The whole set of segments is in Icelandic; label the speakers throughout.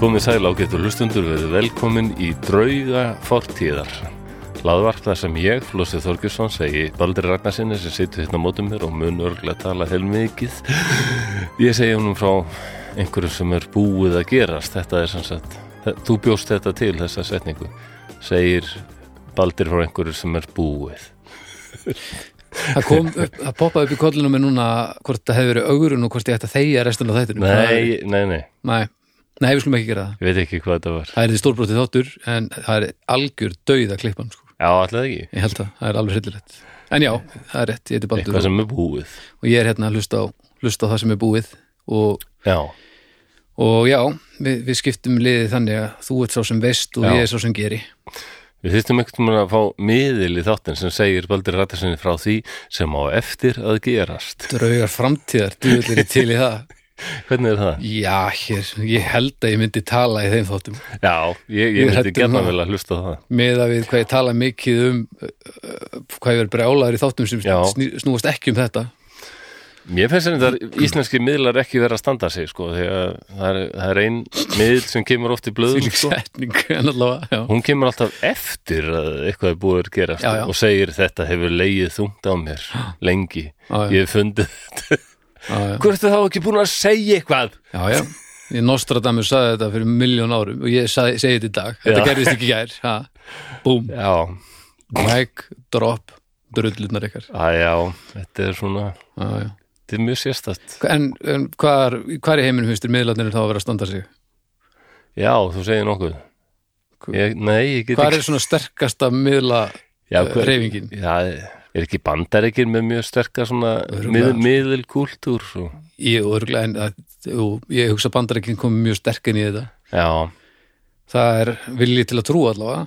Speaker 1: Komið sæl á getur hlustundur verið velkomin í drauga fortíðar. Laðvarp þar sem ég, Flósi Þorgjursson, segi Baldur Ragnarsinni sem situr hérna á mótum mér og mun örglega tala heilmikið. Ég segi honum frá einhverju sem er búið að gerast. Þetta er sem sagt, þe- þú bjóst þetta til þessa setningu. Segir Baldur frá einhverju sem er búið.
Speaker 2: Það kom upp, það poppaði upp í kollinu með núna hvort það hefði verið augurinn og hvort ég ætti að þegja restin af þættinum. Það er-
Speaker 1: Nei, nei, nei,
Speaker 2: Nei, nei, við skulum ekki gera það.
Speaker 1: ég veit ekki hvað þetta var.
Speaker 2: Það er því stórbrotið þáttur en það er algjör dauð að klippa hann sko.
Speaker 1: Já, alltaf ekki.
Speaker 2: Ég held það, það er alveg hryllilegt. En já, það er rétt, ég heiti Baldur
Speaker 1: Eitthvað
Speaker 2: og,
Speaker 1: sem er búið.
Speaker 2: og ég er hérna að hlusta á, hlusta á það sem er búið og,
Speaker 1: Já,
Speaker 2: og já, við, við skiptum liðið þannig að þú ert sá sem veist og
Speaker 1: Já.
Speaker 2: ég er sá sem geri.
Speaker 1: Við þýttum einhvern veginn að fá miðil í þáttin sem segir Baldur Rattarssoni frá því sem á eftir að gerast.
Speaker 2: Draugar framtíðar, duðlir ég til í það.
Speaker 1: Hvernig er það?
Speaker 2: Já, hér, ég held að ég myndi tala í þeim þáttum.
Speaker 1: Já, ég,
Speaker 2: Ég
Speaker 1: ég
Speaker 2: er
Speaker 1: myndi
Speaker 2: hræddur
Speaker 1: gerna
Speaker 2: um
Speaker 1: vel að hlusta á það.
Speaker 2: með að við hvað ég tala mikið um uh, uh, hvað ég verið brjálaður í þáttum sem
Speaker 1: Já.
Speaker 2: sný- snúast ekki um þetta
Speaker 1: Mér finnst þetta að íslenski miðlar ekki vera að standa sig, sko, þegar það er, það er ein miðl sem kemur oft í blöðum,
Speaker 2: Þvílík
Speaker 1: sko.
Speaker 2: setning, en allavega já.
Speaker 1: Hún kemur alltaf eftir að eitthvað er búið að gerast
Speaker 2: Já, já.
Speaker 1: og segir þetta hefur leigið þungt á mér lengi.
Speaker 2: Já, já.
Speaker 1: Ég hef fundið þetta.
Speaker 2: Já, já.
Speaker 1: Hvort er þá ekki búin að segja eitthvað?
Speaker 2: já, já, ég Nostradamus saði þetta fyrir miljón árum og ég sag, segi þetta í dag þetta
Speaker 1: Já.
Speaker 2: gerðist ekki í gær ha. búm,
Speaker 1: Já,
Speaker 2: mic, drop drullunar ykkar
Speaker 1: Æ, já, þetta er svona,
Speaker 2: já, já.
Speaker 1: þetta er mjög sérstætt.
Speaker 2: en, en hvað er, hvað er heiminn hustur miðlarnir þá að vera að standa sig
Speaker 1: Já, þú segir nokkuð
Speaker 2: Hva-
Speaker 1: ég, Nei, ég get
Speaker 2: hvað
Speaker 1: ekki
Speaker 2: er svona sterkasta miðla
Speaker 1: já,
Speaker 2: eh, hreyfingin?
Speaker 1: Já, er ekki bandaríkir með mjög sterka svona mið,
Speaker 2: Örugglega.
Speaker 1: miðilkúltúr svo.
Speaker 2: ég, örgulega, en, að, jú, ég hugsa bandarækinn komið mjög sterk inn í þetta
Speaker 1: Já,
Speaker 2: Það er vilji til að trúa allavega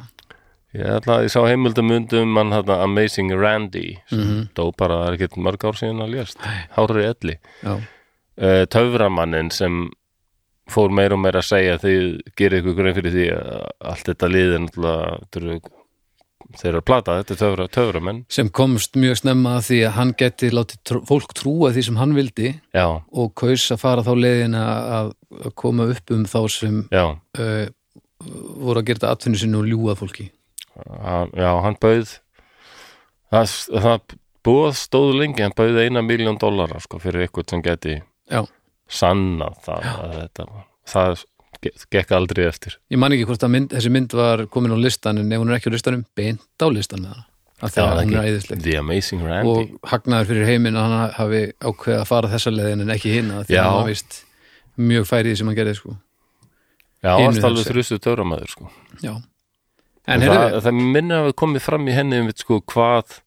Speaker 1: ég, ætla, ég sá heimildamundum mann þarna Amazing Randy sem dó bara, það er ekkert mörg ár síðan að lést
Speaker 2: Mhm. Æ.
Speaker 1: Hárri elli
Speaker 2: Já,
Speaker 1: uh, Töframannin sem fór meir og meir að segja þið gerir ykkur grein fyrir því að allt þetta lið er náttúrulega þetta eru- þeir eru að plata, þetta er töfra, töframenn
Speaker 2: sem komst mjög snemma að því að hann geti látið tr fólk trúa því sem hann vildi
Speaker 1: Já,
Speaker 2: og kaus að fara þá leiðina að, að koma upp um þá sem
Speaker 1: já
Speaker 2: uh, voru að gera þetta atvinnu sinni og ljúga að fólki
Speaker 1: hann, já, hann bauð það, það búið stóð lengi hann bauð eina miljón dólara sko, fyrir eitthvað sem geti
Speaker 2: Já,
Speaker 1: sannað það, að þetta, var- það ge- gekk aldrei eftir
Speaker 2: ég man ekki hvort að mynd, þessi mynd var komin á listan en ef hún er ekki á listanum, beint á listan með hana af því
Speaker 1: Já,
Speaker 2: að hún
Speaker 1: ekki-
Speaker 2: er æðisleg
Speaker 1: The Amazing Randy
Speaker 2: og hagnaður fyrir heiminn að hann hafi ákveða að fara þessa leiðin en ekki hinna því
Speaker 1: Já.
Speaker 2: að hann var vist mjög færið sem hann gerði sko
Speaker 1: já,
Speaker 2: hinu
Speaker 1: varst alveg
Speaker 2: hugsa.
Speaker 1: þrjustu töframæður sko.
Speaker 2: Já, en
Speaker 1: það,
Speaker 2: heyrðu
Speaker 1: það minna að við komið fram í henni um sko, hvað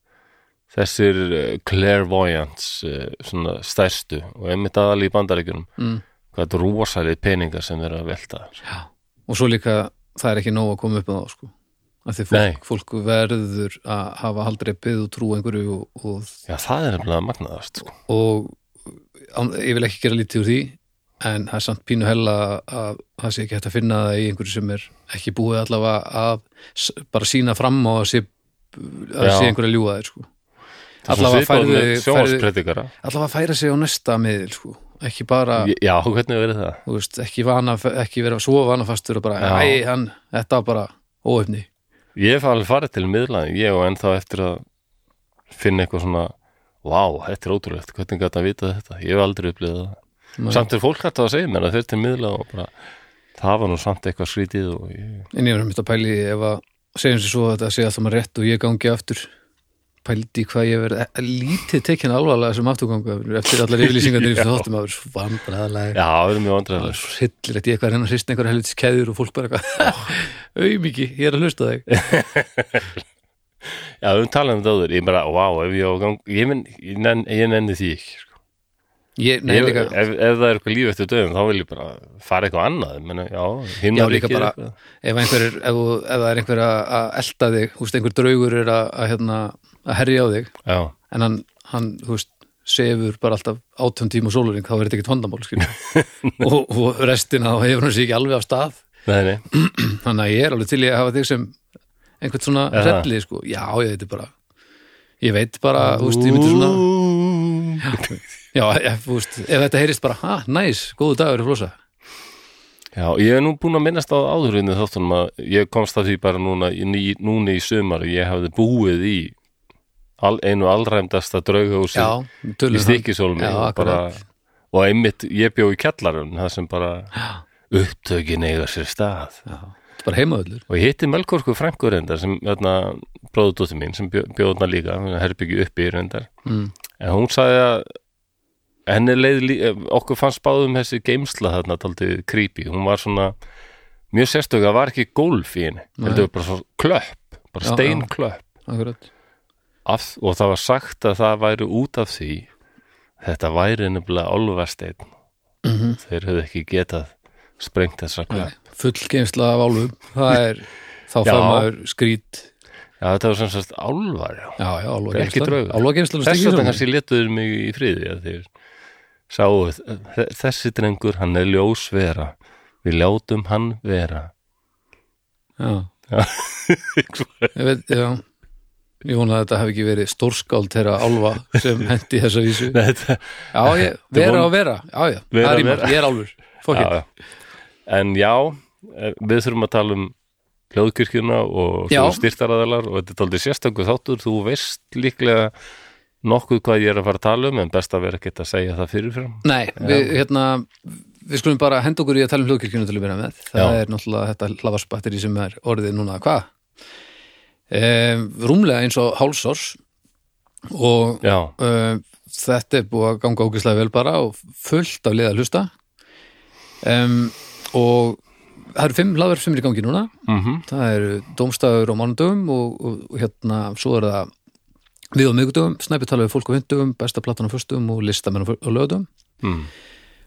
Speaker 1: þessir eh, clairvoyants eh, svona stærstu og einmitt aðal í bandaríkjunum
Speaker 2: Mm.
Speaker 1: hvað þetta rosalið peningar sem er að velta sko.
Speaker 2: Já, og svo líka það er ekki nóg að koma upp með það sko að því
Speaker 1: Nei.
Speaker 2: fólk, fólk verður að hafa aldrei byggð og trú einhverju og, og,
Speaker 1: já, það er nefnilega magnaðast sko.
Speaker 2: og án, ég vil ekki gera lítið úr því en það er samt pínu hella að það sé ekki hægt að finna það í einhverju sem er ekki búið allavega að s- bara sína fram á að sé, að
Speaker 1: Já.
Speaker 2: sé einhverju að ljúga þeir sko
Speaker 1: Það er
Speaker 2: Allavega
Speaker 1: svo svipað
Speaker 2: færðu-
Speaker 1: með sjónvarspredikara.
Speaker 2: allavega færa sig á næsta miðil sko ekki bara,
Speaker 1: Ég- Já, hvernig verið það?
Speaker 2: þú veist, ekki, vana, ekki vera svo vanafastur og bara,
Speaker 1: Já.
Speaker 2: æ, hann, þetta var bara óöfni
Speaker 1: Ég hef alveg farið til miðlaði, ég og ennþá eftir að finna eitthvað svona Vá, þetta er ótrúlegt, hvernig gæti að vita þetta? Ég hef aldrei upplýðið það.
Speaker 2: Nei.
Speaker 1: Samt er fólk hægt að segja mér að þeir til miðlaði og bara Það var nú samt eitthvað skrítið og ég...
Speaker 2: En ég var mitt að pæli í ef að segjum sér svo að þetta sé alltaf maður rétt og ég gangi aftur pældi í hvað ég verið e- lítið tekinn alvarlega sem afturganga eftir allar yfirlýsingarnir
Speaker 1: Já.
Speaker 2: fyrir þáttum að vera svo vandræðalega
Speaker 1: Já, það verður mjög vandræðilega.
Speaker 2: hryllilegt, ég eitthvað reyna að hrista einhverja helvitis keður og fólk bara eitthvað
Speaker 1: Oh.
Speaker 2: auðmiki, ég er að hlusta þig
Speaker 1: Já, við talaðum þetta áður, ég bara, vá, ef ég á gang... Ég, menn, ég, nenn, ég nenni því ekki, sko.
Speaker 2: ég, nei,
Speaker 1: Ég,
Speaker 2: líka,
Speaker 1: ef, ef það er eitthvað líf eftir döðum, þá vil ég bara fara eitthvað annað. Menna, já, hinn
Speaker 2: Já,
Speaker 1: var
Speaker 2: líka
Speaker 1: ekki
Speaker 2: bara-
Speaker 1: eitthvað.
Speaker 2: ef, einhver, er- ef, þú- ef það er einhver að að elta þig húst, einhver draugur er að, að, hérna, að herja á þig
Speaker 1: Já,
Speaker 2: en hann, hann þú veist, sefur bara alltaf átjón tíma og sóluring, þá er þetta ekkert vandamál skilur. og, og restina þá hefur hann sér ekki alveg á stað
Speaker 1: nei, nei.
Speaker 2: þannig að ég er alveg til í að hafa þig sem einhvern svona
Speaker 1: Er það?
Speaker 2: hrelli sko. já, ég veit bara ég veit bara, þú veist, ég myndi svona já, ég, þú veist, ef þetta heyrist bara, ha, næs, góðu dagur í flosa
Speaker 1: Já, ég hef nú búin að minnast á áðurinu þáttunum að ég komst að því bara núna í, ný, núna í sumar að ég hafði búið í al, einu allræmdasta draugahúsi
Speaker 2: Já,
Speaker 1: í
Speaker 2: tölum
Speaker 1: Stikisólmi
Speaker 2: Já,
Speaker 1: og, bara,
Speaker 2: akkurat.
Speaker 1: og einmitt ég bjó í kjallarun það sem bara upptökin eiga sér stað
Speaker 2: Já, þetta er bara heimaöllur
Speaker 1: og ég hitti Melkorku Frankur reyndar sem hérna, bróðutóttir mín sem bjóðna líka herbyggju uppi í reyndar
Speaker 2: mm.
Speaker 1: en hún sagði að henni leið, lí- eh, okkur fannst báðum þessi geimsla þarna taldið creepy hún var svona mjög sérstök það var ekki gólf í henni
Speaker 2: Nei.
Speaker 1: heldur bara svo klöpp, bara
Speaker 2: Já,
Speaker 1: steinklöpp
Speaker 2: Akkurat
Speaker 1: af, og það var sagt að það væri út af því þetta væri nefnilega álfasteinn
Speaker 2: mm -hmm.
Speaker 1: þeir höfðu ekki getað sprengt þessa klöpp
Speaker 2: Full geimsla af álfum Það er, þá
Speaker 1: Já.
Speaker 2: fær maður skrít
Speaker 1: já þetta var sem sagt álfar já
Speaker 2: Já, já,
Speaker 1: Það er ekki draugur.
Speaker 2: álfageimslan Álfageimslan
Speaker 1: Þess vegna
Speaker 2: Stikisólmi
Speaker 1: kannski letuður mig í friði að þeir sáu þ- þessi drengur hann er ljósvera við látum hann vera
Speaker 2: Já, ég veit, já Ég vona að þetta hafi ekki verið stórskáld þeirra álfa sem hendi þessa vísu
Speaker 1: Nei, þetta-
Speaker 2: Já, ég,
Speaker 1: er
Speaker 2: vera
Speaker 1: von-
Speaker 2: og vera Já, já,
Speaker 1: Vera
Speaker 2: það
Speaker 1: og
Speaker 2: er í mál,
Speaker 1: vera.
Speaker 2: ég er álfur Fokk
Speaker 1: já, já. en já eh, við þurfum að tala um hljóðkirkjuna og
Speaker 2: Já.
Speaker 1: styrtaraðalar og þetta er aldrei sérstakur þáttur þú veist líklega nokkuð hvað ég er að fara að tala um en best að vera ekkert að segja það fyrirfram
Speaker 2: Nei, við, hérna, við skulum bara henda okkur í að tala um hljóðkirkjuna til að byrja með. Það
Speaker 1: Já.
Speaker 2: er náttúrulega þetta hlaðvarsbatteri sem er orðið núna hvað? Um, rúmlega eins og hálsors og
Speaker 1: já,
Speaker 2: um, þetta er búið að ganga ógislega vel bara og fullt af liða að hlusta. Um, og það eru fimm hlaðvarp sem er í gangi núna.
Speaker 1: mhm
Speaker 2: Það eru dómstafur á mánudöfum og, og, og hérna, svo er það við á miðgudöfum, snæpi tala við fólk á hundöfum, besta platan á föstum og listamenn á lögudöfum
Speaker 1: mm.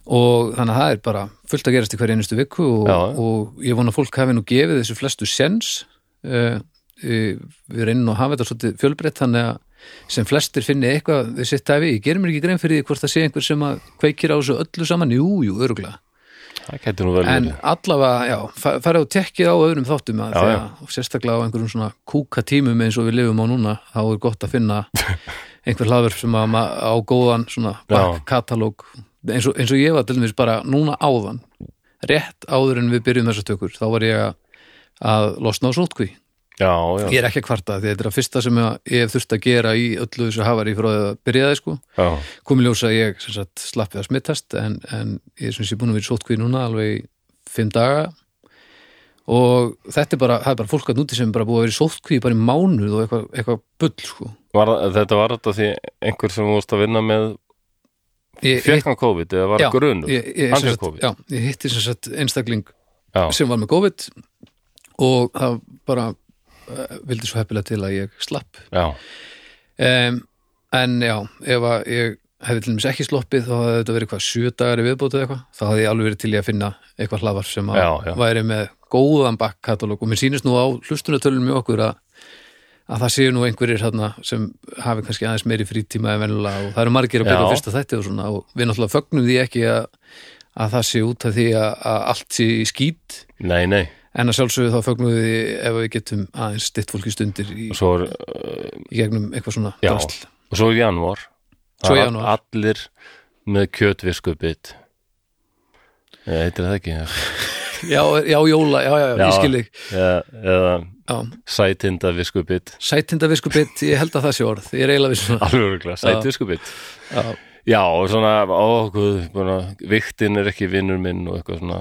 Speaker 2: og þannig að það er bara fullt að gerast í hverja einustu viku og,
Speaker 1: Já.
Speaker 2: og ég vona að fólk hafi nú gefið þessu flestu sens uh, við reynum að hafa þetta svolítið fjölbreytt þannig að sem flestir finni eitthvað við sitt hæfi, ég gerir mér ekki grein fyrir því hvort það sé einhver sem að kveikir á þessu öllu saman jú, jú, öruglega,
Speaker 1: það gæti nú vel
Speaker 2: en
Speaker 1: verið.
Speaker 2: allavega já, fa- farið og tekkið á öðrum þáttum að
Speaker 1: Já,
Speaker 2: því að- og sérstaklega á einhverjum svona kúka tímum eins og við lifum á núna þá er gott að finna einhver hlaðverf sem að ma- á góðan svona
Speaker 1: Já.
Speaker 2: katalóg eins og, eins og ég var til dæmis bara núna áðan rétt áður en við byrjum þessar tökur þá var ég að- að losna á sótkví
Speaker 1: já, já,
Speaker 2: ég er ekki að kvarta því þetta er að fyrsta sem að ég hef þurft að gera í öllu þessu hafari frá því að byrjaði sko
Speaker 1: já,
Speaker 2: komið ljósa að ég sem sagt, slapp við að smittast en, en ég sem sé búin að vera í sótkví núna alveg í fimm daga og þetta er bara, það er bara fólk að núti sem er bara búið að vera í sótkví bara í mánuð og eitthvað, eitthvað bull sko
Speaker 1: Var, þetta var þetta því einhver sem þú vorst að vinna með
Speaker 2: ég,
Speaker 1: fekk hann COVID eða var
Speaker 2: Já,
Speaker 1: grunur
Speaker 2: ég, ég,
Speaker 1: Hann
Speaker 2: sem
Speaker 1: er
Speaker 2: sagt,
Speaker 1: COVID.
Speaker 2: já, ég hitti sem sagt einstakling
Speaker 1: já,
Speaker 2: sem var með COVID og það bara uh, vildi svo heppilega til að ég slapp
Speaker 1: já,
Speaker 2: um, en já, ef að ég hefði til dæmis ekki sloppið þá hefði þetta verið hvað sjö dagar í viðbótu eða eitthvað þá hefði ég alveg verið til í að finna eitthvað hlaðvarf sem að
Speaker 1: Já, já.
Speaker 2: væri með góðan bakkatalóg og mér sýnist nú á hlustunatölum mjög okkur að að það séu nú einhverjir hérna, sem hafi kannski aðeins meiri frítíma en venulega og það eru margir að byrja
Speaker 1: Já.
Speaker 2: á fyrsta þætti og svona og við náttúrulega fögnum því ekki að, að það sé út af því að, að allt sé í skýt
Speaker 1: nei, nei
Speaker 2: en að sjálfsögðu þá fögnum við því ef við getum aðeins stitt fólki stundir í,
Speaker 1: og svo er, uh,
Speaker 2: í gegnum eitthvað svona
Speaker 1: Já.
Speaker 2: drasl
Speaker 1: og svo er janúar
Speaker 2: Svo
Speaker 1: Það er
Speaker 2: janúar.
Speaker 1: allir með kjötviskubit eða heitir það ekki
Speaker 2: já, já, jóla, já, já, já,
Speaker 1: Já.
Speaker 2: ég skil þig
Speaker 1: eða, eða
Speaker 2: Já.
Speaker 1: sætinda viskubit
Speaker 2: sætindaviskubitt, ég held að það sé orð ég er eiginlega við svona
Speaker 1: alveg örgulega, sætviskubit
Speaker 2: já,
Speaker 1: já og svona ó, guð, búna, viktin er ekki vinnur minn og eitthvað svona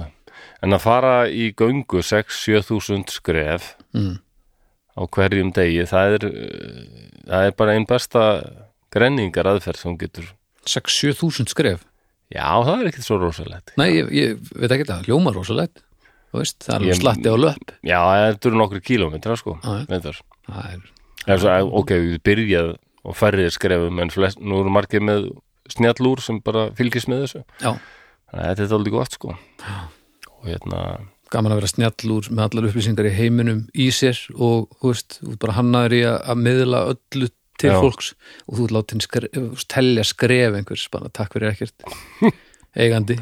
Speaker 1: en að fara í göngu 6-7 þúsund skref
Speaker 2: mm,
Speaker 1: á hverjum degi það er, uh, það er bara einn besta grenningar aðferð sem þú getur
Speaker 2: 6-7 þúsund skref
Speaker 1: já það er ekkert svo rosalegt
Speaker 2: nei, ég, ég veit ekki það, ljómar rosalegt þú veist, það er alveg
Speaker 1: Ég-
Speaker 2: slatti á löp
Speaker 1: já þetta eru nokkru kílómetra sko
Speaker 2: Já, já.
Speaker 1: reyndar.
Speaker 2: það er
Speaker 1: Það er svo, að, ok, við byrjað og færrið skrefum en flest, nú eru margir með snjallúr sem bara fylgist með þessu
Speaker 2: Já,
Speaker 1: þannig að þetta er aldrei gott sko og hérna,
Speaker 2: gaman að vera snjall úr með allar upplýsingar í heiminum í sér og þú veist, þú ert bara hannaður í að, að miðla öllu til
Speaker 1: Já.
Speaker 2: fólks og þú ert látin skref, þú veist, telja skref einhvers, bara takk fyrir ekkert eigandi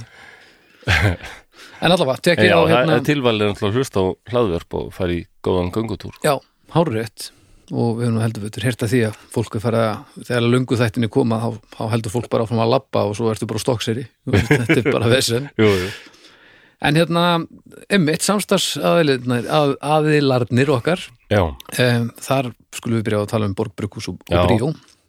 Speaker 2: En allavega,
Speaker 1: en
Speaker 2: tekið
Speaker 1: já,
Speaker 2: á
Speaker 1: það
Speaker 2: hérna
Speaker 1: er tilvalið náttúrulega að hlusta á hlaðverp og fara í góðan göngutúr
Speaker 2: Já, hárrétt og við höfum nú heldur betur hérta því að fólk er farið að þegar lungu þættinni koma þá, þá heldur fólk bara áfram að labba og svo ertu bara á stokkseri Þú veist, þetta er bara vesen
Speaker 1: jú, jú.
Speaker 2: En hérna, einmitt samstagsæðilarnir að, aðilarnir okkar,
Speaker 1: já,
Speaker 2: um, þar skulum við byrja að tala um Borgbrukus og, og
Speaker 1: Já.
Speaker 2: Bríó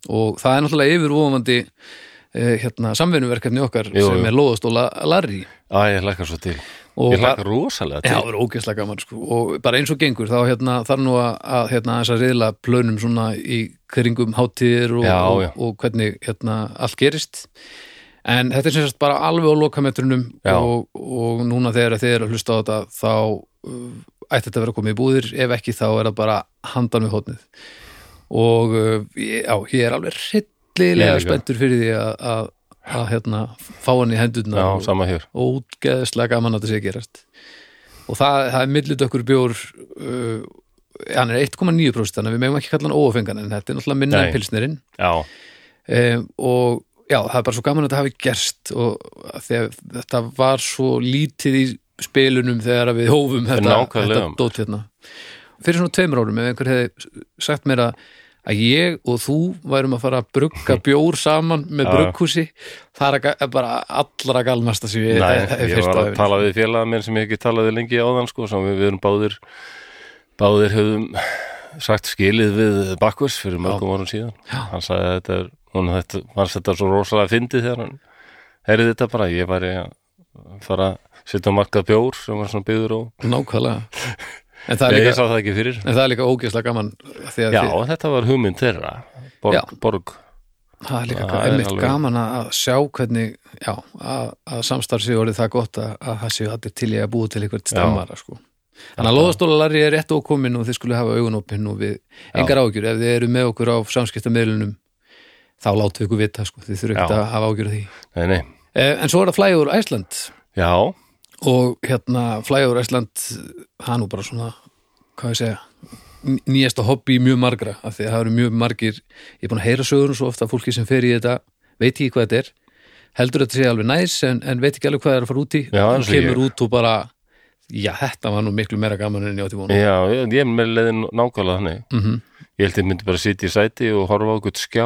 Speaker 2: og það er náttúrulega yfirvofandi uh, hérna, samvinnuverkefni okkar
Speaker 1: Jú,
Speaker 2: sem
Speaker 1: jú.
Speaker 2: er Lóðast og La- Larry
Speaker 1: Æ, ég hlakka svo til
Speaker 2: og
Speaker 1: Ég hlakka rosalega
Speaker 2: Já,
Speaker 1: til
Speaker 2: það verður ógeðslega gaman sko og bara eins og gengur þá hérna, þarf nú að, að hérna, aðeins að reyðla plönum svona í kringum hátíðir og,
Speaker 1: Já,
Speaker 2: og,
Speaker 1: já.
Speaker 2: og hvernig hérna, allt gerist en þetta er sem sagt bara alveg á lokametrunum
Speaker 1: Já.
Speaker 2: og, og núna þegar þið eru að hlusta á þetta þá uh, ætti þetta að vera komið í búðir ef ekki þá er það bara handan við hótnið og uh, ég- já, ég er alveg hryllilega
Speaker 1: Ég líka.
Speaker 2: spenntur fyrir því að, að, að hérna, fá hann í hendurna
Speaker 1: Já,
Speaker 2: og,
Speaker 1: sama hér
Speaker 2: ógeðslega gaman að þetta sé að gerast og það, það er millidökkur bjór uh, hann er 1,9% þannig að við megum ekki kalla hann óafengan en þetta er náttúrulega minna
Speaker 1: Nei.
Speaker 2: en pilsnerinn
Speaker 1: Já,
Speaker 2: um, og já, það er bara svo gaman að þetta hafi gerst og af því að þetta var svo lítið í spilunum þegar að við hófum þetta,
Speaker 1: Nákvæmlega.
Speaker 2: þetta dót hérna fyrir svona tveimur árum ef einhver hefði sagt mér að að ég og þú værum að fara að brugga bjór saman með
Speaker 1: Já, já.
Speaker 2: brugghúsi það er að, ga- bara allra galmasta sem ég
Speaker 1: Nei,
Speaker 2: hef- hef
Speaker 1: ég
Speaker 2: heyrt á
Speaker 1: var að
Speaker 2: ævinni.
Speaker 1: tala við félaga minn sem ég hef ekki talaði lengi áðan sko, sem við, við erum báðir báðir höfum sagt skilið við Bakkus fyrir mörgum árum síðan
Speaker 2: Já.
Speaker 1: hann sagði að þetta er hún þetta, fannst þetta svo rosalega fyndið þegar hann heyrði þetta bara, ég væri að fara að setja á markað bjór sem var svona byggður og
Speaker 2: Nákvæmlega En það er
Speaker 1: ég,
Speaker 2: líka,
Speaker 1: ég sá það ekki fyrir
Speaker 2: en það er líka ógeðslega gaman af því að
Speaker 1: Já,
Speaker 2: þið,
Speaker 1: þetta var hugmynd þeirra
Speaker 2: Já.
Speaker 1: Borg, borg.
Speaker 2: það er líka
Speaker 1: það er
Speaker 2: einmitt
Speaker 1: alveg-
Speaker 2: gaman að að sjá hvernig já, að, að samstarf séu orðið það gott að, að það séu allir til ég að búa til eitthvað stammara sko. Þannig að loðastólari er rétt ókomin og þið skulle hafa augunopinn og við engar ágjur ef þið eru með okkur á samskiptamiðlunum þá látum við ykkur vita sko, þið þurfum
Speaker 1: Já.
Speaker 2: ekki að hafa ágjur því
Speaker 1: Nei, nei,
Speaker 2: Eh, En svo er það flægur Æsland
Speaker 1: já
Speaker 2: og hérna flægur Æsland það er nú bara svona hvað ég segja, n- nýjasta hobby mjög margra, af því að það eru mjög margir ég er búin að heyra sögur um svo ofta að fólki sem fer í þetta veit ekki hvað þetta er heldur þetta sé alveg næs en, en veit ekki alveg hvað það er að fara út í
Speaker 1: Já,
Speaker 2: og
Speaker 1: eins og
Speaker 2: kemur
Speaker 1: ég.
Speaker 2: út og bara já, þetta var nú miklu meira gaman en ég átti vona
Speaker 1: Já, ég, ég er með leiðin nákvæmlega þannig
Speaker 2: mm
Speaker 1: Ég held ég myndi bara sitja í sæti og horfa á okkur skjá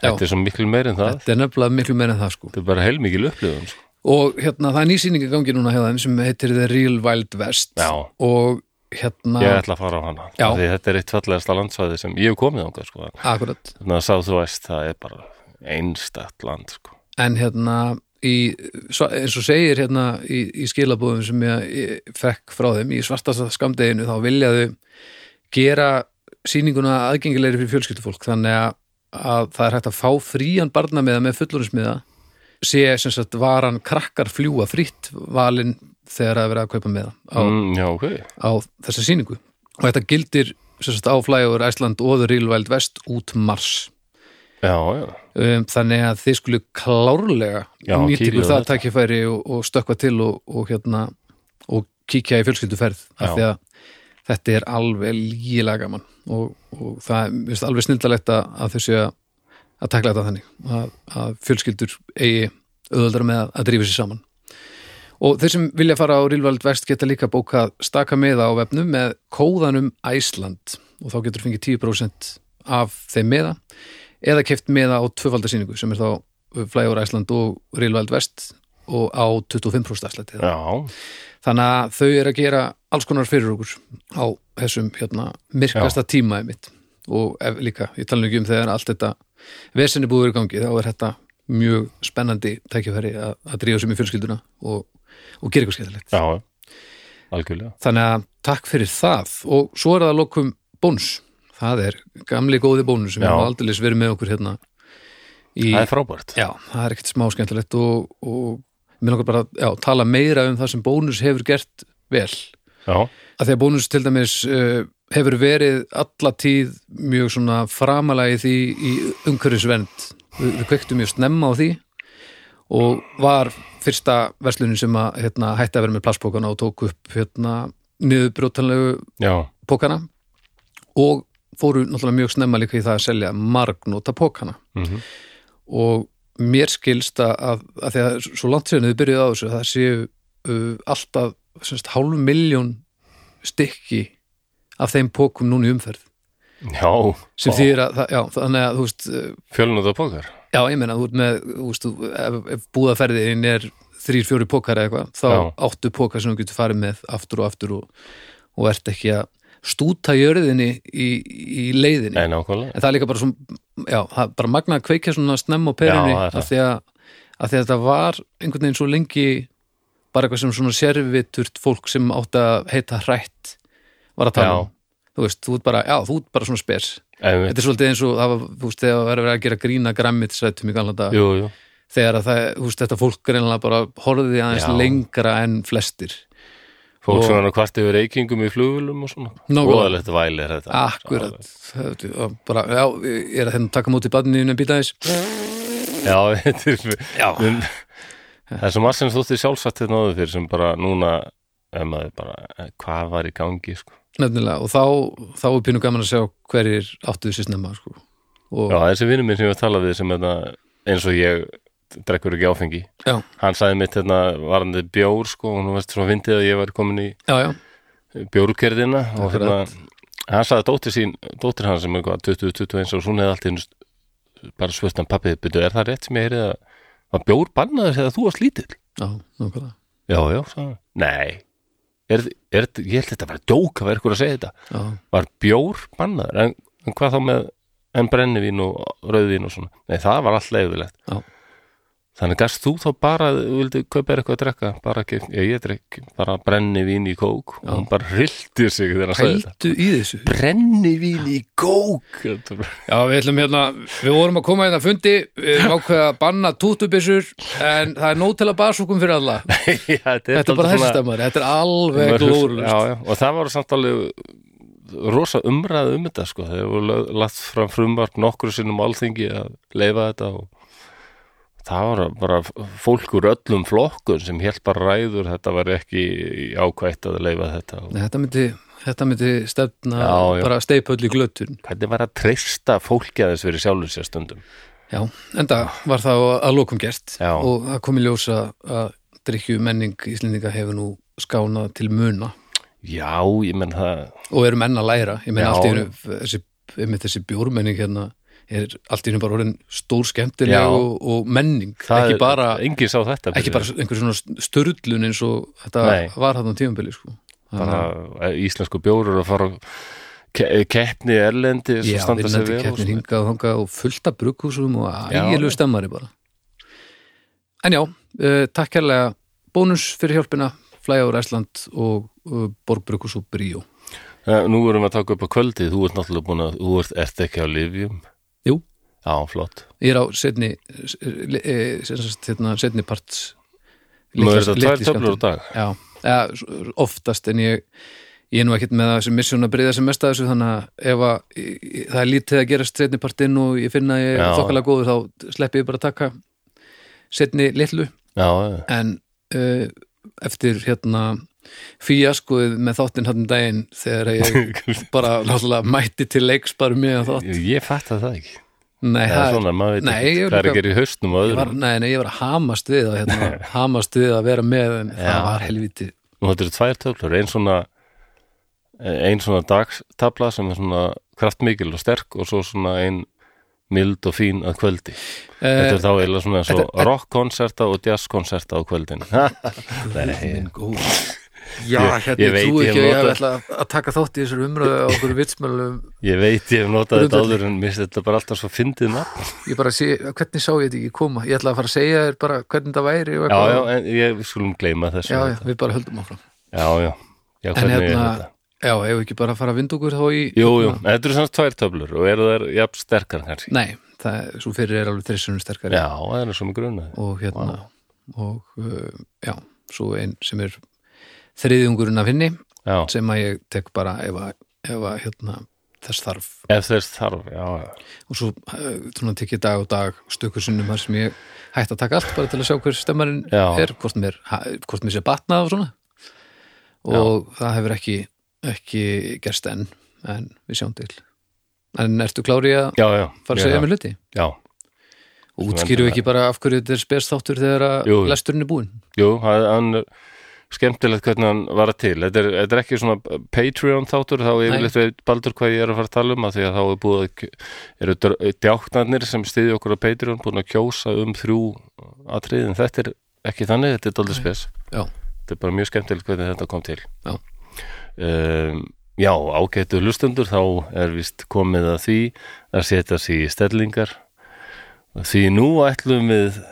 Speaker 2: Já.
Speaker 1: Þetta er svo miklu meir en það
Speaker 2: þetta er nefnilega miklu meira en það sko
Speaker 1: Þetta er bara heilmikil upplifun sko.
Speaker 2: og hérna það er nýsýning í gangi núna hjá þeim sem heitir The Real Wild West
Speaker 1: Já.
Speaker 2: og hérna
Speaker 1: Ég ætla að fara á hana
Speaker 2: Já.
Speaker 1: Af Því þetta er eitt fallegasta landsvæði sem ég hef komið ánga sko.
Speaker 2: akkurat
Speaker 1: Þannig að sá þú veist, það er bara einstakt land sko.
Speaker 2: en hérna í, svo- eins og segir hérna í, í skilabúðum sem ég, ég fekk frá þeim í svartasta skamdeginu þá vilja þau gera sýninguna aðgengilegri fyrir fjölskyldufólk þannig að, að það er hægt að fá frían barnamiða með fullurinsmiða sé sem sagt varan krakkar fljúa fritt valin þegar að vera að kaupa miða á,
Speaker 1: mm, Já, ok
Speaker 2: á þessa sýningu og þetta gildir sem sagt áflægur Æsland og The Real Wild West út mars
Speaker 1: Já, já,
Speaker 2: um, þannig að þið skulu klárlega
Speaker 1: Já,
Speaker 2: nýtt
Speaker 1: kíkið
Speaker 2: ykkur
Speaker 1: á
Speaker 2: það
Speaker 1: þetta.
Speaker 2: tækifæri og, og stökkva til og, og hérna og kíkja í fjölskylduferð af
Speaker 1: Já.
Speaker 2: því að þetta er alveg lígilega gaman og, og það er mér finnst alveg snildalegt að, að þau séu að að takla þetta þannig að, að fjölskyldur eigi auðvöldar með að, að drífa sér saman og þeir sem vilja fara á Rílvald Vest geta líka bókað staka meða á vefnum með kóðanum Æsland og þá getur fengið 10% af þeim meða eða keft meða á tvöfaldasýningu sem er þá Flægur Æsland og Rílvald Vest og á 25% afslætti
Speaker 1: já
Speaker 2: þannig að þau eru að gera alls konar fyrir okkur á þessum hérna, myrkasta tímaði mitt og ef, líka, ég tala nú ekki um þegar allt þetta vesenni búið verið í gangi þá er þetta mjög spennandi tækifæri að, að drífa sem í fjölskylduna og, og gera eitthvað skemmtilegt
Speaker 1: Já, algjörlega
Speaker 2: þannig að takk fyrir það og svo er það að lokum bónus það er gamli góði bónus sem
Speaker 1: Já.
Speaker 2: hefur aldeilis verið með okkur hérna í,
Speaker 1: Það er frábært
Speaker 2: Já, það er ekkert smá skemmtilegt og, og mér langar bara að já, tala meira um það sem bónus hefur gert vel
Speaker 1: Já,
Speaker 2: að því að bónus til dæmis uh, hefur verið alla tíð mjög svona framalagi því í umhverfisvernd við, við kveiktum mjög snemma á því og var fyrsta verslunin sem að hérna, hætti að vera með plastpókana og tók upp hérna, niðurbrjótanlegu
Speaker 1: já,
Speaker 2: pókana og fóru náttúrulega mjög snemma líka í það að selja margnóta pókana
Speaker 1: Mhm.
Speaker 2: og mér skilst að, að, að því að svo langt séðan þið byrjuðu á þessu það séu uh, alltaf semst, hálf miljón stykki af þeim pókum núna í umferð
Speaker 1: já
Speaker 2: sem þýðir að, það, já, þannig að þú veist, uh,
Speaker 1: Fjölnóta pókar
Speaker 2: já, ég meina þú ert með, þú veist, þú- ef, ef búðaferðin er þrýr, fjóri pókar eða eitthvað þá
Speaker 1: Já.
Speaker 2: áttu pókar sem þú getur farið með aftur og aftur og, og ert ekki að stúta jörðinni í, í leiðinni
Speaker 1: Nei, nákvæmlega
Speaker 2: en það er líka bara svona já, það er bara magna að kveikja svona snemma á perunni
Speaker 1: Já, það er það.
Speaker 2: af því að, að því að þetta var einhvern veginn svo lengi bara eitthvað sem svona sérviturt fólk sem átt að heita hrætt var að tala
Speaker 1: Já.
Speaker 2: um þú veist, þú ert bara, já, þú ert bara svona spes
Speaker 1: Einmitt.
Speaker 2: þetta er svolítið eins og það var, þú veist, þegar verið að gera grína græmmitisrættum í galanda
Speaker 1: Jú, jú,
Speaker 2: þegar að það, þú veist, þetta fólk greinlega bara horfði aðeins
Speaker 1: Já.
Speaker 2: lengra en flestir
Speaker 1: fólk
Speaker 2: Og-
Speaker 1: svona hvart yfir reykingum í flugulum og svona
Speaker 2: Nákvæmlega.
Speaker 1: Voðalegt væli er þetta
Speaker 2: akkurat, það- bara, já, ég er að hérna taka móti badninu en býta aðeins
Speaker 1: Já, þetta er
Speaker 2: já,
Speaker 1: en, það er svo margt sem þótti sjálfsagt þetta náður fyrir sem bara núna ef maður bara, eh, hvað var í gangi sko.
Speaker 2: Nefnilega, og þá, þá er pínu gaman að sjá hverjir áttu þessi snemma sko. og
Speaker 1: já, þessi vinnur minn sem ég var að tala við sem þetta, eins og ég drekkur ekki áfengi
Speaker 2: já,
Speaker 1: hann sagði mitt hérna varandi bjór sko, og nú varst svo fyndið að ég var komin í
Speaker 2: já, já,
Speaker 1: bjórkerðina og hérna,
Speaker 2: Akkurat.
Speaker 1: hann sagði að dóttir sín dóttir hann sem er hvað, 20-21 og hún hefði allt í einu st- bara svöstan pappi, byrju, er það rétt sem ég heyrið að var bjór bannaður þegar þú varst lítill
Speaker 2: já, nákvæmlega
Speaker 1: já, já, sagði hann, nei er, er, ég held þetta var djók að vera ykkur að segja þetta
Speaker 2: já,
Speaker 1: var bjór bannaður en, en hvað þá með en brennivín og rauðvín og svona nei það var allt leifilegt
Speaker 2: Já.
Speaker 1: þannig gast þú þá bara þú vildi kaupa þér eitthvað að drekka bara ekki, ég, ég drekk bara brennivín í kók og hún bara hrildi sig þegar hann sagði þetta
Speaker 2: hældu í þessu
Speaker 1: brennivín í kók Þetta var-
Speaker 2: Já, við ætlum hérna, við vorum að koma hérna að fundi við erum ákveða að banna tútubissur en það er nóg til að basa okkur fyrir alla
Speaker 1: Já, þetta
Speaker 2: Þetta er bara þessi stemmar, þetta er alveg glóðlust
Speaker 1: já, já, og það var samt alveg rosa umræð um þetta sko þegar voru lög- lagt fram frumvart nokkru sinnum á alþingi að leifa þetta og það var bara fólk úr öllum flokkun sem helt bara ræður þetta var ekki ákvætt að leifa þetta og
Speaker 2: Nei, þetta myndi, þetta myndi stefna
Speaker 1: Já, já.
Speaker 2: bara steipöll í glötun
Speaker 1: hvernig var að treysta fólki aðeins fyrir sjálfur sér stundum
Speaker 2: Já, enda var það að lokum gert
Speaker 1: Já.
Speaker 2: og það kom í ljósa að drikkju menning Íslendinga hefur nú skánað til muna
Speaker 1: já, ég menn það
Speaker 2: og eru menn að læra ég meina
Speaker 1: Já.
Speaker 2: allt í hennu þessi, einmitt þessi bjórmenning hérna er allt í hennu bara orðin stór
Speaker 1: Já.
Speaker 2: skemmtileg og, og menning
Speaker 1: það
Speaker 2: ekki
Speaker 1: er-
Speaker 2: bara,
Speaker 1: enginn sá þetta
Speaker 2: ekki
Speaker 1: fyrir.
Speaker 2: bara einhver svona störlun eins og þetta
Speaker 1: Nei.
Speaker 2: var þarna á tímabili sko. Þannig að-
Speaker 1: bara íslensku bjórur að fara á ke keppni erlendi
Speaker 2: Já, vinnandi keppnir hingað og þangað og fullt af brugghúsum og
Speaker 1: Já.
Speaker 2: ægilegu stemmari bara En já, uh, takk kærlega bónus fyrir hjálpina Flæja úr Æsland og uh, Borbrugghús og Bríó
Speaker 1: Eh, Nú erum við að taka upp á kvöldið, þú ert náttúrulega búin að þú ert, ert ekki á lifjum
Speaker 2: Jú,
Speaker 1: Já, flott
Speaker 2: Ég er á setni eh, sem sagt, hérna, setni parts
Speaker 1: Nú
Speaker 2: litla-
Speaker 1: er þetta
Speaker 2: litli
Speaker 1: tvær töflur á
Speaker 2: skammtinn.
Speaker 1: dag
Speaker 2: Já, ja, oftast en ég ég er nú ekkert með það sem missjón að breyða sem mest að þessu þannig að ef að ég- ég- það er lítið að gerast setni partinn og ég finna að ég er
Speaker 1: Já.
Speaker 2: þokkalega góður þá sleppi ég bara að taka setni litlu
Speaker 1: Já, já.
Speaker 2: en uh, eftir hérna fíaskuð með þáttinn hann um daginn þegar ég bara náttúrulega mætti til leiks bara um með þátt
Speaker 1: ég, ég fatt að það ekki
Speaker 2: Nei,
Speaker 1: Það er svona, maður veit
Speaker 2: Nei, ég
Speaker 1: ekki hvað er
Speaker 2: líka-
Speaker 1: að gera í haustnum og
Speaker 2: Ég var,
Speaker 1: öðrum
Speaker 2: nei, nei, ég var að hamast við að, hérna, hamast við að vera með en það var helviti
Speaker 1: Nú þetta eru tvær töflur, ein svona ein svona dagstabla sem er svona kraftmikil og sterk og svo svona ein mild og fín að kvöldi Þetta er þá
Speaker 2: Eh,
Speaker 1: eiginlega svona eins og rockkonserta og jazzkonserta á kvöldin
Speaker 2: Minn góð. Já,
Speaker 1: Ég-
Speaker 2: hérna,
Speaker 1: ég
Speaker 2: ég,
Speaker 1: veit,
Speaker 2: trúi
Speaker 1: ég
Speaker 2: ekki að ég
Speaker 1: nota-
Speaker 2: hef ætla að taka þátt í þessari umröðu á okkur vitsmælum
Speaker 1: Ég veit, ég hef notað þetta
Speaker 2: Grundvöll.
Speaker 1: áður en mér finnst þetta bara alltaf svo fyndið nafn.
Speaker 2: ég bara sé, hvernig sá ég þetta ekki koma ég ætla að fara að segja þér bara hvernig það væri og
Speaker 1: Já,
Speaker 2: eitthvað.
Speaker 1: já, en ég við skulum gleyma þessu.
Speaker 2: já, já, við bara höldum áfram
Speaker 1: já. já. Já,
Speaker 2: en
Speaker 1: hvernig er
Speaker 2: hérna,
Speaker 1: þetta?
Speaker 2: já, hefur ekki bara að fara að vinda okkur þá í
Speaker 1: Jú, jú, þetta eru samt tvær töflur og eru þær jafn sterkar kannski.
Speaker 2: nei, það, er- svo fyrir er alveg þrissunum sterkari
Speaker 1: Já, það er svo með grunaði.
Speaker 2: og hérna og uh, já, svo einn sem er þriðjungurinn af henni
Speaker 1: Já,
Speaker 2: sem að ég tek bara ef að, ef að hérna, þess þarf
Speaker 1: ef þess þarf, já, já.
Speaker 2: og svo eh, svona tek ég dag og dag stökur sinnum þar sem ég hætti að taka allt bara til að sjá hver stemmarinn
Speaker 1: Já.
Speaker 2: er hvort mér, ha- hvort mér sé batnað og svona og það hefur ekki ekki gerst enn en við sjáum til en ertu klári að
Speaker 1: Já, já.
Speaker 2: fara að
Speaker 1: ég
Speaker 2: segja
Speaker 1: það.
Speaker 2: mér hluti?
Speaker 1: Já,
Speaker 2: og útskýru ekki bara af hverju þetta er spesþáttur þegar að
Speaker 1: Jú, jú.
Speaker 2: lesturinn er búinn
Speaker 1: jú, hann hann er skemmtilegt hvernig hann var til. Þetta er, þetta er ekki svona Patreon þáttur, þá yfirleitt veit baldur hvað ég er að fara að tala um að því að þá er búið að, kj- eru dr- djáknarnir sem styðja okkur á Patreon búin að kjósa um þrjú atriðin. Þetta er ekki þannig, þetta er dálítið spes
Speaker 2: Já.
Speaker 1: þetta er bara mjög skemmtilegt hvernig þetta kom til
Speaker 2: Já.
Speaker 1: um, já ágætu hlustundur þá er vist komið að því að setja sig í stellingar því nú ætlum við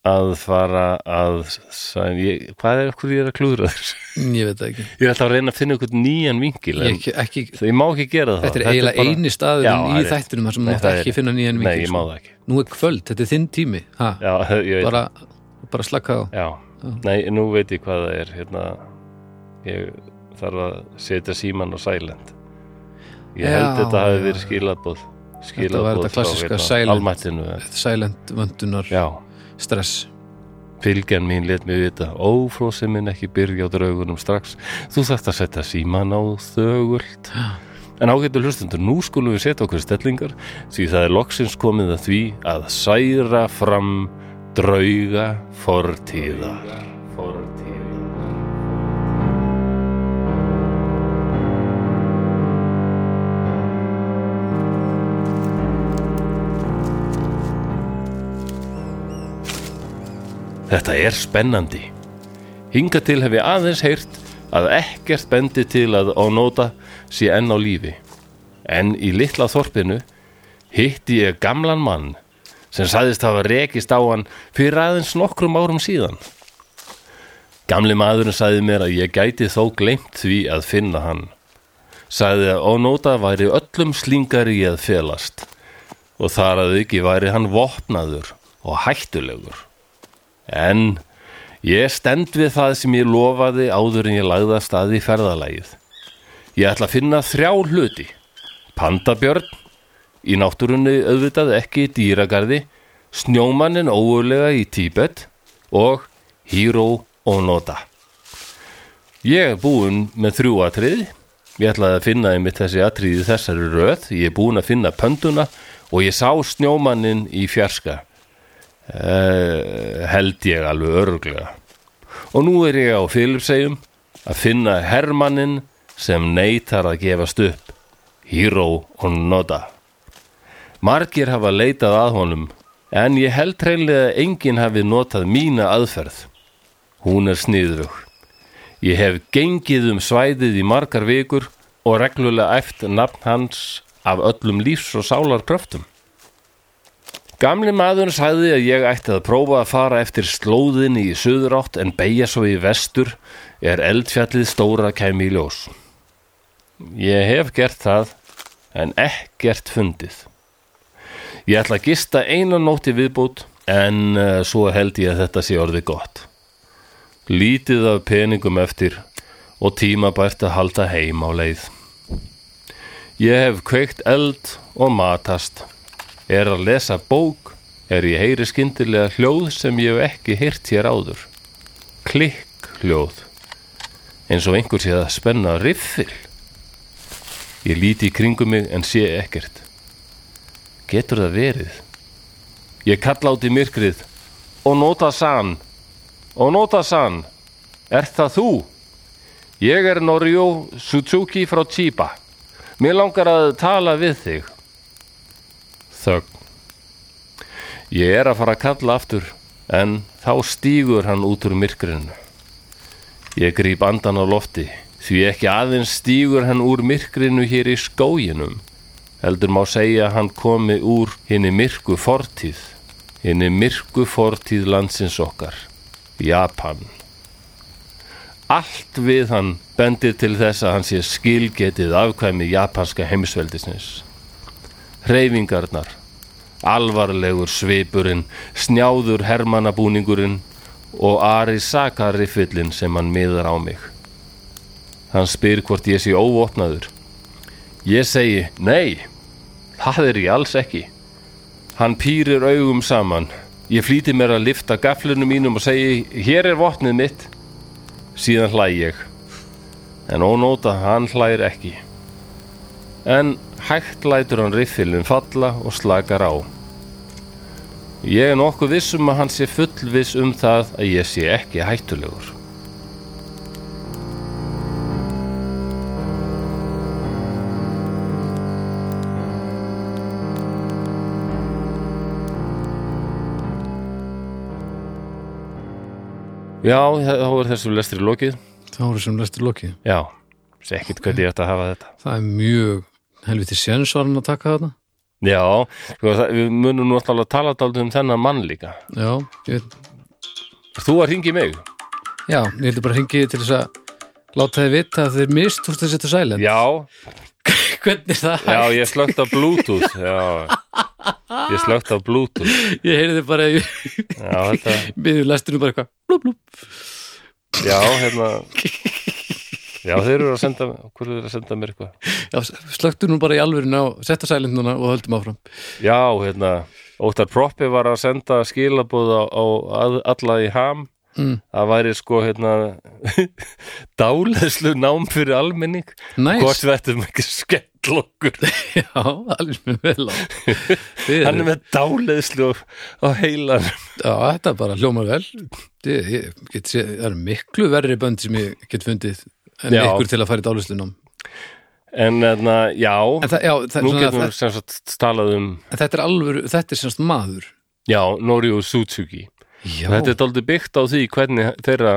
Speaker 1: að fara að sæn, ég, hvað er okkur ég er að klúðra þér
Speaker 2: Mm, ég veit það ekki,
Speaker 1: ég ætla að reyna að finna einhvern nýjan vinkil en
Speaker 2: ég, ekki
Speaker 1: það- ég má ekki gera það
Speaker 2: þetta er eiginlega
Speaker 1: bara-
Speaker 2: eini
Speaker 1: Já,
Speaker 2: staðurinn
Speaker 1: það
Speaker 2: í
Speaker 1: er rétt.
Speaker 2: þættinum þar sem
Speaker 1: Nei,
Speaker 2: maður
Speaker 1: það er
Speaker 2: ekki
Speaker 1: rétt.
Speaker 2: finna nýjan
Speaker 1: nei,
Speaker 2: vinkil
Speaker 1: ég má
Speaker 2: sko.
Speaker 1: það ekki
Speaker 2: nú er kvöld, þetta er þinn tími ha,
Speaker 1: já, ég veit
Speaker 2: bara, bara slaka á
Speaker 1: Já, nei, nú veit ég hvað það er hérna, ég þarf að setja síman á silent ég
Speaker 2: Já,
Speaker 1: held þetta hafi
Speaker 2: já,
Speaker 1: verið skilabóð
Speaker 2: Þetta var
Speaker 1: skilabóð
Speaker 2: þetta klassiska silent.
Speaker 1: hérna, almættinu
Speaker 2: Þetta er silent vöndunar
Speaker 1: Já,
Speaker 2: stress
Speaker 1: fylgjan mín let mig vita ófrósi minn ekki byrja á draugunum strax þú þarft að setja síman á þögult En ágættu hlustundur, nú skulum við setja okkur stellingar því það er loksins komið að því að særa fram drauga fortíðar. fortíðar. Þetta er spennandi. Hinga til hef ég aðeins heyrt að ekkert bendi til að ónóta sé enn á lífi. En í litla þorpinu hitti ég gamlan mann sem sagðist hafa rekist á hann fyrir aðeins nokkrum árum síðan. Gamli maðurinn sagði mér að ég gæti þó gleymt því að finna hann. Sagði að ónóta væri öllum slingari í að felast og þar að ekki væri hann vopnaður og hættulegur. En ég stend við það sem ég lofaði áður en ég lagði að staði í ferðalagið. Ég ætla að finna þrjá hluti. Pandabjörn, í náttúrunni auðvitað ekki í dýragarði, snjómannin óulega í Tíbet og Hiro Onoda. Ég er búinn með þrjú atriði. Ég ætlaði að finna einmitt þessi atriði í þessari röð. Ég er búinn að finna pönduna og ég sá snjómannin í fjarska. Uh, held ég alveg öruglega og nú er ég á Filipsegjum að finna hermannin sem neytar að gefast upp Hiro Onoda margir hafa leitað að honum en ég held reynlega að enginn hafi notað mína aðferð hún er sniðrug ég hef gengið um svæðið í margar vikur og reglulega eftir nafn hans af öllum lífs og sálar kröftum Gamli maður sagði að ég ætti að prófa að fara eftir slóðinni í suðurátt en beigja svo í vestur er eldfjallið stóra kæmi í ljós. Ég hef gert það en ekkert fundið. Ég ætla að gista einan nótt í viðbót en uh, svo held ég að þetta sé orðið gott. Lítið af peningum eftir og tíma bært að halda heim á leið. Ég hef kveikt eld og matast er að lesa bók er ég heyri skyndilega hljóð sem ég hef ekki heyrt hér áður klikk hljóð eins og einhver sé að spenna riffil ég líti í kringum mig en sé ekkert getur það verið ég kalla át í myrkrið og nota sann og nota sann er það þú ég er Norjó Suzuki frá Chiba mér langar að tala við þig Þögn. Ég er að fara að kalla aftur en þá stígur hann út úr myrkrinu. Ég gríp andan á lofti því ekki aðeins stígur hann úr myrkrinu hér í skóginum. Heldur má segja að hann komi úr henni myrku fortíð, henni myrku fortíð landsins okkar, Japan. Allt við hann bendir til þess að hann sé skilgetið afkvæmi japanska heimsveldisins hreyfingarnar, alvarlegur svipurinn, snjáður hermannabúningurinn og Arisaka riffillin sem hann miðar á mig. Hann spyr hvort ég sé óvopnaður. Ég segi, nei, það er ég alls ekki. Hann pýrir augum saman. Ég flýti mér að lifta gaflunum mínum og segi, hér er vopnið mitt. Síðan hlæ ég. En ónóta, hann hlæir ekki en hægt lætur hann riffilum falla og slakar á. Ég er nokkuð viss um að hann sé fullviss um það að ég sé ekki hættulegur. Já, þá er þessu lestri lokið
Speaker 2: þá eru sem lestur lokið
Speaker 1: Já, sé ekkert hvernig ég ætti að hafa þetta
Speaker 2: það er mjög helviti sénsvarn að taka þarna
Speaker 1: Já, sko, það, við munum nú alltaf að tala dálítið um þennan mann líka
Speaker 2: já, ég,
Speaker 1: Ert Þú að ringi mig
Speaker 2: já, ég heldur bara hringi til þess að láta þið vita að þeir mistúrst að setja sælend
Speaker 1: Já,
Speaker 2: hvernig er það,
Speaker 1: já, ég slögt á Bluetooth Já, ég slögt á Bluetooth
Speaker 2: ég heyrði bara í-
Speaker 1: Já, þetta,
Speaker 2: við lestunum bara eitthvað blúb, blúb.
Speaker 1: já, hérna Já, þeir eru að senda Hvor eru þeir að senda mér eitthvað
Speaker 2: Já, slöktu nú bara í alvörinu á setta sælend núna og höldum áfram
Speaker 1: Já, hérna, Óttar Proppi var að senda skilabóð á, á að- alla í ham
Speaker 2: mm.
Speaker 1: Það væri sko, hérna Dáleðslu nám fyrir almenning
Speaker 2: næs,
Speaker 1: Hvort við ættum ekki skell okkur
Speaker 2: já, alveg mér vel á Þið
Speaker 1: Hann
Speaker 2: eru-
Speaker 1: er með dáleðslu á heilan
Speaker 2: Já, þetta bara hljómar vel ég, ég get, sé, Það eru miklu verri bönd sem ég get fundið en
Speaker 1: Já.
Speaker 2: ykkur til að fara í dálislunum
Speaker 1: En, hérna, já
Speaker 2: En það, já, það,
Speaker 1: Nú
Speaker 2: svona,
Speaker 1: getum við
Speaker 2: það,
Speaker 1: sem sagt talað um
Speaker 2: en þetta er alvöru, þetta er semst maður
Speaker 1: Já, Norio Suzuki
Speaker 2: Já,
Speaker 1: Þetta er dálítið byggt á því hvernig þeirra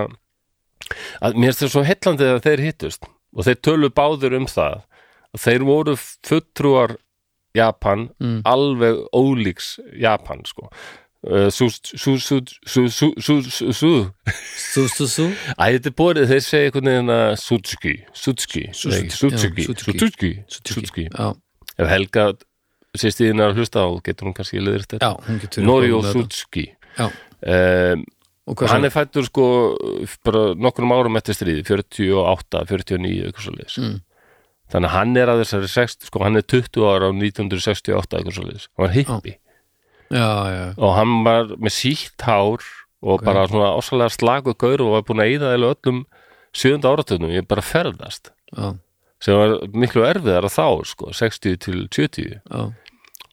Speaker 1: að mér finnst það svo heillandi að þeir hittust og þeir tölu báður um það og þeir voru fulltrúar Japan,
Speaker 2: Mm.
Speaker 1: alveg ólíks Japan sko Uh, sú, sú, sú, sú, sú, sú, sú, sú.
Speaker 2: sú, sú, sú
Speaker 1: Æ, þetta er borið, þeir segja einhvern veginn að Sutsuki, Sutsuki,
Speaker 2: Suzuki,
Speaker 1: Sutsuki,
Speaker 2: já, Suzuki.
Speaker 1: Sutsuki, Sutsuki.
Speaker 2: Suzuki. Já,
Speaker 1: Ef Helga sýstiðin er að hlusta á, getur hún kannski leðir þetta.
Speaker 2: já, hún getur
Speaker 1: Norio
Speaker 2: hún-
Speaker 1: Sutsuki.
Speaker 2: Já,
Speaker 1: Um,
Speaker 2: og
Speaker 1: og
Speaker 2: hvað
Speaker 1: hann
Speaker 2: hann
Speaker 1: er fættur sko bara nokkrum árum eftir stríði 48, 49, eitthvað svo liðs
Speaker 2: Mm.
Speaker 1: þannig að hann er að þessari 60, sko hann er 20 ára á 1968 eitthvað svo liðs, hann var hippi
Speaker 2: Já, já,
Speaker 1: og hann var með sítt hár og
Speaker 2: Ok.
Speaker 1: bara svona ásalega slagu gaur og var búin að eyða eða öllum sjönda áratögnum, ég bara ferðast
Speaker 2: já,
Speaker 1: sem var miklu erfiðar að þá sko, 60 til 70
Speaker 2: já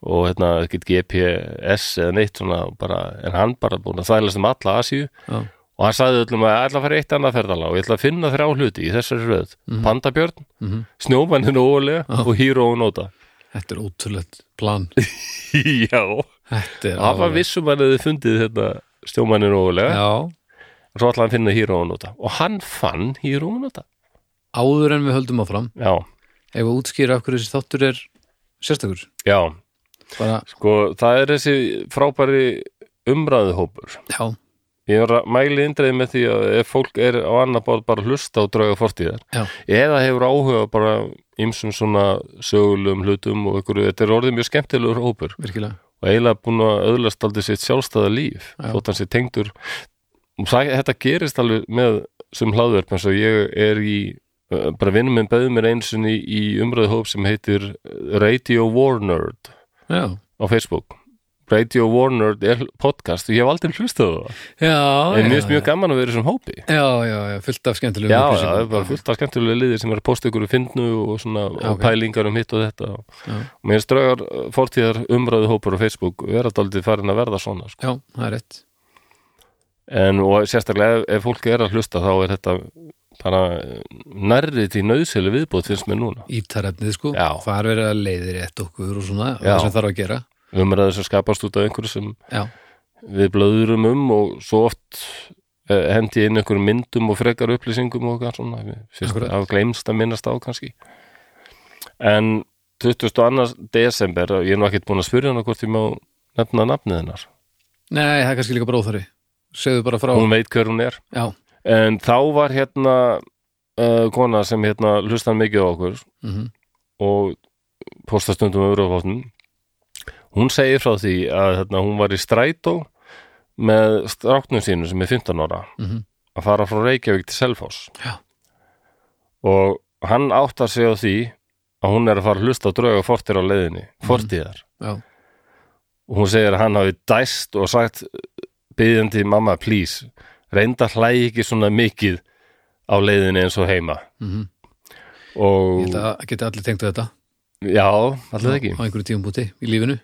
Speaker 1: og hérna, ekkert GPS eða neitt svona, bara, en hann bara búin að þælast um alla Asíu
Speaker 2: Já,
Speaker 1: og hann sagði öllum að ég ætla að fara í eitt annað ferðalag og ég ætla að finna þrjá hluti í þessari röð Pandabjörn, mm
Speaker 2: Mhm.
Speaker 1: Snjómannin ólega og Hero og Nóta
Speaker 2: þetta er ótrúlegt plan
Speaker 1: Já,
Speaker 2: Þetta er
Speaker 1: það var
Speaker 2: alveg-
Speaker 1: vissum að þið fundið hérna, þetta Snjómannin ólega,
Speaker 2: Já,
Speaker 1: svo ætla hann að finna Hero og Nóta og hann fann Hero og Nóta
Speaker 2: áður en við höldum áfram
Speaker 1: Já,
Speaker 2: Ef að útskýra af hverju þessi þáttur er sérstakur
Speaker 1: já,
Speaker 2: bara,
Speaker 1: sko það er þessi frábæri umræðuhópur
Speaker 2: Já,
Speaker 1: Ég er að mæli indreið með því að ef fólk er á annað báð bara að hlusta og drauga fortíðar
Speaker 2: Já.
Speaker 1: eða hefur áhuga bara ymsum svona sögulegum hlutum og ykkur, þetta er orðið mjög skemmtilegur hópur
Speaker 2: virkilega
Speaker 1: og eiginlega búin að öðlast aldrei sitt sjálfstæða líf
Speaker 2: Já.
Speaker 1: þótt hann sér tengdur og það, þetta gerist alveg með sem hlaðverf eins og ég er í uh, bara vinnum minn beðum mér eins og í umræðu hóp sem heitir uh, Radio War Nerd
Speaker 2: Já,
Speaker 1: á Facebook Radio War Nerd er podcast og ég hef aldrei hlustað á það
Speaker 2: já,
Speaker 1: En mér
Speaker 2: já,
Speaker 1: finnst mjög gaman að vera í þessum hópi
Speaker 2: já, já, já, fullt af skemmtilegum
Speaker 1: Já, já,
Speaker 2: upplýsingum.
Speaker 1: það er bara fullt af skemmtilega liðir sem er að posta ykkur í finnu og svona og
Speaker 2: ok.
Speaker 1: pælingar um hitt og þetta og
Speaker 2: Já.
Speaker 1: mér strögar fortíðar umræðu hópur á Facebook vera daldið farin að verða svona sko.
Speaker 2: Já, það er rétt
Speaker 1: en og sérstaklega ef, ef fólk er að hlusta þá er þetta bara eh, nærrið til nöðseli viðbóð finnst mér núna
Speaker 2: Ítarefnið, sko,
Speaker 1: Já.
Speaker 2: það er verið að leiðir rétt okkur og svona,
Speaker 1: Já.
Speaker 2: það sem þarf að gera
Speaker 1: umræðu sem skapast út af einhverju sem
Speaker 2: Já,
Speaker 1: við blöðurum um og svo oft eh, hendi ég inn einhverjum myndum og frekar upplýsingum og hvað svona, mér finnst
Speaker 2: Akkurat.
Speaker 1: það að gleymst að minnast á kannski en 22. desember ég er nú ekkert búin að spyrja hana hvort ég má nefna nafnið hennar,
Speaker 2: nei, það er kannski líka bróðari Segðu bara frá,
Speaker 1: hún veit hver hún er
Speaker 2: já,
Speaker 1: en þá var hérna uh, kona sem hérna hlustan mikið á okkur
Speaker 2: mm
Speaker 1: og postastundum öfrufáttum hún segir frá því að hérna, hún var í strætó með stráknum sínu sem er 15 ára
Speaker 2: Mhm.
Speaker 1: að fara frá Reykjavík til Selfoss
Speaker 2: Já.
Speaker 1: og hann áttar sig á því að hún er að fara að hlusta og drauga fortir á leiðinni fortíðar
Speaker 2: já,
Speaker 1: og hún segir að hann hafi dæst og sagt byggjandi mamma please reynda hlægi ekki svona mikið á leiðinni eins og heima
Speaker 2: mm
Speaker 1: og
Speaker 2: Þetta geti allir tengt við þetta
Speaker 1: já, allir ekki
Speaker 2: Á einhverju tíum búti í lífinu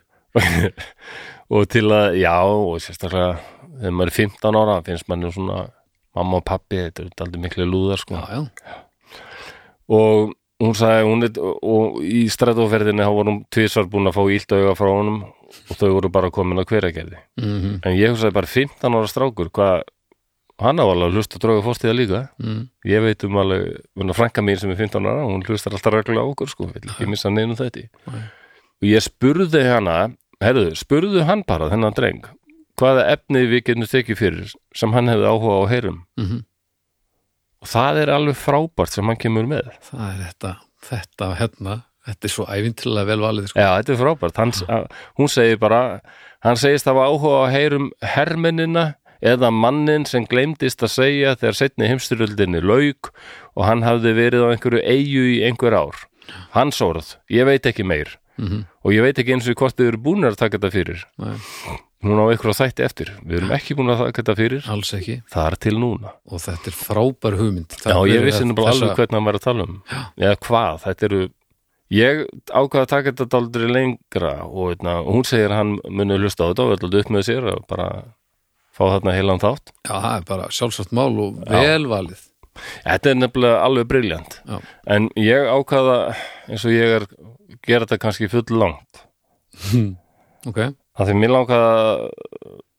Speaker 1: og til að, já, og sérstaklega þegar maður er 15 ára finnst mann svona mamma og pappi, þetta er aldrei miklu lúðar sko.
Speaker 2: Já, já,
Speaker 1: og hún sagði, hún er, og í strætóferðinni þá var hún tvisvar búin að fá ílt auga frá honum og þau voru bara komin að hveragerði
Speaker 2: mm
Speaker 1: en ég hugsaði bara 15 ára strákur, hvað hann á alveg að hlusta drauga fórstíða líka
Speaker 2: mm.
Speaker 1: ég veit um alveg, muna, frænka mín sem er 15 ára hún hlustar alltaf reglulega á okkur sko vill ekki missa neinu þetta
Speaker 2: Nei.
Speaker 1: og ég spurði hana, herðu, spurðu hann bara þennan dreng, hvaða efni við getum tekið fyrir sem hann hefði áhuga á að heyrum
Speaker 2: Mm
Speaker 1: og það er alveg frábært sem hann kemur með
Speaker 2: það er þetta þetta hérna, þetta er svo ævintilega vel valið sko.
Speaker 1: Já, þetta er frábært Hans, að, hún segir bara, hann segist hafa áhuga á að heyrum hermennina eða mannin sem gleymdist að segja þegar setni heimstyrjöldinni lauk og hann hafði verið á einhverju eigu í einhver ár. Hans orð, ég veit ekki meir
Speaker 2: Mhm.
Speaker 1: og ég veit ekki eins og hvort þau eru búin að taka þetta fyrir.
Speaker 2: Nei,
Speaker 1: Hún á einhverju þætti eftir, við erum ekki búin að taka þetta fyrir,
Speaker 2: alls ekki
Speaker 1: það er til núna.
Speaker 2: og þetta er frábær hugmynd
Speaker 1: Já,
Speaker 2: Takk
Speaker 1: ég
Speaker 2: fyrir
Speaker 1: vissi
Speaker 2: að
Speaker 1: nú bara
Speaker 2: þessa-
Speaker 1: alveg hvernig hann var að tala um eða hvað, þetta eru ég ákvaða að taka þetta daldri lengra og eitna, hún segir að hann muni hlusta á þetta og alltaf upp með sér og bara fá þarna heilan þátt
Speaker 2: Já, það er bara sjálfsagt mál og vel valið
Speaker 1: Þetta er nefnilega alveg briljant
Speaker 2: Já.
Speaker 1: en ég ákvaða eins og ég er gera þetta kannski full langt
Speaker 2: Ok,
Speaker 1: að því mér langaða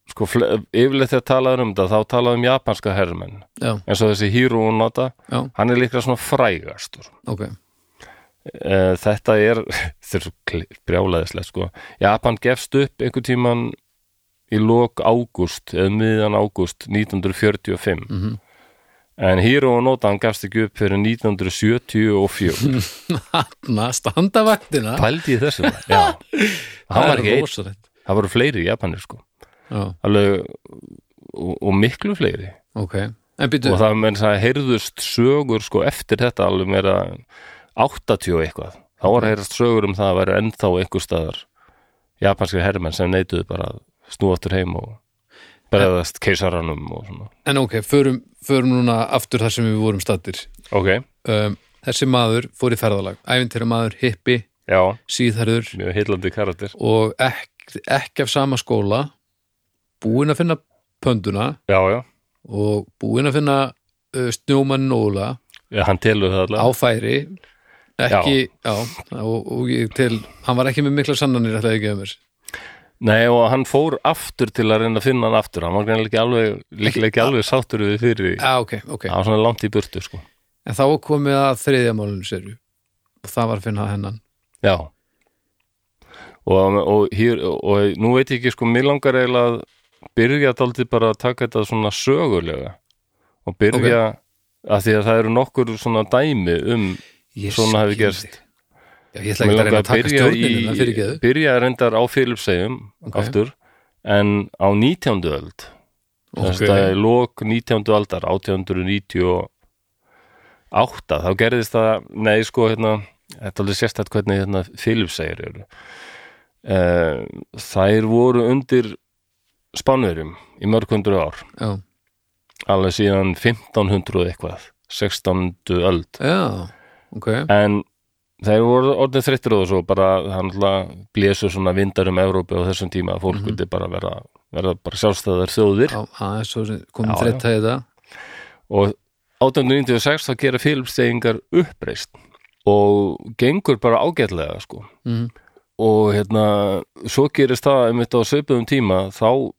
Speaker 1: sko, fle- yfirleitt þegar talaður um þetta þá talaðu um japanska herrmenn
Speaker 2: já,
Speaker 1: eins og þessi Hiro Nota,
Speaker 2: já,
Speaker 1: hann er líka svona frægastur
Speaker 2: ok
Speaker 1: Eh, þetta er þetta er svo brjálaðislega sko Japan gefst upp einhvern tíman í lok ágúst eða miðan ágúst 1945
Speaker 2: Mhm.
Speaker 1: en Hiro og Nota hann gefst ekki upp fyrir 1974
Speaker 2: Na, standa vaktina
Speaker 1: pældi ég þessum já, hann
Speaker 2: Það
Speaker 1: var
Speaker 2: er
Speaker 1: ekki einn,
Speaker 2: rosalegt.
Speaker 1: það voru fleiri Japanir sko
Speaker 2: Já,
Speaker 1: alveg og, og miklu fleiri
Speaker 2: ok En býtu,
Speaker 1: og það menn það heyrðust sögur sko eftir þetta alveg meira 80 og eitthvað þá var heyrðast sögur um það að vera ennþá einhver staðar japanskir herrmenn sem neituðu bara að snúa aftur heim og berðast keisaranum og svona
Speaker 2: en ok, förum, förum núna aftur þar sem við vorum stattir
Speaker 1: ok,
Speaker 2: um, Þessi maður fór í ferðalag Ævintýra maður, hippi,
Speaker 1: já,
Speaker 2: síðherður
Speaker 1: mjög heillandi karakter
Speaker 2: og ekki, ekki af sama skóla búin að finna pönduna
Speaker 1: já, já,
Speaker 2: og búin að finna uh, snjómann Óla
Speaker 1: já hann telur það
Speaker 2: á
Speaker 1: allavega
Speaker 2: færi ekki, já, og, og ég til hann var ekki með mikla sannanir ætlaði ekki að mér
Speaker 1: nei og hann fór aftur til að reyna að finna hann aftur hann var greinilega ekki alveg, líklega ekki alveg sáttur við fyrir því,
Speaker 2: já, Ah, ok, ok,
Speaker 1: hann var svona langt í burtu sko
Speaker 2: en þá var komið að þriðja málunum séru og það var að finna hennan
Speaker 1: Já og, og, hér, og nú veit ég ekki sko, mér langar eiginlega að byrja daldið bara að taka þetta svona sögulega og byrja að því að það eru nokkur svona dæmi um
Speaker 2: ég
Speaker 1: svona hafi
Speaker 2: skil
Speaker 1: gerst
Speaker 2: þig. já, ég ætla ekki að
Speaker 1: Mér langar
Speaker 2: reyna að taka stjórninina fyrir
Speaker 1: byrja, í,
Speaker 2: geðu
Speaker 1: byrja reyndar á Filipsegjum
Speaker 2: Ok.
Speaker 1: aftur en á 19. öld
Speaker 2: Ok.
Speaker 1: þess að það er lok 19. aldar 1898 þá gerðist það nei sko hérna þetta er alveg sérstætt hvernig hérna Filipsegir eru uh, þær voru undir spánverjum í mörg hundru ár
Speaker 2: já,
Speaker 1: alveg síðan 1500 og eitthvað 16. öld
Speaker 2: já, ok
Speaker 1: en þeir voru orðin þreyttir og svo bara hann alltaf blésu svona vindar um Evrópu á þessum tíma að fólk vildi bara vera, vera bara sjálfstæðar þjóðir
Speaker 2: já, aðeins svo sem komum
Speaker 1: Já,
Speaker 2: þreytta í þetta
Speaker 1: og 1896 þá gera Filipseyingar uppreist og gengur bara ágætlega sko
Speaker 2: Mhm.
Speaker 1: og hérna svo gerist það einmitt á svipuðum tíma þá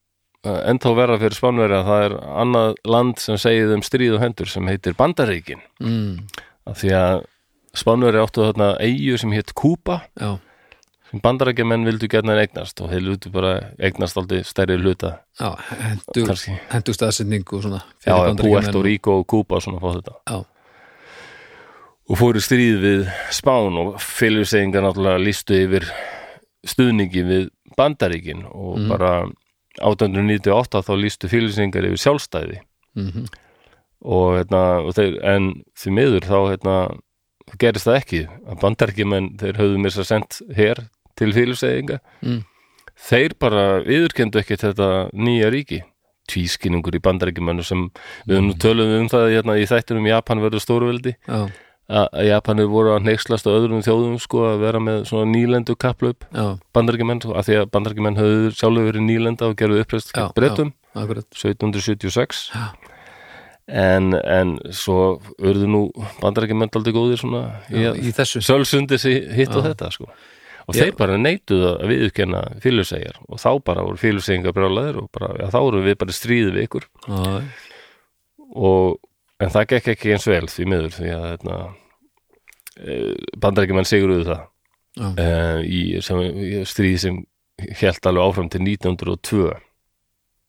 Speaker 1: eh, ennþá verða fyrir Spánverja það er annað land sem segið um stríð og hendur sem heitir Bandaríkin
Speaker 2: mm,
Speaker 1: af því að Spánverja áttu þarna eigu sem hétt Kúpa
Speaker 2: já,
Speaker 1: sem bandarækjumenn vildu gætna eignast og þeir vildu bara eignast aldrei stærri hluta
Speaker 2: já, hendu
Speaker 1: kannski,
Speaker 2: hendu staðsendingu og svona
Speaker 1: já,
Speaker 2: fyrir Bandaríkjamenn
Speaker 1: Puerto Rico og Kúpa svona fá þetta
Speaker 2: já,
Speaker 1: og fóru í stríð við Spán og fylgjusegingar náttúrulega lístu yfir stuðningi við bandaríkin og bara 1898 þá lístu fylgjusegingar yfir sjálfstæði
Speaker 2: mm
Speaker 1: og, hérna, og þeir, en því miður þá hérna, gerist það ekki að bandarækjumenn þeir höfðu mér sér sendt hér til fylgjuseginga
Speaker 2: Mm.
Speaker 1: þeir bara viðurkendu ekkert þetta nýja ríki tvískinningur í bandarækjumennu sem við nú töluðum um það hérna, í þættinum Japan verður stórveldi
Speaker 2: já,
Speaker 1: að að Japanir voru að neykslast á öðrum þjóðum sko að vera með svona nýlendu kapplaup
Speaker 2: já,
Speaker 1: bandarækjumenn af því að bandarækjumenn höfðu sjálfur verið nýlenda og gerðu uppreist
Speaker 2: Já,
Speaker 1: gegn breytum
Speaker 2: akkurat
Speaker 1: 1776
Speaker 2: Já.
Speaker 1: en, en svo urðu nú bandarækjumenn aldrei góðir svona í
Speaker 2: já,
Speaker 1: að
Speaker 2: í þessu
Speaker 1: sölsundi sig hitt og þetta sko og
Speaker 2: Já.
Speaker 1: þeir bara neituðu að viðurkenna fylgjusegar og þá bara voru fylgjusegingar brjálæðir og bara, já þá voru við bara í stríði við ykkur
Speaker 2: Já,
Speaker 1: og, en það gekk ekki eins vel því miður því að hérna, bandarækjumenn siguruðu það
Speaker 2: Já.
Speaker 1: uh, í, sem, í stríði sem hélt alveg áfram til 1902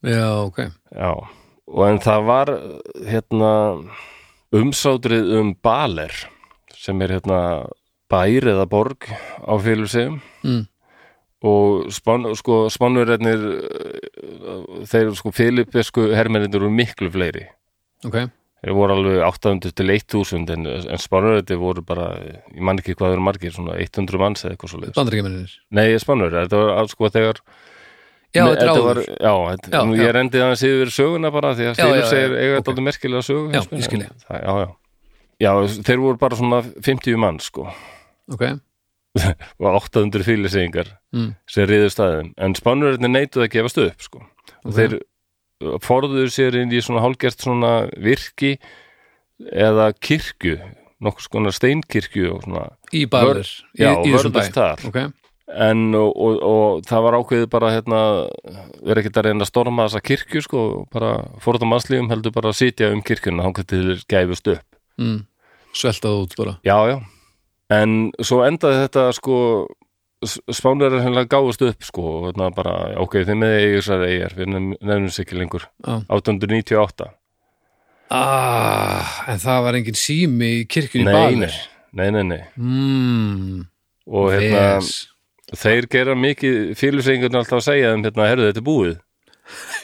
Speaker 2: Já, ok.
Speaker 1: Já, og en það var hérna umsátrið um Baler sem er hérna bær eða borg á félusegum
Speaker 2: Mm.
Speaker 1: og span, sko, spannurreinir þeir sko félupesku hermennir eru miklu fleiri
Speaker 2: Ok.
Speaker 1: þeir voru alveg 800 til 1000 en, en spannurreinir voru bara ég man ekki hvað eru margir, svona 100 manns eða eitthvað svo leiðis.
Speaker 2: Bandaríkjamennir.
Speaker 1: Nei, spannurreinir, þetta var alls sko þegar
Speaker 2: Já,
Speaker 1: Nei,
Speaker 2: þetta er áður.
Speaker 1: var, já, þetta,
Speaker 2: Já,
Speaker 1: nú,
Speaker 2: já.
Speaker 1: ég rendið aðeins yfir söguna bara því að
Speaker 2: Já,
Speaker 1: Stýrur
Speaker 2: já,
Speaker 1: segir
Speaker 2: já,
Speaker 1: eiga
Speaker 2: ok.
Speaker 1: þetta okay. merkilega sögu
Speaker 2: Já,
Speaker 1: finnst mér.
Speaker 2: ég skil ég.
Speaker 1: það, já, já. já, þeir voru bara svona 50 mann sko
Speaker 2: Ok.
Speaker 1: og 800 fýlisegingar
Speaker 2: Mm.
Speaker 1: sem riðu staðin en spánverðinni neituð að gefast upp sko.
Speaker 2: Ok.
Speaker 1: og þeir forðuðu sér inn í svona hálgert svona virki eða kirkju nokkuð skona steinkirkju og svona
Speaker 2: Í Baler. í-
Speaker 1: já,
Speaker 2: í þessum bæ.
Speaker 1: vörðust þar.
Speaker 2: Ok.
Speaker 1: en og, og, og það var ákveðið bara hérna, vera ekkert að reyna að storma þessa kirkju sko, bara fórðum mannslífum heldur bara að sitja um kirkjuna þá til þeir gæfust upp
Speaker 2: Mm. Sveltað út bara.
Speaker 1: já, já, en svo endaði þetta sko spánverðar hennilega gáfust upp sko, og þarna bara, ok, þeim með eigir þessar eigir, við nefnum nefnum sér ekki lengur
Speaker 2: Já.
Speaker 1: 898
Speaker 2: Ah, en það var engin sími í kirkjunni í
Speaker 1: nei, nei,
Speaker 2: Baler.
Speaker 1: nei, nei, nei
Speaker 2: Mm.
Speaker 1: og hérna,
Speaker 2: Yes.
Speaker 1: þeir gera mikið félagsengurinn alltaf að segja þeim, hérna, herðu þetta er búið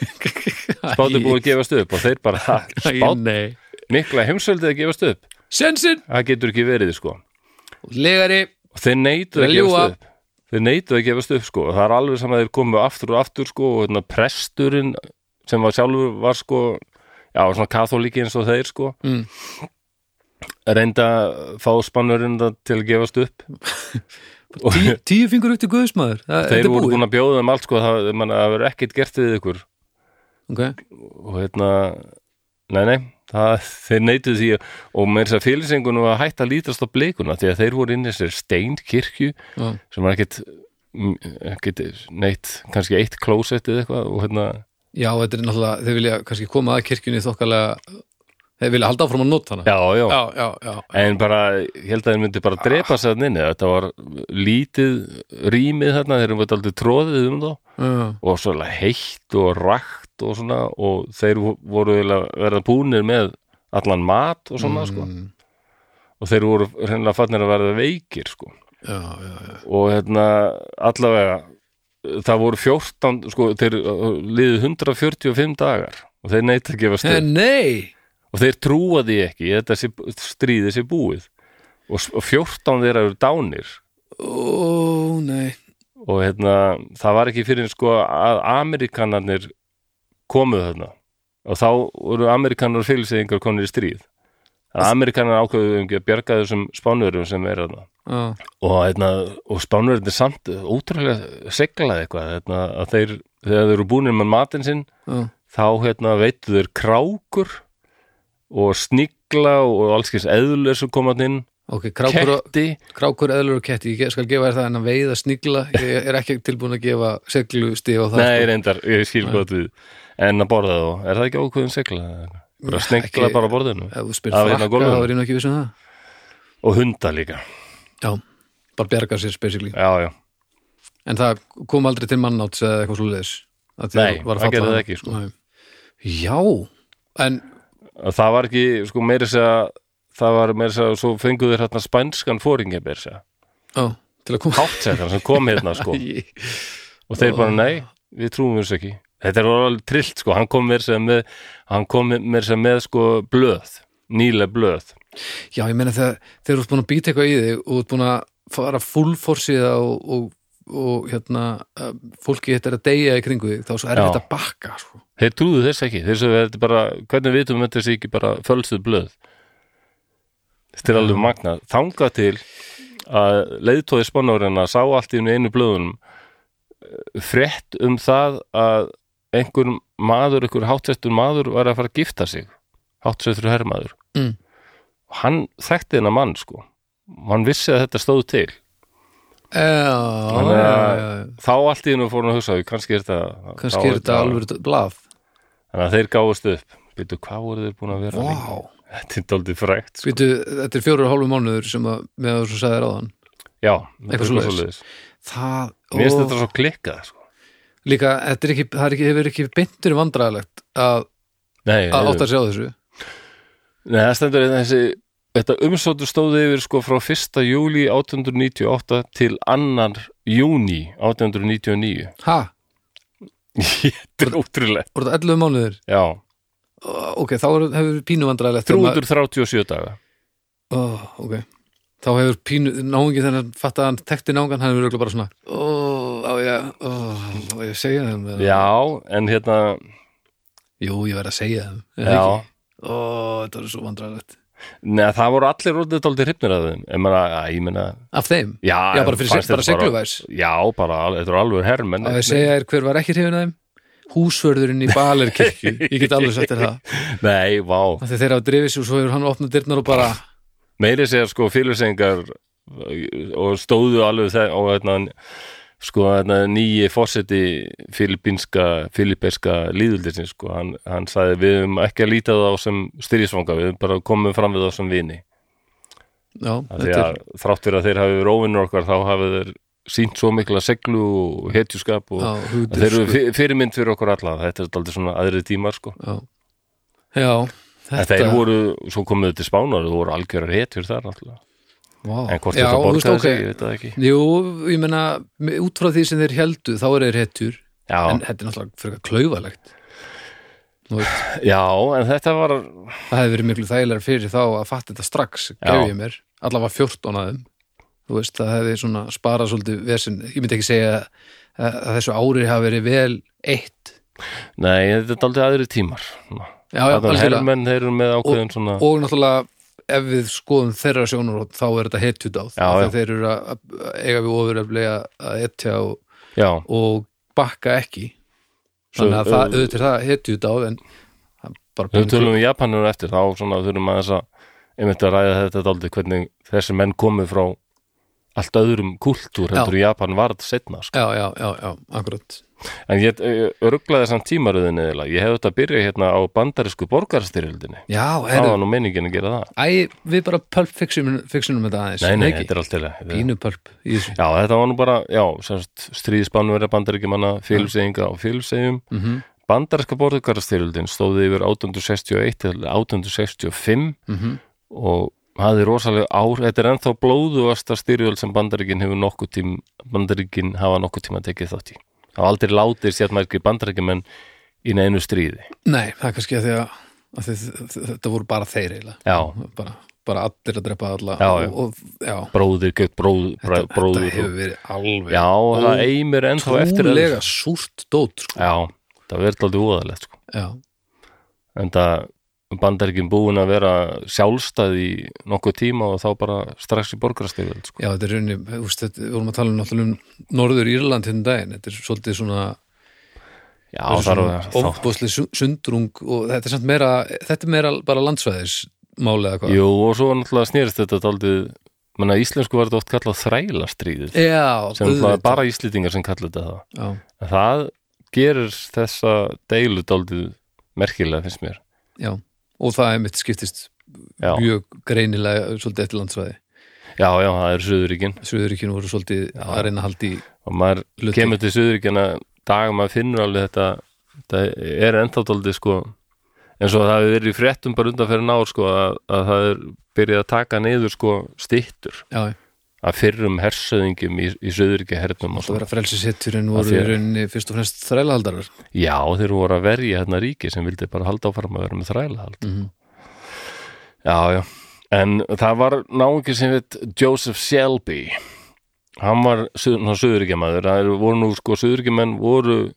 Speaker 1: spátur búið að gefast upp og þeir bara, ha, spát
Speaker 2: Nei.
Speaker 1: mikla heimsveldið að gefast upp
Speaker 2: Sensin.
Speaker 1: það getur ekki verið sko og
Speaker 2: Legari.
Speaker 1: þeir neituð
Speaker 2: Þeir
Speaker 1: að
Speaker 2: ljúga.
Speaker 1: gefast upp þeir neituð að gefast upp sko og það er alveg saman að þeir komu aftur og aftur sko og hérna, presturinn sem var sjálfur var sko já, svona katholíki eins og þeir sko
Speaker 2: Mm.
Speaker 1: reynda að fá spannurinn það til að gefast upp og
Speaker 2: Tí, tíu fingur upp til guðsmaður. Það, þetta
Speaker 1: þeir
Speaker 2: er
Speaker 1: voru
Speaker 2: búið.
Speaker 1: búin að bjóða um allt sko það, man, það verður ekkert gert við ykkur
Speaker 2: Ok.
Speaker 1: og hérna nei, nei, það, þeir neituð því og með þess að félagsenguna var hætt að lítast á blikuna því að þeir voru inn í þessir steinkirkju
Speaker 2: Já.
Speaker 1: sem var ekkit, mm, ekkit neitt, kannski eitt klósett eða eitthvað og hérna,
Speaker 2: Já, þetta er náttúrulega, þeir vilja kannski koma að kirkjunni þokkalega, þeir vilja halda áfram að nota hana.
Speaker 1: já, já,
Speaker 2: já, já. já.
Speaker 1: en bara, ég held að þeir myndi bara drepa sér þarna inni, þetta var lítið rýmið þarna, þeir eru aldrei tróðið um þá
Speaker 2: Já.
Speaker 1: og svona heitt og rakt og svona og þeir vo- voru eiginlega að verða búnir með allan mat og svona sko.
Speaker 2: Mm,
Speaker 1: og þeir voru hreinlega fannir að verða veikir sko.
Speaker 2: Já, já, já.
Speaker 1: og hérna allavega það voru 14 sko, þeir uh, liðu 145 dagar og þeir neitt að gefa
Speaker 2: Eh,
Speaker 1: stöð
Speaker 2: Nei,
Speaker 1: og þeir trúa því ekki þetta sé, stríði sé búið og s- og 14 þeirra eru dánir
Speaker 2: ó, nei.
Speaker 1: og hérna það var ekki fyrir sko að Amerikanarnir komuð þarna og þá voru Amerikanar og fylgseðingar konir í stríð að Amerikanar ákveðu um að bjarga þessum spánurum sem er þarna
Speaker 2: Já,
Speaker 1: og, hérna, og spánverðinni samt ótrúlega seglaði eitthvað hérna, að þeir, þegar þeir eru búinir með matinn sinn
Speaker 2: já.
Speaker 1: þá hérna, veitu þeir krákur og snigla og alls kyns eðlur sem kom að inn
Speaker 2: Ok, krákur, og,
Speaker 1: ketti,
Speaker 2: krákur eðlur og ketti, ég skal gefa þér það en að veiða snigla, ég er ekki tilbúin að gefa seglustíð á það. sko.
Speaker 1: nei reyndar ég skil hvað við, en að borða þá er það ekki ákveðin segla bara snigla
Speaker 2: Ekki-
Speaker 1: bara að borðinu
Speaker 2: Ef þú spyr
Speaker 1: Það var
Speaker 2: frakka,
Speaker 1: hérna á
Speaker 2: þá
Speaker 1: gólfinu.
Speaker 2: er ég nú ekki vissum það.
Speaker 1: og hunda líka,
Speaker 2: Já, bara bjarga sér spesifík.
Speaker 1: já já
Speaker 2: En það kom aldrei til mannáts eða eitthvað svo leiðis?
Speaker 1: Nei, það gerði það ekki, sko.
Speaker 2: Já, en
Speaker 1: Að það var ekki, sko meiri segja það var meiri segja, svo fenguðu þeir hérna spænskan fóringi meiri segja,
Speaker 2: á, til að koma
Speaker 1: háttsekkan sem kom hérna sko
Speaker 2: Æ,
Speaker 1: og þeir bara nei, við trúum þessu ekki þetta er alveg trillt sko, hann kom mér sem með hann kom mér sem með sko blöð, nýlega blöð
Speaker 2: Já, ég meina þegar þegar þú ert búin að býta eitthvað í þig og þú ert búin að fara full forsiða og, og, og hérna uh, fólki þetta er að deyja í kringu þig þá er svo er
Speaker 1: Já.
Speaker 2: þetta að bakka sko.
Speaker 1: þeir trúðu þess ekki, þeir sem þetta er bara hvernig vitum við þetta sé ekki bara fölstuð blöð þetta er alveg magnað þangað til að leiðtóði spánárinna sá allt í einu í einu blöðunum eh, frétt um það að einhver maður, einhver hátsettur maður var að fara að gifta sig hátsettur herrmaður
Speaker 2: Mm.
Speaker 1: og hann þekkti hennar mann sko og hann vissi að þetta stóð til
Speaker 2: Já, já,
Speaker 1: Þannig
Speaker 2: já,
Speaker 1: að-
Speaker 2: já, já.
Speaker 1: þá allt í einu fór hann að hugsa kannski er þetta
Speaker 2: Kannski er þetta alveg blað
Speaker 1: þannig að þeir gáðust upp Býtu, hvað voru þeir búin að vera lengi?
Speaker 2: Vá,
Speaker 1: Þetta er daldið frægt sko.
Speaker 2: býtu, þetta er fjóru og hálfu mánuður sem að, með þú svo sagðir áðan
Speaker 1: Já, þetta er
Speaker 2: Eitthvað
Speaker 1: eitthvað
Speaker 2: svoleiðis.
Speaker 1: svoleiðis.
Speaker 2: Það,
Speaker 1: Mér finnst
Speaker 2: og
Speaker 1: þetta svo klikkað sko.
Speaker 2: líka, þetta er ekki, það er ekki, hefur ekki beintur vandræðalegt að,
Speaker 1: Nei,
Speaker 2: að
Speaker 1: nei,
Speaker 2: átt að sjá þessu.
Speaker 1: Nei, það stendur hérna þessi Þetta umsóttu stóði yfir sko frá 1. júli 1898 til 2. júni 1899
Speaker 2: Ha,
Speaker 1: Þetta er ótrúlegt
Speaker 2: voru það 11 mánuður?
Speaker 1: Já, um
Speaker 2: Ok, þá er- hefur pínu vandræðalegt. þegar maður-
Speaker 1: 337 daga
Speaker 2: Ó, ok. Þá hefur pínu, náungi þennan fatt að hann tekti náungan, hann hefur örugglega bara svona, ó, á ég, ó, á ég að segja þeim? eða?"
Speaker 1: Já, en hérna
Speaker 2: Jú, ég verð að segja þeim. er það
Speaker 1: Já,
Speaker 2: ekki? Ó, þetta er svo vandræðalegt.
Speaker 1: neða, það voru allir orðið daldið hrifnir að þeim En maður, að, ég meina
Speaker 2: Af þeim?
Speaker 1: Já,
Speaker 2: Já, bara fyrir sig,
Speaker 1: fannst
Speaker 2: bara
Speaker 1: þetta
Speaker 2: segluvæs.
Speaker 1: Já, bara, al- þetta eru alveg herrmenn
Speaker 2: Að ég segja þér hver var ekki hrifin af þeim? Húsvörðurinn í Balerkirkju. Ég get alveg sagt þér það.
Speaker 1: Nei, vá,
Speaker 2: Af því þeir hafa drifið sig og svo hefur hann opnað dyrnar og bara,
Speaker 1: meiri segja sko fyrirsengar og stóðu alveg þegar og hérna sko hérna nýji fórseti filipinska, filipeska líðuldisins sko, hann, hann sagði við um ekki að líta þá sem styrisvanga við höfum bara komum fram við þá sem vini
Speaker 2: já,
Speaker 1: Af því
Speaker 2: þetta
Speaker 1: að
Speaker 2: er,
Speaker 1: þrátt fyrir að þeir hafi verið óvinnur okkar þá hafi þeir sínt svo mikla seglu og hetjuskap og
Speaker 2: já,
Speaker 1: að þeir
Speaker 2: hugdur,
Speaker 1: eru
Speaker 2: sko.
Speaker 1: fyr- fyrirmynd fyrir okkur alla þetta er aldrei svona aðri tímar sko
Speaker 2: Já, já
Speaker 1: þetta... þeir voru, svo komuðu til Spánar og voru algjörar hetjur þar alltaf
Speaker 2: Vá.
Speaker 1: en hvort
Speaker 2: Já,
Speaker 1: þetta
Speaker 2: þú veist,
Speaker 1: borgaði sig,
Speaker 2: ok.
Speaker 1: ég veit það ekki
Speaker 2: Jú, ég meina, með- út frá því sem þeir heldu, þá eru þeir hettur,
Speaker 1: Já,
Speaker 2: en þetta er náttúrulega fyrir eitthvað klaufalegt. Nú veit,
Speaker 1: já, en þetta var
Speaker 2: það hefði verið miklu þægilega fyrir þá að fatta þetta strax, gef ég mér, allavega 14 aðeim. Þú veist, það hefði svona sparað svolítið vesinn, ég myndi ekki segja að, að þessu ári hafi verið vel eitt.
Speaker 1: Nei, þetta er aldrei aðri tímar
Speaker 2: Já, já,
Speaker 1: Þannig að
Speaker 2: algjörlega.
Speaker 1: herrmenn, þeir eru með ákveðin svona
Speaker 2: og náttúrulega ef við skoðum þeirra sjónarhótt þá er þetta hetjut á
Speaker 1: Já, já.
Speaker 2: þegar þeir eru að að eiga við ofuröflega að etja og,
Speaker 1: Já,
Speaker 2: og bakka ekki
Speaker 1: Svo,
Speaker 2: þannig að það,
Speaker 1: ö-
Speaker 2: auðvitað er það hetjut á en það er bara
Speaker 1: þau
Speaker 2: pínu-
Speaker 1: tölum við Japanur eftir þá svona þurfum aðeins að einmitt að ræða þetta aldrei hvernig þessi menn komu frá allt öðrum kultúr
Speaker 2: Já.
Speaker 1: heldur Japan varð setna sko.
Speaker 2: já, já, já, já, akkurat
Speaker 1: En ég örglaði samt tímaröðin eða ég hef þetta að byrja hérna á bandarísku borgarstyrjöldinni
Speaker 2: já,
Speaker 1: Það var
Speaker 2: heyrðu,
Speaker 1: nú meiningin að gera það
Speaker 2: æ, við bara pulp fixum, fixum þetta aðeins
Speaker 1: Nei, nei,
Speaker 2: ekki?
Speaker 1: þetta er allt til að
Speaker 2: pínu pulp í þessu
Speaker 1: Já, þetta var nú bara, já, semst stríðspánverja bandaríkjumanna, félseginga og félsegjum
Speaker 2: mm
Speaker 1: Bandaríska borgarstyrjöldin stóði yfir 1861 til 1865
Speaker 2: Mhm.
Speaker 1: og hafði rosalega ár, þetta er ennþá blóðuasta styrjöld sem bandaríkin hefur nokkuð tím bandaríkin hafa nokkuð tíma tekið þátt í. Það var aldrei látið sér mærkir bandaríkjumenn í neinu stríði.
Speaker 2: nei, það er kannski að því að, að þið, þetta voru bara þeir eiginlega
Speaker 1: Já,
Speaker 2: bara, bara allir að drepa alla
Speaker 1: Já, já.
Speaker 2: og, og, já
Speaker 1: bróðir, gett bróð, bróð,
Speaker 2: þetta,
Speaker 1: bróður.
Speaker 2: þetta hefur verið alveg
Speaker 1: Já, það eimir ennþá eftir að-
Speaker 2: trúlega súrt dót sko.
Speaker 1: Já, það verður aldrei úðalegt sko.
Speaker 2: já,
Speaker 1: En það bandaríkin búin að vera sjálfstæð í nokkuð tíma og þá bara strax í borgarastíðu sko.
Speaker 2: já, þetta er rauninni þú veist, þetta, við vorum að tala um, náttúrulega um Norður Írland hinn daginn, þetta er svolítið svona,
Speaker 1: Já,
Speaker 2: þetta er svona
Speaker 1: þar
Speaker 2: sko.
Speaker 1: var þá
Speaker 2: ofbóðsli sundrung og þetta er samt meira þetta er meira bara landsvæðis málið eða hvað
Speaker 1: Jú, og svo náttúrulega snýrist þetta daldið, menna íslensku var þetta oft kallað
Speaker 2: Eh,
Speaker 1: þrælastríðið,
Speaker 2: já,
Speaker 1: sem náttúrulega bara íslýtingar sem kallað þetta það.
Speaker 2: já,
Speaker 1: En það gerir þessa deilu daldið merkilega, finnst mér.
Speaker 2: já, og það er mitt skiptist
Speaker 1: Já,
Speaker 2: mjög greinilega svolítið eftir landsvæði
Speaker 1: já, já, það er Suðuríkin
Speaker 2: Suðuríkinu voru svolítið að reyna að haldi í
Speaker 1: og maður
Speaker 2: Hluti.
Speaker 1: kemur til Suðuríkina dagum maður finnur alveg þetta, þetta er ennþá daldið sko, eins og það hefur verið í fréttum bara undanferðin ár sko að, að það er byrjað að taka niður sko styttur
Speaker 2: já,
Speaker 1: að fyrrum hersöðingjum í, í Suðuríkja hernum og
Speaker 2: það
Speaker 1: svo.
Speaker 2: vera frelsishetturinn
Speaker 1: Af
Speaker 2: voru í
Speaker 1: því að-
Speaker 2: rauninni fyrst og fremst þrælahaldarar
Speaker 1: Já, þeir voru að verja hérna ríki sem vildi bara halda áfram að vera með þrælahald.
Speaker 2: mm -hmm.
Speaker 1: Já, já. En það var náungi sem við Joseph Shelby. Hann var söðuríkjamaður. Það eru- voru nú sko, söðuríkjamenn voru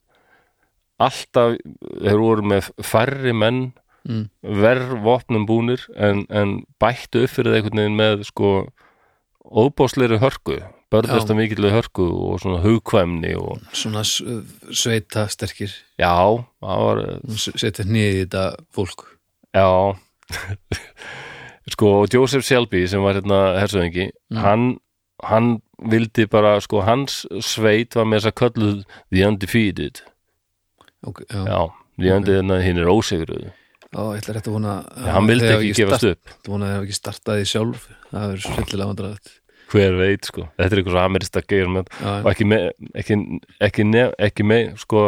Speaker 1: alltaf, þeir voru með færri menn
Speaker 2: Mm.
Speaker 1: verð vopnum búnir en, en bættu upp fyrir það einhvern veginn með sko óbásleiri hörku, börðast
Speaker 2: Já.
Speaker 1: að mikillu hörku og svona hugkvæmni og
Speaker 2: svona s- sveita sterkir
Speaker 1: já, það var
Speaker 2: S- setja nýðið í þetta fólk
Speaker 1: Já sko, og Joseph Shelby sem var hérna hersöðingi hann, hann vildi bara sko, hans sveit var með þess að kölluð The Undefeated
Speaker 2: okay, já.
Speaker 1: já, The Undefeated, okay. hinn er ósegruð
Speaker 2: Ó, ég ætla rétt að vona
Speaker 1: Já, hann vildi ekki gefast upp
Speaker 2: Þú vona að það ekki startaði sjálf Það verður svo fyllilega vandræðat
Speaker 1: hver veit sko, þetta er eitthvað svo amerista geir með, og ekki með ekki, ekki, nef, ekki með sko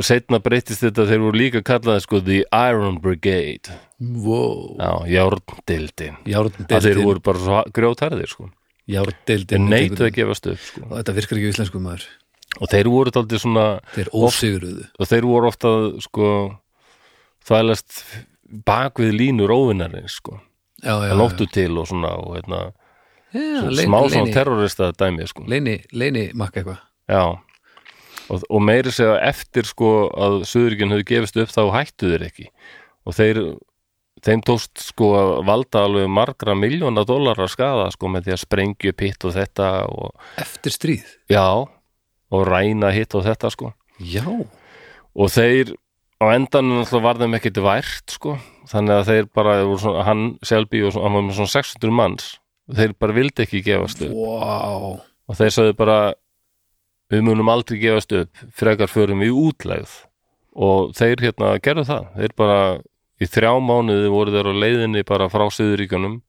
Speaker 1: setna breytist þetta þeir voru líka kallaði sko The Iron Brigade
Speaker 2: Wow
Speaker 1: já, járndildin að þeir
Speaker 2: Járndeildin
Speaker 1: voru bara svo grjótarðir sko þeir
Speaker 2: Járndeildin
Speaker 1: neituð að gefast upp sko
Speaker 2: Og þetta virkar ekki í íslensku maður
Speaker 1: og þeir voru daldið svona
Speaker 2: Þeir ósiguruðu
Speaker 1: og þeir voru ofta sko þvælast bak við línur óvinnarins sko
Speaker 2: Já, já,
Speaker 1: að nóttu til og svona og, heitna,
Speaker 2: já,
Speaker 1: svo,
Speaker 2: leini-
Speaker 1: smá svona
Speaker 2: leini-
Speaker 1: terrorista dæmi sko
Speaker 2: Leini, leini makka eitthvað
Speaker 1: Já og, og meiri segja eftir sko að Suðuríkinn höfðu gefist upp þá hættu þeir ekki og þeir þeim tókst sko að valda alveg margra miljóna dólarar skada sko með því að sprengju upp hitt og þetta og
Speaker 2: Eftir stríð
Speaker 1: já og ræna hitt og þetta sko
Speaker 2: Já
Speaker 1: og þeir á endanum alltaf var þeim ekkit vært sko þannig að þeir bara þeir voru svona, hann Selby og svona, hann var með svona 600 manns þeir bara vildi ekki gefast upp
Speaker 2: Wow
Speaker 1: og þeir sagði bara við munum aldrei gefast upp frekar förum í útlegð og þeir hérna gerðu það þeir bara í þrjá mánuði voru þeir á leiðinni bara frá Suðuríkjunum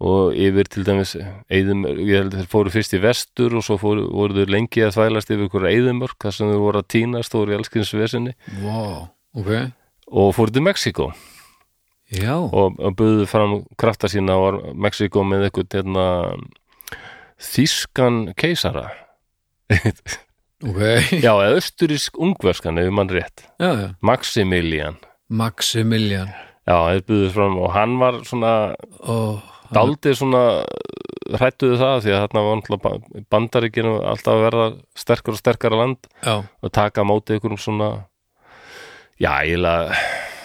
Speaker 1: og yfir til dæmis eðum, ég held að þeir fóru fyrst í vestur og svo fóru, voru þeir lengi að þvælast yfir ykkur eðumörk þar sem þeir voru að týnast og voru í allskynsvesinni
Speaker 2: Wow Ok
Speaker 1: og fóru til Mexíkó
Speaker 2: Já
Speaker 1: og og buðu fram krafta sína og var Mexíkó með eitthvað hérna, þýskan keisara
Speaker 2: Ok
Speaker 1: Já, eða austurísk ungverskan ef mann rétt,
Speaker 2: Já, já
Speaker 1: Maximilian
Speaker 2: Maximilian
Speaker 1: Já, þeir buðu fram og hann var svona
Speaker 2: Ó
Speaker 1: daldið svona hrættuðu það því að þarna var náttúrulega bandaríkinu alltaf að verða sterkur og sterkara land
Speaker 2: Já
Speaker 1: og taka á móti ykkur um svona já, eiginlega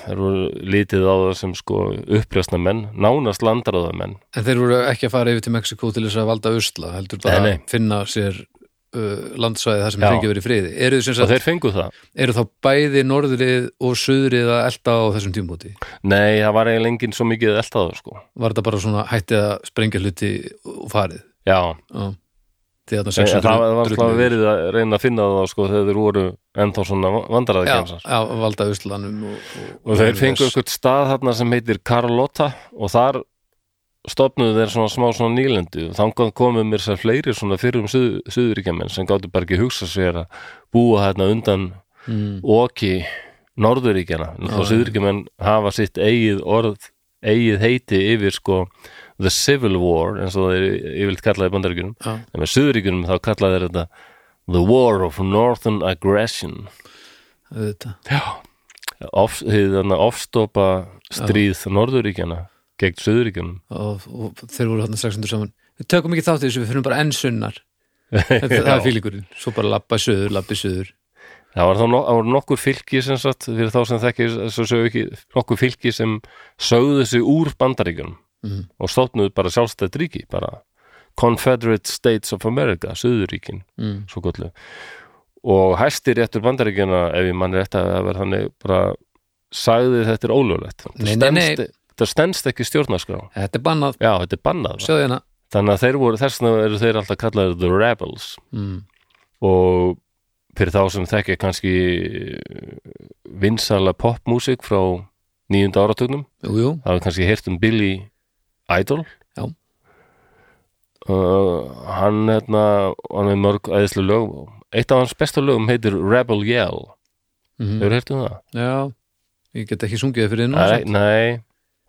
Speaker 1: þeir voru lítið á það sem sko uppljósna menn, nánast landráða menn
Speaker 2: En þeir voru ekki að fara yfir til Mexiko til þess að valda usla, heldur bara
Speaker 1: Nei, nei.
Speaker 2: að finna sér uh, landsvæði þar sem
Speaker 1: Já.
Speaker 2: þeir ekki verið í friði. Eru, þið sem
Speaker 1: og
Speaker 2: sagt,
Speaker 1: þeir fengu það
Speaker 2: eru þá bæði norðrið og suðrið að elta á þessum tímúti?
Speaker 1: Nei, það var eiginlega enginn svo mikið eldaður sko
Speaker 2: Var þetta bara svona hættið að sprengja hluti og farið?
Speaker 1: Já,
Speaker 2: Já. Því þarna
Speaker 1: En
Speaker 2: 600
Speaker 1: Eh, það var alltaf
Speaker 2: drullnir-
Speaker 1: verið að reyna að finna það sko þegar þeir voru ennþá svona
Speaker 2: Já,
Speaker 1: vandræðakemsar
Speaker 2: já, valda uslanum og, og,
Speaker 1: og þeir fengu eitthvað stað þarna sem heitir Carlotta og þar stopnuðu þeir svona smá svona nýlendu og þangað komu mér sér fleiri svona fyrir um suð, suðuríkjamenn sem gáttu bara ekki hugsa sér að búa þarna undan
Speaker 2: Mm,
Speaker 1: oki norðuríkjana
Speaker 2: Já,
Speaker 1: og
Speaker 2: já.
Speaker 1: suðuríkjamenn hafa sitt eigið orð eigið heiti yfir sko the civil war eins og þeir yfirleitt kallaði bandaríkjunum
Speaker 2: já.
Speaker 1: en með suðuríkunum þá kallaði þeir þetta The War of Northern Aggression
Speaker 2: auðvitað.
Speaker 1: Já Off, hið þarna ofstopa stríð norðuríkjana gegn suðuríkjunum
Speaker 2: Og, og þeir voru þarna 600 saman. Við tökum ekki þátt í þessu, við finnum bara enn sunnar. Þetta, það er fílíkurinn. Svo bara labba suður, labbi suður.
Speaker 1: Það var þá no, það voru nokkur fylki sem sagt fyrir þá sem þekki þessu sögu ekki nokkur fylki sem sögðu sig úr bandaríkjunum
Speaker 2: Mhm.
Speaker 1: og stofnuðu bara sjálfstætt ríki bara Confederate States of America suðuríkin
Speaker 2: Mm.
Speaker 1: svo kollu og hæstir réttur bandaríkjana ef ég mann rétt að það verð þannig bara sagði þetta er ólöglegt Þetta
Speaker 2: Nei, nei, nei.
Speaker 1: stenst- þetta stendst ekki stjórnarskrá
Speaker 2: Þetta er bannað,
Speaker 1: já, þetta er bannað
Speaker 2: sjáðu hérna.
Speaker 1: þannig að þeir voru, þess vegna eru þeir alltaf kallaðir the rebels
Speaker 2: Mm.
Speaker 1: og fyrir þá sem þekkja kannski vinsala popmusik frá nýjunda áratugnum
Speaker 2: Jú, jú,
Speaker 1: það var kannski heyrt um Billy Idol
Speaker 2: Já.
Speaker 1: Uh, hann hérna hann er mörg æðislu lög eitt af hans bestu lögum heitir Rebel Yell
Speaker 2: mm
Speaker 1: hefur heyrt um það?
Speaker 2: já Ég get ekki sungið það fyrir þér
Speaker 1: Nei,
Speaker 2: núna
Speaker 1: nei,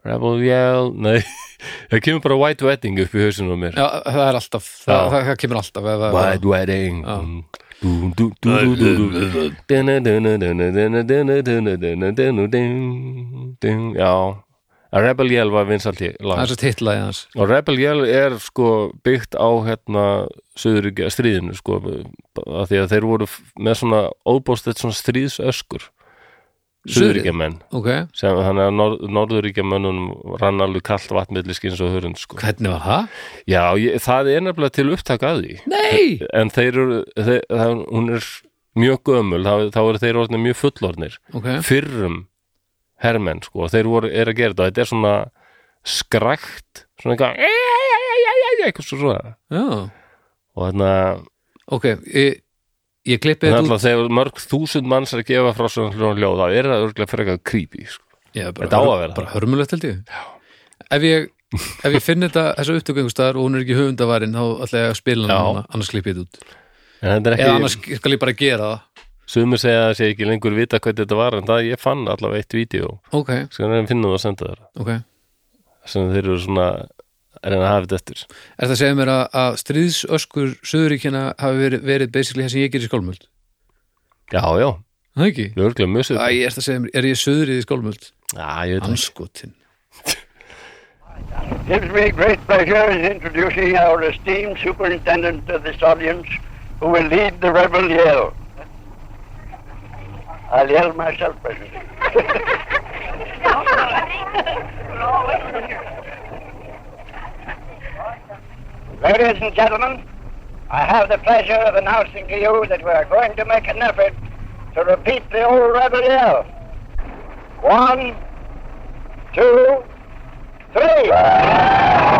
Speaker 1: Rebel Yell nei, það kemur bara White Wedding upp í hausinu á mér
Speaker 2: Já, það er alltaf, það,
Speaker 1: Já.
Speaker 2: það, það kemur alltaf eða,
Speaker 1: White Wedding
Speaker 2: Já.
Speaker 1: Mm. Dú, dú, dú, dú, dú, dú. Dun, dun, dun, dun, dun, dun, dun, dun, dun, dun, dun, dun, dun, dun. Já A Rebel Yell var vinsalt í
Speaker 2: Það
Speaker 1: lag
Speaker 2: er svo titlaði hans
Speaker 1: og Rebel Yell er sko byggt á hérna söðuríkja stríðinu sko af því að þeir voru f- með svona óbóstett svona stríðsöskur
Speaker 2: Suðrið?
Speaker 1: söðuríkja menn
Speaker 2: Ok,
Speaker 1: sem þannig að norð, norðuríkja mönnum rann alveg kallt vatnmilliskins og hörund sko
Speaker 2: hvernig var það?
Speaker 1: Já, ég, það er nefnilega til upptak að því
Speaker 2: Nei!
Speaker 1: en þeir eru þeir, það, hún er mjög gömul þá, þá eru þeir orðnir mjög fullorðnir
Speaker 2: Ok,
Speaker 1: fyrrum hermenn sko og þeir voru, er að gera þetta, þetta er svona skrækt svona eitthvað eitthvað svo svona
Speaker 2: já
Speaker 1: og þarna,
Speaker 2: Ok, ég, ég klippi
Speaker 1: En
Speaker 2: þetta út
Speaker 1: alltaf þegar mörg þúsund manns er að gefa frá svona hljóðan ljóð, þá er það örgulega frekar creepy, sko.
Speaker 2: Já, bara,
Speaker 1: Þetta á að vera
Speaker 2: bara
Speaker 1: það.
Speaker 2: hörmulegt held ég ef ég, ef ég finn þetta þessa upptöku einhvers staðar og hún er ekki höfundavarin þá ætla ég að spila
Speaker 1: Já.
Speaker 2: hana, annars klippi ég þetta út
Speaker 1: En þetta er
Speaker 2: eða
Speaker 1: ekki,
Speaker 2: annars skal ég bara gera það
Speaker 1: sumir segja að það sé ekki lengur vita hvað þetta var, en það ég fann allavega eitt vídeo,
Speaker 2: ok,
Speaker 1: sko, en finna það að senda þeirra,
Speaker 2: ok er
Speaker 1: sem þeir eru svona, að reyna að hafa þetta eftir.
Speaker 2: það að segja mér að, að stríðsöskur söðuríkina hafi verið, verið basically það sem ég gerir í skálmöld
Speaker 1: Já, já,
Speaker 2: Er það ekki?
Speaker 1: við erum örgulega mjög
Speaker 2: Æ,
Speaker 1: sögum.
Speaker 2: er það að segja mér, er ég söðrið í skálmöld?
Speaker 1: Já, ég veit það.
Speaker 2: anskotin
Speaker 3: Gives me great pleasure in introducing our esteemed superintendent to this audience who will lead the rebel yell. I'll yell myself presently. Ladies and gentlemen, I have the pleasure of announcing to you that we are going to make an effort to repeat the old rebel yell. One, two, three.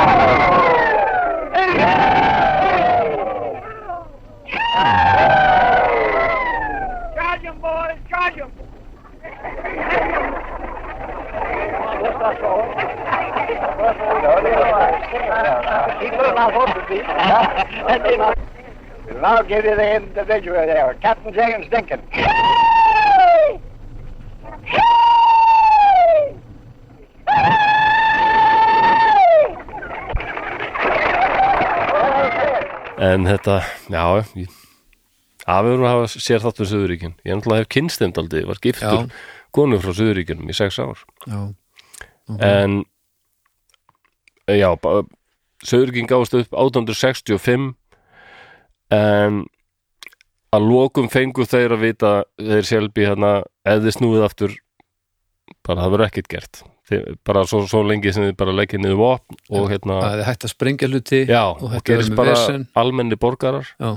Speaker 4: Charge 'em, boys! Charge 'em!
Speaker 3: We'll now give you the individual there, Captain James Dinkin.
Speaker 1: En þetta, já, ég, að við vorum að hafa sér þáttur Suðuríkin. Ég náttúrulega hef kynst þeim daldi, var giftur
Speaker 2: Já.
Speaker 1: konu frá Suðuríkinum í sex ár.
Speaker 2: já,
Speaker 1: En, já, Suðuríkin gáðist upp 1865 en að lokum fengu þeir að vita þeir sjálfi hérna eða snúið aftur bara það verður ekkert gert. Þeir, bara svo, svo lengi sem þið bara leggja niður vopn og hérna,
Speaker 2: að þið hætti að sprengja hluti
Speaker 1: já,
Speaker 2: og
Speaker 1: og
Speaker 2: hætti að vera
Speaker 1: gerist
Speaker 2: með
Speaker 1: bara
Speaker 2: vesen
Speaker 1: almenni borgarar
Speaker 2: já,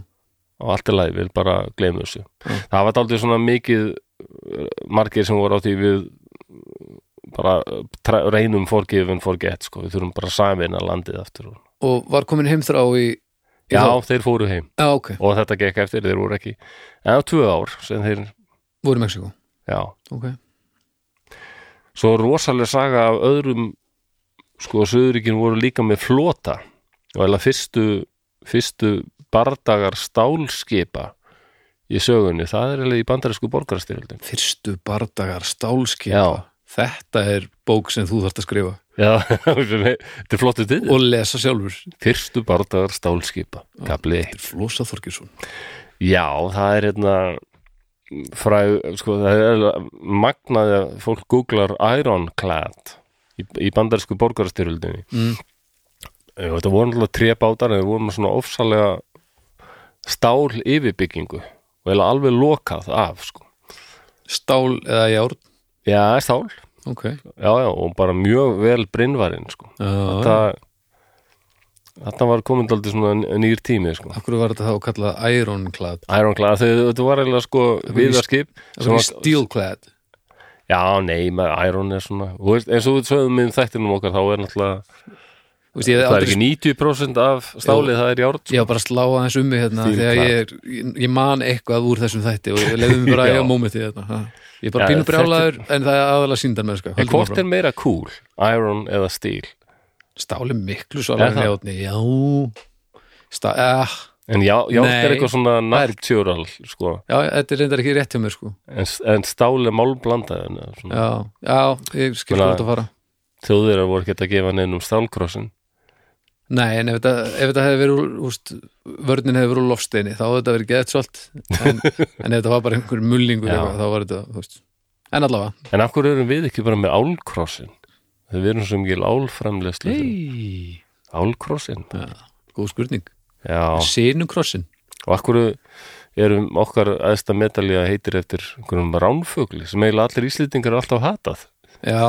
Speaker 1: og allt er læg, við bara gleymum þessu það var daldið svona mikið uh, margir sem voru á því við bara uh, tra- reynum forgive and forget sko, við þurfum bara samin að landið aftur og...
Speaker 2: og var komin heimþrá í, í
Speaker 1: já,
Speaker 2: þá?
Speaker 1: þeir fóru heim
Speaker 2: já, ok,
Speaker 1: og þetta gekk eftir, þeir voru ekki en það var tvö ár sem þeir,
Speaker 2: voru í Mexiko
Speaker 1: já
Speaker 2: ok,
Speaker 1: svo rosalega saga af öðrum sko, Suðuríkin voru líka með flota og eða fyrstu fyrstu bardagar stálskipa í sögunni, það er eiginlega í bandarísku borgarastyrjöldum
Speaker 2: fyrstu bardagar stálskipa
Speaker 1: Já.
Speaker 2: þetta er bók sem þú þarft að skrifa
Speaker 1: Já, þetta er flottu til
Speaker 2: og lesa sjálfur
Speaker 1: Fyrstu bardagar stálskipa Kapli
Speaker 2: Þetta
Speaker 1: 1
Speaker 2: er Flosa Þorkinsson
Speaker 1: Já, það er hérna fræð, sko, það er magnaði að fólk googlar Ironclad í, í bandarísku borgarastyrjöldinni Eh,
Speaker 2: Mm.
Speaker 1: Þetta voru náttúrulega tre bátar en það voru með svona ofsalega stál yfirbyggingu og eiginlega alveg lokað af, sko
Speaker 2: stál eða járn
Speaker 1: Já, stál,
Speaker 2: ok,
Speaker 1: já, já, og bara mjög vel brinnvarinn, sko
Speaker 2: þetta...
Speaker 1: þetta þetta var komin aldrei svona nýr tími sko.
Speaker 2: af hverju var þetta þá kallað Ironclad
Speaker 1: Ironclad, þau- þetta var eiginlega sko viðarskip
Speaker 2: af hverju Steelclad
Speaker 1: já, nei, með Iron er svona þú veist, eins og við sögum við þættinum okkar þá er náttúrulega,
Speaker 2: Þú veist, ég, hef
Speaker 1: það er
Speaker 2: aldrei...
Speaker 1: ekki 90% af stálið, það er járn sko.
Speaker 2: ég var bara að slá aðeins um mig hérna
Speaker 1: Steelclad.
Speaker 2: þegar ég, er- ég, ég man eitthvað úr þessum þætti og ég lefði mig bara að
Speaker 1: Já.
Speaker 2: eiga mómentið þetta ha. ég er bara
Speaker 1: Já,
Speaker 2: pínu
Speaker 1: þetta-
Speaker 2: brjálaður en það er aðalega síndan með
Speaker 1: en hvort er meira cool, Iron eða Steel
Speaker 2: stáli miklu
Speaker 1: Er
Speaker 2: svalar en
Speaker 1: það?
Speaker 2: járni já Sta... eh,
Speaker 1: en já, járn er
Speaker 2: Nei.
Speaker 1: eitthvað svona natural sko.
Speaker 2: já, þetta er reyndar ekki rétt hjá mér sko
Speaker 1: en, en stál er málblandað
Speaker 2: já, já, ég skil
Speaker 1: Meina-
Speaker 2: hvað þetta fara
Speaker 1: þjóðir voru ekki að gefa neinum stálkrossin
Speaker 2: Nei, en ef þetta, ef þetta hefði verið úr, úst, vörnin hefði verið úr lofsteini þá hefði þetta verið gett svolt en, en ef þetta var bara einhver mullingur
Speaker 1: Já.
Speaker 2: eitthvað, þá var þetta, þú veist en allavega,
Speaker 1: en af hverju erum við ekki bara með álkrossin þegar við erum sem ekki álframlegslu
Speaker 2: hey.
Speaker 1: Álkrossin? Já.
Speaker 2: góð spurning
Speaker 1: Já,
Speaker 2: Sinukrossin,
Speaker 1: og akkur erum okkar aðsta medalja heitir eftir einhverjum ránfugli sem eiginlega allir íslendingar er alltaf hatað.
Speaker 2: já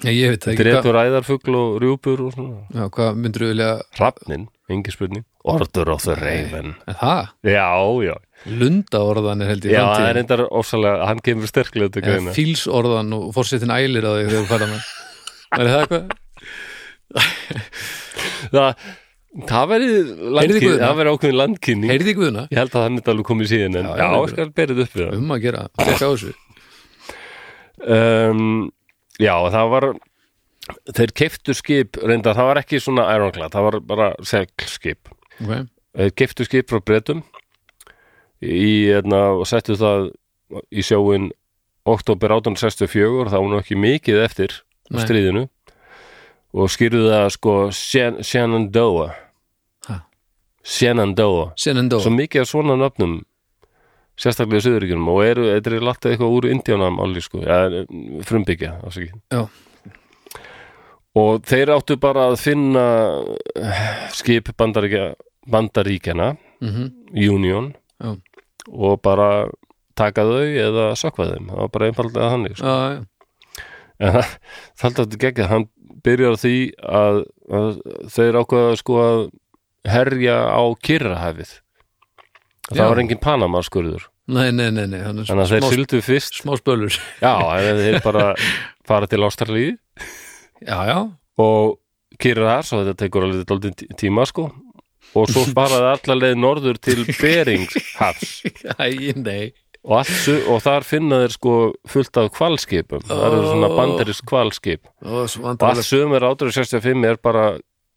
Speaker 2: Nei, ég veit það ekki hvað,
Speaker 1: Dretur æðarfugl og rjúpur og svona.
Speaker 2: já, hvað myndir við vilja
Speaker 1: Hrafnin, engi spurning. Order of the Raven.
Speaker 2: en það,
Speaker 1: Já, já.
Speaker 2: lundaorðan er held í
Speaker 1: Já, það er
Speaker 2: framtíðin
Speaker 1: endar ósalega, hann kemur sterklega til
Speaker 2: en
Speaker 1: greina.
Speaker 2: fílsorðan og fórsetin ælir á því þegar þú færa með er það eitthvað?
Speaker 1: Það, Það væri,
Speaker 2: Heyrðu í
Speaker 1: landkyn,
Speaker 2: guðna.
Speaker 1: það væri ákveðin landkynning
Speaker 2: heyrði ekki guðuna
Speaker 1: Ég held að það myndi alveg komið síðan en
Speaker 2: Já, já,
Speaker 1: já, ég
Speaker 2: einhver-
Speaker 1: skal berið upp við
Speaker 2: um að gera, fekk á þessu
Speaker 1: það um, Já, það var þeir keiftu skip reyndar, það var ekki svona ironclad, það var bara seglskip
Speaker 2: okay.
Speaker 1: þeir keiftu skip frá breytum í, hérna, og settu það í sjóin oktober 1864, það var nú ekki mikið eftir
Speaker 2: Nei.
Speaker 1: Nei. stríðinu og skýrðu það sko Shen- Shenandoah
Speaker 2: Ha.
Speaker 1: Shenandoah
Speaker 2: Shenandoah,
Speaker 1: svo mikið af svona nöfnum sérstaklega í Suðuríkjunum og eru, þetta er látið eitthvað úr indjánam allir sko, ja, frumbyggja ásaki.
Speaker 2: já,
Speaker 1: og þeir áttu bara að finna eh, skip bandaríkja, bandaríkjana
Speaker 2: mhm
Speaker 1: Union
Speaker 2: Já.
Speaker 1: og bara taka þau eða sökva þeim, það var bara einfaldlega þannig sko.
Speaker 2: já, já,
Speaker 1: en það þaldi þetta gegn hann byrjar á því að, að þeir ákveða sko að herja á Kyrrahafið það
Speaker 2: Já.
Speaker 1: var engin Panama skurður
Speaker 2: nei, nei, nei, nei hann er
Speaker 1: þannig að þeir
Speaker 2: smá,
Speaker 1: fylgdu fyrst
Speaker 2: smá spölur
Speaker 1: Já, en þeir bara fara til Ástralíu
Speaker 2: já, já,
Speaker 1: og kýra þar, svo þetta tekur alveg dálítið tíma sko og svo faraði allar leið norður til Beringshafs
Speaker 2: æ, nei
Speaker 1: og, allt su- og þar finna þeir sko fullt af kvalskipum það eru svona banderist kvalskip
Speaker 2: Ó, svo
Speaker 1: og allt
Speaker 2: vandrarlegt.
Speaker 1: sumir 865 er bara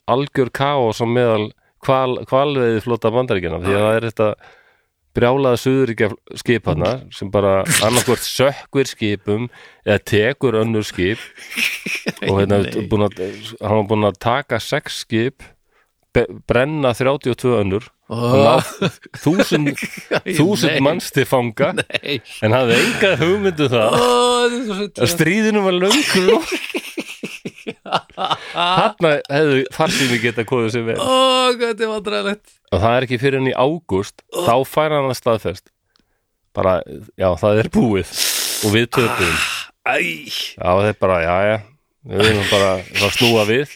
Speaker 1: algjör kaos á meðal kval, kvalveiði flota bandaríkjana því að það er þetta brjálaða suðuríkja skipana sem bara annarkvort sökkvir skipum eða tekur önnur skip og hérna
Speaker 2: Nei.
Speaker 1: búin að, hann var búin að taka sex skip be- brenna 32 önnur
Speaker 2: Ó,
Speaker 1: þúsund,
Speaker 2: nei.
Speaker 1: þúsund manns til fanga
Speaker 2: nei.
Speaker 1: en hafði enga hugmyndu það
Speaker 2: Ó, þetta er svo
Speaker 1: að
Speaker 2: sætt.
Speaker 1: stríðinu var löngu lokið. þarna hefðu farsými geta komið sér vel
Speaker 2: Ó, hvað þetta er vandræðilegt
Speaker 1: og það er ekki fyrir henni í ágúst þá fær hann að staðfest bara, já, það er búið og við töpuðum
Speaker 2: Æ,
Speaker 1: já, það er bara, já, já við erum bara að snúa við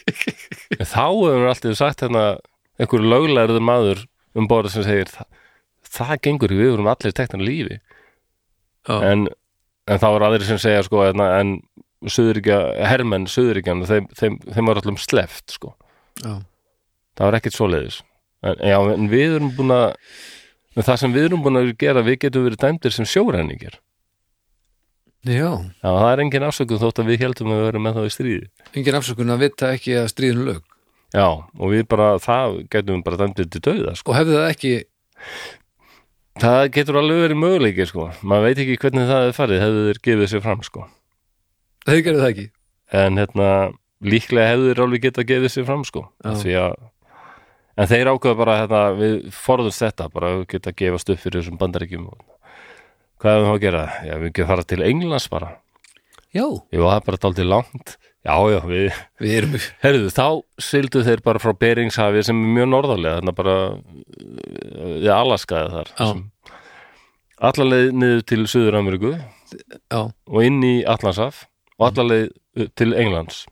Speaker 1: en þá hefur hann alltaf sagt hérna einhver löglegarður maður um borð sem segir, það, það gengur ekki við vorum allir teknar lífi
Speaker 2: já,
Speaker 1: en, en það voru aðrir sem segja sko, en, en söðuríkja, hermenn söðuríkjan, þeim, þeim, þeim var allum sleft sko,
Speaker 2: já,
Speaker 1: það var ekkert svoleiðis en, já, en við erum búin að en það sem við erum búin að gera, við getum verið dæmdir sem sjórenningir,
Speaker 2: já
Speaker 1: já, það er engin afsökun þótt að við heldum að við verum með þá í stríði
Speaker 2: engin afsökun að vita ekki að stríðinu lög
Speaker 1: já, og við bara, það getum við bara dæmdir til döða, sko,
Speaker 2: og hefði það ekki
Speaker 1: það getur alveg verið möguleiki, sko, maður veit ekki hvernig það er farið, hefðu þeir gefið sér fram, sko
Speaker 2: þau gerðu það ekki
Speaker 1: en hérna, líklega hefðu þeir alveg getað gefið sér fram sko
Speaker 2: Já.
Speaker 1: því að en þeir ákveða bara hérna, við forðumst þetta bara við geta að gefast upp fyrir þessum bandaríkjum og hvað hefum við þá að gera? Já, við getum fara til Englands bara
Speaker 2: já,
Speaker 1: Jú, það er bara daldið langt Já, já, við,
Speaker 2: við erum
Speaker 1: herðu, þá sildu þeir bara frá Beringshafi sem er mjög norðarlega þannig bara við Alaskaði þar
Speaker 2: Já.
Speaker 1: allarleið niður til Suður-Ameríku
Speaker 2: já,
Speaker 1: og inn í Atlansaf og allarleið til Englands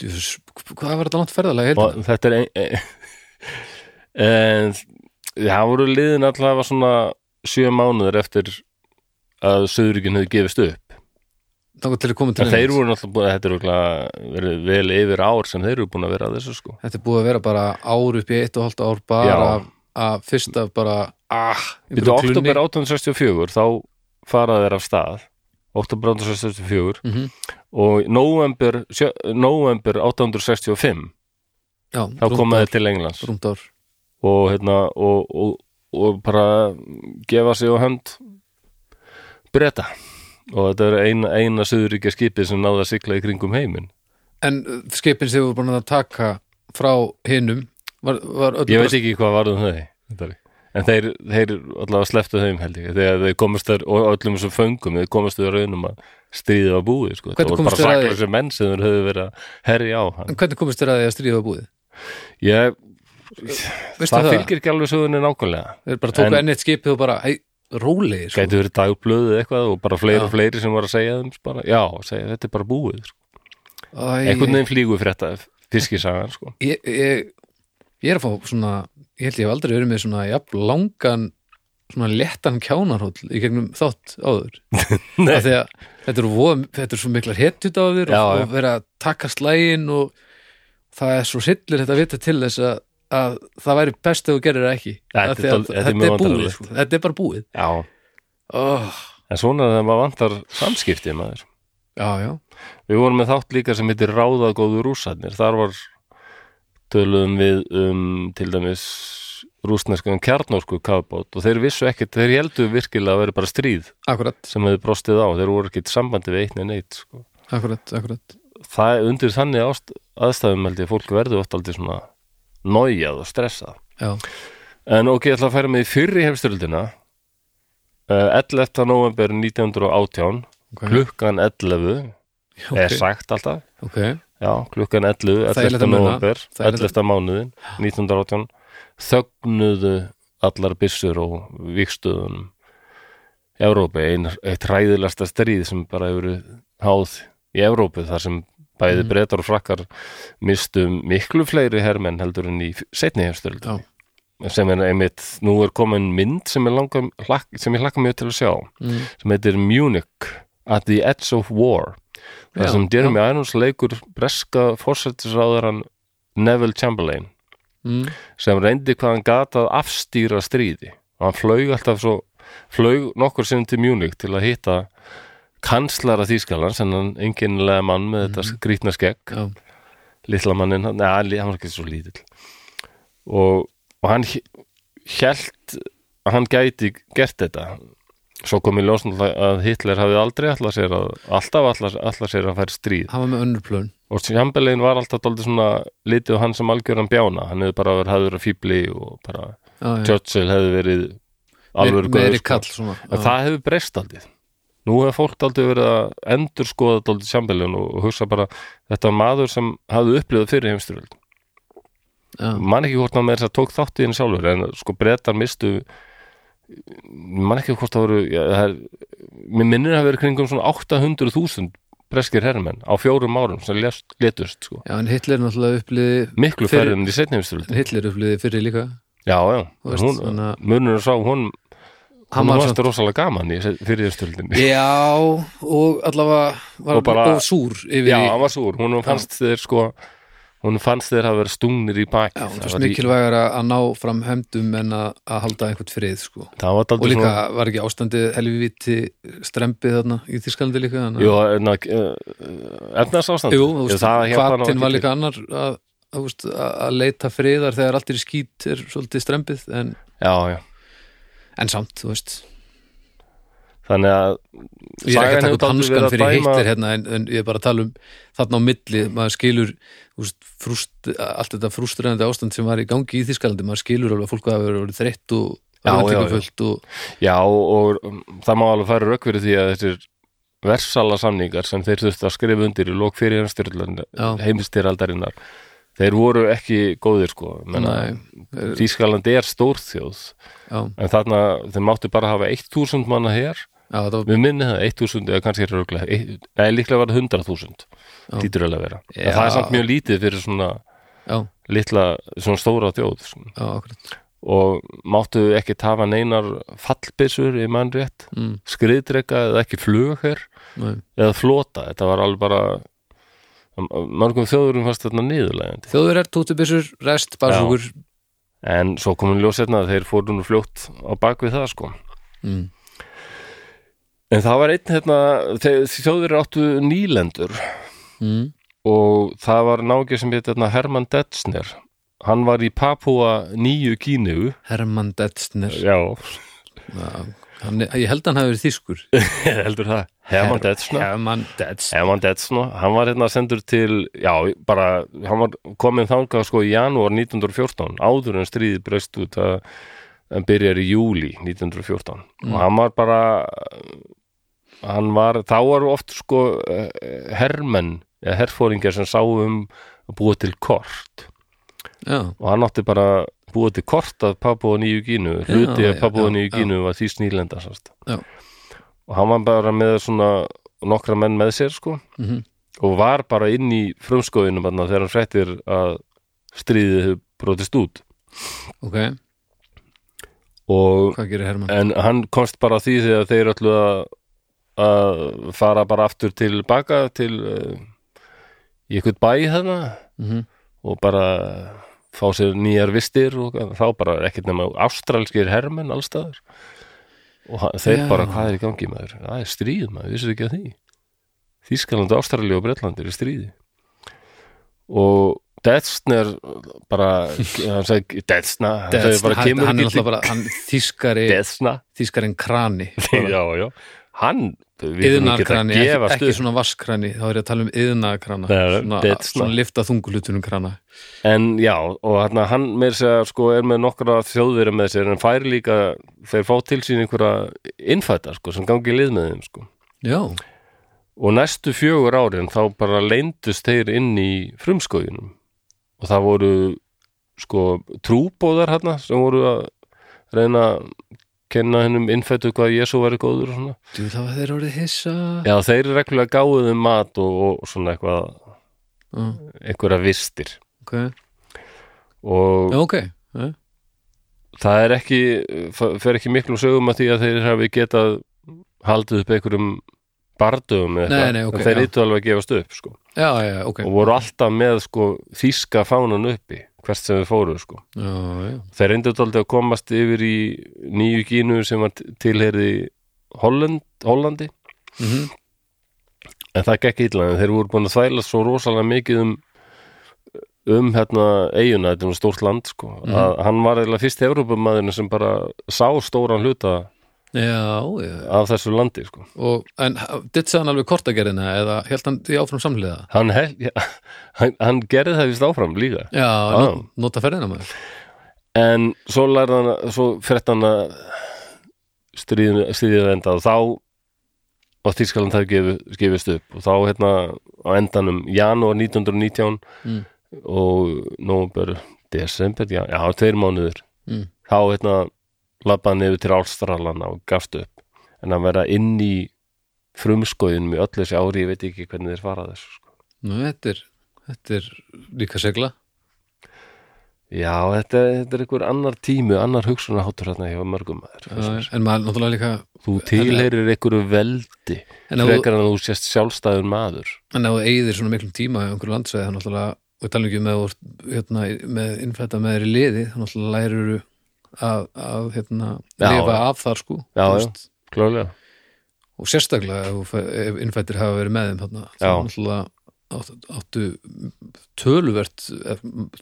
Speaker 2: Djöfus, hvað var þetta langt ferðalega
Speaker 1: og þetta er ein, ein, en það voru liðin allavega svona sjö mánuður eftir að Suðuríkin hefði gefist upp
Speaker 2: þá til að koma til
Speaker 1: en þeir
Speaker 2: Englands.
Speaker 1: voru náttúrulega búin að þetta er örugglega verið vel yfir ár sem þeir eru búin að vera að þessu sko
Speaker 2: þetta er búið að vera bara ár upp í eitt og hálft ár bara
Speaker 1: Já.
Speaker 2: af, af fyrst af bara ah,
Speaker 1: Við þú oktober 1864 þá fara þeir af stað oktober 1864
Speaker 2: Mhm.
Speaker 1: og november, sjö, november 1865
Speaker 2: já,
Speaker 1: þá koma þeir til Englands
Speaker 2: rúmt ár
Speaker 1: og hérna og, og, og bara gefa sig á hönd breyta og þetta er eina, eina söðuríkja skipið sem náða að sigla í kringum heiminn
Speaker 2: en uh, skipin sem voru búin að taka frá hinnum var, var öll
Speaker 1: ég veit ekki hvað varðum þau Þetta er- en þeir, þeir allavega sleftu þeim held ég þegar þeir komast þær og öllum þessum föngum þeir komast þau raunum að stríðið var búið sko.
Speaker 2: Hvernig
Speaker 1: það voru
Speaker 2: komust
Speaker 1: bara
Speaker 2: þeir að því?
Speaker 1: saklega sem menn sem þeir höfðu verið að herja á hann
Speaker 2: en hvernig komist þér að því að stríða var búið
Speaker 1: ég,
Speaker 2: Veistu
Speaker 1: það
Speaker 2: það,
Speaker 1: fylgir ekki alveg sögunni nákvæmlega
Speaker 2: þeir bara tóku
Speaker 1: En-
Speaker 2: enn eitt skipið og bara hei, rólegir sko.
Speaker 1: gæti verið dagblöðu eitthvað og bara fleiri
Speaker 2: Já.
Speaker 1: og fleiri sem var að segja þeim bara, já, segja, þetta er bara búið sko.
Speaker 2: Æ,
Speaker 1: einhvern veginn flýgu fyrir þetta fiskisagan sko.
Speaker 2: ég, ég, ég er að fá svona ég held ég hef aldrei verið með svona jafn langan svona léttan kjánarhóll í gegnum þátt áður
Speaker 1: Nei.
Speaker 2: af því að þetta eru voða- þetta er svo miklar hetut á þér
Speaker 1: Já,
Speaker 2: og,
Speaker 1: já.
Speaker 2: og vera að taka slægin og það er svo sillir þetta vita til þess að, að það væri best ef þú gerir það ekki
Speaker 1: Þetta er
Speaker 2: Af því að
Speaker 1: dál- þetta er
Speaker 2: þetta
Speaker 1: mjög
Speaker 2: er búið,
Speaker 1: vandræðalegt.
Speaker 2: sko. þetta er bara búið
Speaker 1: Já,
Speaker 2: oh,
Speaker 1: en svona þegar maður vantar samskipti maður.
Speaker 2: Já, já,
Speaker 1: Við vorum með þátt líka sem heitir Ráðagóðu rússarnir. Þar var töluðum við um til dæmis rússneskan kjarnorku kafbót og þeir vissu ekkert, þeir heldur virkilega að vera bara stríð
Speaker 2: akkurat,
Speaker 1: sem hefði brostið á, þeir voru ekkert sambandi við eitt en eitt sko.
Speaker 2: akkurat, akkurat
Speaker 1: það undir þannig ást, aðstæðum held ég að fólk verður oft aldrei svona nájað og stressað
Speaker 2: Já,
Speaker 1: en ok, ég ætla að færa mig í fyrri hefstöldina uh, 11. november 1918
Speaker 2: ok,
Speaker 1: klukkan 11 er
Speaker 2: ok,
Speaker 1: sagt alltaf
Speaker 2: okay.
Speaker 1: já, klukkan 11,
Speaker 2: Það er
Speaker 1: 11.
Speaker 2: þetta muna.
Speaker 1: november
Speaker 2: Það er
Speaker 1: 11. mánuðin 1918 þögnuðu allar byssur og vikstöðunum Evrópi, ein, eitt ræðilegasta stríð sem bara hefur verið háð í Evrópu þar sem
Speaker 2: Mhm.
Speaker 1: bæði mm. brettar og frakkar mistu miklu fleiri hermenn heldur en í setni hefstöld
Speaker 2: Já.
Speaker 1: sem er einmitt, nú er komin mynd sem ég, langar, hlakk, sem ég hlakka mjög til að sjá
Speaker 2: Mm.
Speaker 1: sem heitir Munich at the Edge of War
Speaker 2: Já,
Speaker 1: þar sem Jeremy Irons leikur breska fórsetisráðaran Neville Chamberlain
Speaker 2: Mm.
Speaker 1: sem reyndi hvað hann gat að afstýra stríði og hann flög alltaf svo flög nokkur sinn til Munich til að hitta kanslara Þýskalands en hann einkennilega mann með
Speaker 2: Mhm.
Speaker 1: þetta grýtna skegg
Speaker 2: Já,
Speaker 1: litla manninn, hann- neða, li- hann var ekki svo lítill og, og hann held að hann gæti gert þetta svo kom í ljósn að Hitler hafði aldrei alltaf sér að alltaf alltaf sér að færa stríð
Speaker 2: hann var með önnur plön
Speaker 1: og Chamberlain var alltaf daldið svona litið á hann sem algjöran bjána hann hefði bara verið hafður að fýbli og bara
Speaker 2: Já, já.
Speaker 1: Churchill hefði verið sko. alveg
Speaker 2: meiri kall svona
Speaker 1: en það hefur breyst aldrei nú hefur fólk aldrei verið að endurskoða aldrei Chamberlain og, og hugsa bara þetta var maður sem hafði upplifað fyrir heimstyröld
Speaker 2: Já.
Speaker 1: man ekki hvort hann með þess að tók þátt í henni sjálfur en sko brettar mistu man ekki hvort það voru já, það er, mér minnir að vera kringum svona 800.000 breskir herrmenn á fjórum árum sem lest, letust sko.
Speaker 2: Já, en Hitler náttúrulega upplýði
Speaker 1: miklu
Speaker 2: Fyrir-
Speaker 1: færri enn í setni heimstyröld
Speaker 2: Hitler upplýði fyrir líka
Speaker 1: já, já,
Speaker 2: Þú veist,
Speaker 1: hún,
Speaker 2: þannig að-
Speaker 1: munur sá hún
Speaker 2: Hann
Speaker 1: hann
Speaker 2: var
Speaker 1: var
Speaker 2: samt-
Speaker 1: þetta rosalega gaman í fyrirðstöldinni
Speaker 2: Já, og allavega var
Speaker 1: Og bara-
Speaker 2: og súr yfir
Speaker 1: já,
Speaker 2: í
Speaker 1: hann var súr, hún fannst þeir sko hún fannst þeir hafa verið stungnir í baki
Speaker 2: Já, það
Speaker 1: það
Speaker 2: var
Speaker 1: var í-
Speaker 2: mikilvægar að að ná fram hefndum en að, að halda einhvern frið sko.
Speaker 1: það var
Speaker 2: og
Speaker 1: daldið
Speaker 2: líka
Speaker 1: svona
Speaker 2: var ekki ástandið helvíti strempið þarna í Þískalandi líka þannig að-
Speaker 1: Jú, en að eh, efnars ástand
Speaker 2: Jú, þú veist, hvatin var
Speaker 1: já,
Speaker 2: líka annar að, að, veist, að að leita friðar þegar allt er í skít er svolítið strempið en,
Speaker 1: já,
Speaker 2: en samt, þú veist
Speaker 1: þannig að
Speaker 2: ég er ekki að taka upp
Speaker 1: dálítið
Speaker 2: hanskan fyrir
Speaker 1: dæma-
Speaker 2: hittir hérna en, en ég er bara að tala um þarna á milli maður skilur þú veist, frúst, allt þetta frústræðandi ástand sem var í gangi í Þískalandi, maður skilur alveg að fólk hafa verið þreytt og
Speaker 1: Já, já, já.
Speaker 2: örvæntingafullt og
Speaker 1: já, og um, það má alveg færa rauk fyrir því að þessir versala samningar sem þeir þurftu að skrifa undir í lók fyrir
Speaker 2: Já.
Speaker 1: heimstyraldarinnar þeir voru ekki góðir sko
Speaker 2: Nei, þeir-
Speaker 1: Þískaland er stórþjóð
Speaker 2: já,
Speaker 1: en þarna þeir máttu bara hafa 1000 manna hér
Speaker 2: já, það var
Speaker 1: við minni það 1000 eða kannski röglega eða líklega var það 100.000 lítur alveg að vera
Speaker 2: Já.
Speaker 1: en það er samt mjög lítið fyrir svona
Speaker 2: já,
Speaker 1: litla, svona stóra þjóð sko.
Speaker 2: já, akkurat
Speaker 1: og máttu ekki tafa neinar fallbissur í mann rétt
Speaker 2: Mm.
Speaker 1: skriðdrega eða ekki flug hér
Speaker 2: Nei.
Speaker 1: eða flota, þetta var alveg bara mörgum þjóðurum fannst þarna niðurlegandi
Speaker 2: þjóðverjar, tóttubissur, rest, barsúkur
Speaker 1: en svo komin ljósetna hérna að þeir fóru nú fljótt á bak við það sko
Speaker 2: mm.
Speaker 1: En það var einn hérna, þegar þjóðir áttu nýlendur
Speaker 2: mm.
Speaker 1: og það var nági sem heit hérna Herman Detsner. Hann var í Papua nýju kínu.
Speaker 2: Hermann Detzner
Speaker 1: Já,
Speaker 2: já, hann, er- ég held að hann hafi verið þýskur
Speaker 1: heldur það. Herman Detsner.
Speaker 2: Hermann Detzner
Speaker 1: Herman Detsner, hann var hérna sendur til, já, bara, hann var komin þangað sko í janúar 1914, áður en stríðið breyst út að en byrjar í júli 1914 og hann var bara hann var, þá var oft sko eh, hermenn eða herfóringar sem sáum að búa til kort
Speaker 2: já,
Speaker 1: og hann átti bara að búa til kort af Papua Nýju Gínu hluti
Speaker 2: Já,
Speaker 1: af
Speaker 2: já,
Speaker 1: Papua
Speaker 2: já,
Speaker 1: Nýju
Speaker 2: já.
Speaker 1: Gínu var því snýlenda sást.
Speaker 2: Já.
Speaker 1: og hann var bara með svona nokkra menn með sér sko
Speaker 2: Mhm.
Speaker 1: og var bara inn í frumskóðinu þegar hann fréttir að stríðið hefur brotist út
Speaker 2: ok,
Speaker 1: og
Speaker 2: hvað gerir Hermann?
Speaker 1: en hann komst bara að því þegar þeir ætlu að, að fara bara aftur til eh, baka til uh, í eitthvað bæ þarna
Speaker 2: Mhm.
Speaker 1: og bara fá sér nýjar vistir og þá bara ekkert nema ástralskir hermenn allstaðar og ha-
Speaker 2: Já.
Speaker 1: þeir bara hvað er í gangi maður það er stríð maður, vissir ekki að því Þískaland, Ástralja og Bretland er í stríði og Detsner bara hann sagði Detsna hann sagði
Speaker 2: Death-
Speaker 1: bara
Speaker 2: hann,
Speaker 1: kemur
Speaker 2: hann er
Speaker 1: ekki
Speaker 2: alltaf
Speaker 1: til
Speaker 2: bara hann þýskari,
Speaker 1: Detsna
Speaker 2: þýskarinn krani
Speaker 1: já, já, hann við erum ekki að
Speaker 2: yðnarkrani, ekki,
Speaker 1: gefast
Speaker 2: ekki
Speaker 1: upp
Speaker 2: svona vasskrani þá er ég að tala um yðnarkrana
Speaker 1: Nei, nei,
Speaker 2: svona,
Speaker 1: Death Star.
Speaker 2: svona lifta þungulutunum krana
Speaker 1: En já, og hann, hann með þess að sko er með nokkra þjóðveri með sér en fær líka, þeir fá til sín einhverja innfætta sko sem gangi í lið með þeim sko.
Speaker 2: já,
Speaker 1: Og næstu fjögur árin þá bara leyndust þeir inn í frumskóginum og það voru sko trúbóðar hérna sem voru að reyna að kenna hennum innfættu hvað Jésu væri góður og svona.
Speaker 2: þú það var þeir orðið hissa
Speaker 1: Já, þeir reglulega gáðu þeim mat og, og svona eitthvað,
Speaker 2: Já,
Speaker 1: einhverja vistir.
Speaker 2: ok,
Speaker 1: Og
Speaker 2: já, ok já,
Speaker 1: það er ekki f- fer ekki miklum sögum að því að þeir hafi getað haldið upp einhverjum bardögum eða
Speaker 2: Nei,
Speaker 1: eitthvað.
Speaker 2: nei, ok,
Speaker 1: en þeir
Speaker 2: já.
Speaker 1: yttu alveg að gefast upp sko.
Speaker 2: já, já, ok
Speaker 1: og voru alltaf með sko, þýska fánan uppi hvert sem þeir fóru sko.
Speaker 2: já, já,
Speaker 1: þeir reyndu tóldi að komast yfir í nýju kínu sem var t- tilheyrði Holland, Hollandi
Speaker 2: Mhm.
Speaker 1: en það gekk illa en þeir voru búin að þvæla svo rosalega mikið um um hérna eiguna, þetta er nú stórt land sko,
Speaker 2: Mhm.
Speaker 1: að hann var eiginlega fyrst Evrópumæðurinn sem bara sá stóran hluta
Speaker 2: já, já.
Speaker 1: af þessu landi sko.
Speaker 2: Og, en dittsa hann alveg kortagerðina eða held hann því áfram samlega
Speaker 1: hann, hel, ja, hann, hann gerði það vist áfram líka
Speaker 2: já,
Speaker 1: Ah.
Speaker 2: not, nota ferðina maður
Speaker 1: en svo lærði hann að- svo frett hann að stríðinu, stríðinu enda og þá og Þýskaland það gefi, gefist upp og þá hérna á endanum janúar 1919
Speaker 2: Mm.
Speaker 1: og nómber desember, já, já tveir mánuður
Speaker 2: Mm.
Speaker 1: þá hérna labbaði hann yfir til Ástralana og gafst upp en að vera inn í frumskóðinum í öll þessi ári ég veit ekki hvernig þeir fara þessu sko.
Speaker 2: Nú, þetta er, þetta er líka segla
Speaker 1: Já, þetta, þetta er einhver annar tími, annar hugsunarháttur hérna hjá mörgum maður.
Speaker 2: Já,
Speaker 1: finnst mér.
Speaker 2: en maður náttúrulega líka
Speaker 1: Þú tilheyrir einhverju veldi
Speaker 2: En ef þú-
Speaker 1: frekar en að þú sést sjálfstæður maður
Speaker 2: en ef þú eigðir svona miklum tíma í einhverju landsæði þá náttúrulega, og tala ekki um með, hérna, með innfætta með þér í liði þá náttúrulega lærirðu að, að hérna,
Speaker 1: Já,
Speaker 2: lifa
Speaker 1: já.
Speaker 2: af þar sko
Speaker 1: Já,
Speaker 2: þú
Speaker 1: já. Klálega
Speaker 2: og sérstaklega ef, þú fæ- ef innfættir hafa verið með þeim þarna, þá
Speaker 1: Já.
Speaker 2: náttúrulega áttu, áttu töluvert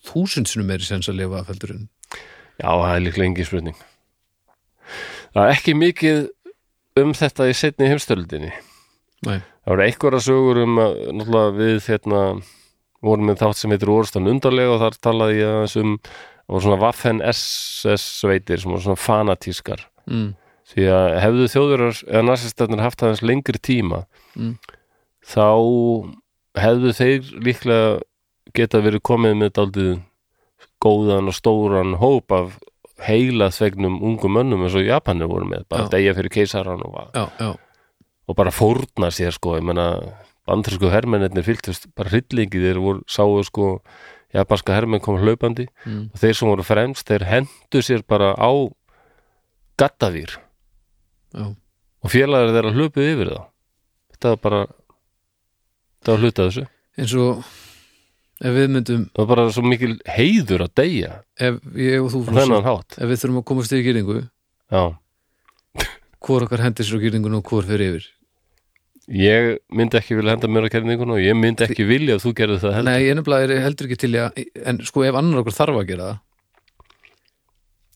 Speaker 2: þúsundsunum meiri sens að lifa af heldur en
Speaker 1: Já, það er líklega engin spurning Það er ekki mikið um þetta í setni heimstöldinni
Speaker 2: Nei.
Speaker 1: Það voru einhverja sögur um að náttúrulega við hérna vorum með þátt sem heitir Orustan undarlega og þar talaði ég aðeins um það voru svona Waffen SS sveitir sem voru svona fanatískar
Speaker 2: mm,
Speaker 1: því að hefðu þjóðverjar eða nasistarnir haft aðeins lengri tíma
Speaker 2: Mm.
Speaker 1: þá hefðu þeir líklega geta verið komið með daldið góðan og stóran hóp af heila þvegnum ungum mönnum eins og Japanir voru með, bara
Speaker 2: Já.
Speaker 1: degja fyrir keisaran og,
Speaker 2: já, já,
Speaker 1: og bara fórna sér sko, ég menna bandarsku hermennir fylgtust, bara hryllingi þeir voru, sáu sko japanska hermenn kom hlaupandi
Speaker 2: Mm.
Speaker 1: og þeir sem voru fremst, þeir hendu sér bara á gattavýr
Speaker 2: já,
Speaker 1: og félagar þeirra hlupuð yfir þá þetta var bara þetta var hluta þessu
Speaker 2: eins og ef við myndum
Speaker 1: það var bara svo mikil heiður að deyja
Speaker 2: ef ég og þú
Speaker 1: á þennan hátt
Speaker 2: ef við þurfum að komast yfir gýringu
Speaker 1: já.
Speaker 2: hvor okkar hendir sér á gýringun og hvor fyrir yfir
Speaker 1: ég myndi ekki vilja henda mér að kerningun og ég myndi ekki vilja að þú gerði það heldur.
Speaker 2: Nei, ég nefnilega er heldur ekki til í að en sko ef annar okkur þarf að gera það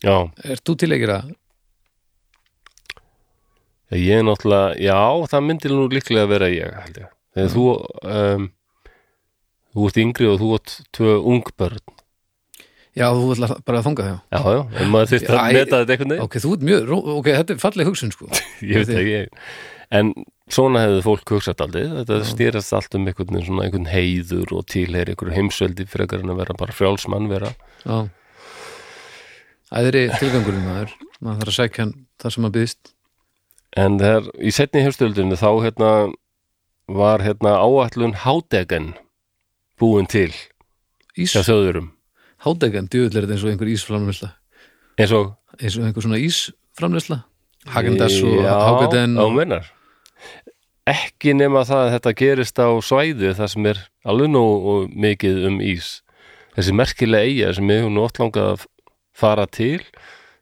Speaker 1: já,
Speaker 2: er þú til að gera það?
Speaker 1: ég er náttúrulega já, það myndi nú líklega vera ég held ég, þegar þú um, þú ert yngri og þú ert tvö ung börn
Speaker 2: Já, þú ætlar bara að þanga þjá
Speaker 1: já, já, en maður þyrst að
Speaker 2: Æ,
Speaker 1: meta þetta einhvern veginn
Speaker 2: Ok, þú ert mjög, ró- ok, þetta er falleg hugsun sko
Speaker 1: ég veit ekki en svona hefði fólk hugsað aldrei þetta stýrast allt um einhvern, veginn svona, einhvern heiður og tilheyri einhverju heimsveldi frekar en að vera bara frjálsmann vera
Speaker 2: Já Æðri tilgangurinn maður maður þarf að sækja hann þar sem maður byggðist
Speaker 1: en þegar í setni heimstöldinu þá hérna var hérna áætlun hádegen búin til
Speaker 2: Ís,
Speaker 1: hjá þjóðurum
Speaker 2: hádeggan, djöfull er þetta eins og einhver ísframleysla
Speaker 1: eins og
Speaker 2: eins og einhver svona ísframleysla Hagendas og
Speaker 1: Já,
Speaker 2: Hágenden
Speaker 1: á
Speaker 2: og...
Speaker 1: meinar ekki nema það að þetta gerist á svæði það sem er alveg nú mikið um ís þessi merkilega eiga sem við höfum nú oft langað að fara til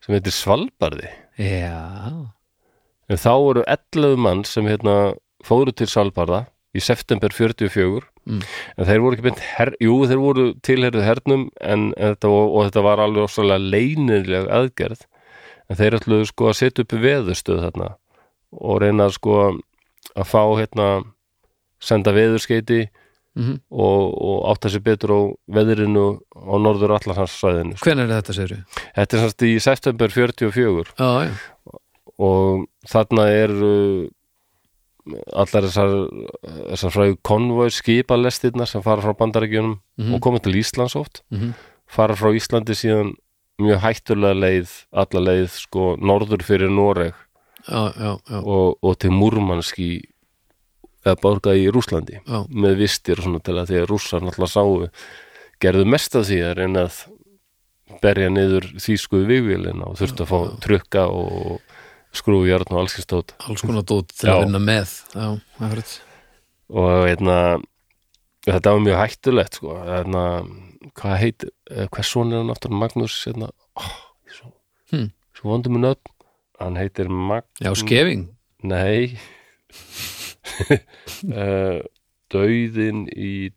Speaker 1: sem heitir Svalbarði
Speaker 2: Já,
Speaker 1: en þá eru 11 mann sem hérna fóru til Svalbarða í september 44
Speaker 2: Mm.
Speaker 1: en þeir voru ekki beint her, jú þeir voru tilherðu hernum en, en þetta, og, og þetta var alveg ósvalega leynileg aðgerð en þeir ætluðu sko að setja upp veðurstöð þarna og reyna sko að fá hérna senda veðurskeiti
Speaker 2: Mhm.
Speaker 1: og, og átta sér betur á veðrinu á norður allarhanssvæðinu
Speaker 2: hvenær er þetta, segir við?
Speaker 1: þetta er semst í september 44
Speaker 2: Já, já,
Speaker 1: og þarna er allar þessar, þessar fræðu konvoi skipalestirnar sem fara frá bandarækjunum og koma til Íslands oft
Speaker 2: Mhm.
Speaker 1: fara frá Íslandi síðan mjög hættulega leið, alla leið sko norður fyrir Noreg
Speaker 2: já, já, já,
Speaker 1: og, og til Múrmansk í eða borga í Rúslandi
Speaker 2: Já.
Speaker 1: með vistir og svona til að því að rússar náttúrulega sáu gerðu mest af því að reyna að berja niður þýsku vigvélina og þurftu að fá trukka og skrúfjörn og allskistóta
Speaker 2: alls konar dót til að
Speaker 1: Já.
Speaker 2: vinna með Já, akkurat
Speaker 1: og hérna þetta var mjög hættulegt sko hérna, hvað heit eh, hvers son er hann aftur Magnús hérna, oh, svo,
Speaker 2: Hmm.
Speaker 1: svo vondum við nöfn hann heitir Mag...
Speaker 2: Já, skefing,
Speaker 1: nei uh, Dauðin í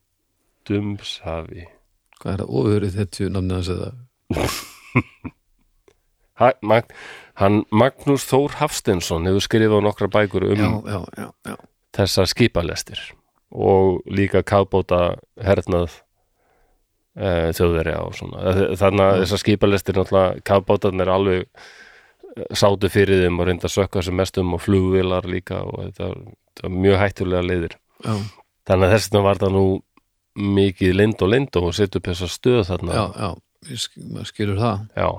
Speaker 1: Dumshafi
Speaker 2: hvað er það, ofurðið þetta namnið hans eða
Speaker 1: ha, Mag... hann Magnús Þór Hafstensson hefur skrifað nokkra bækur um
Speaker 2: Já, já, já, já,
Speaker 1: þessar skipalestir og líka kafbóta hernað e, þjóðverja og svona þannig að þessar skipalestir náttúrulega kafbótan er alveg eh, sátu fyrir þeim og reynda að sökka sem mest um og flugvilar líka og þetta var, þetta var mjög hættulega leiðir
Speaker 2: já,
Speaker 1: þannig að þess vegna var það nú mikið lind og lind og setja upp þessa stöð þarna
Speaker 2: já, já, ég sk- maður skilur það
Speaker 1: Já.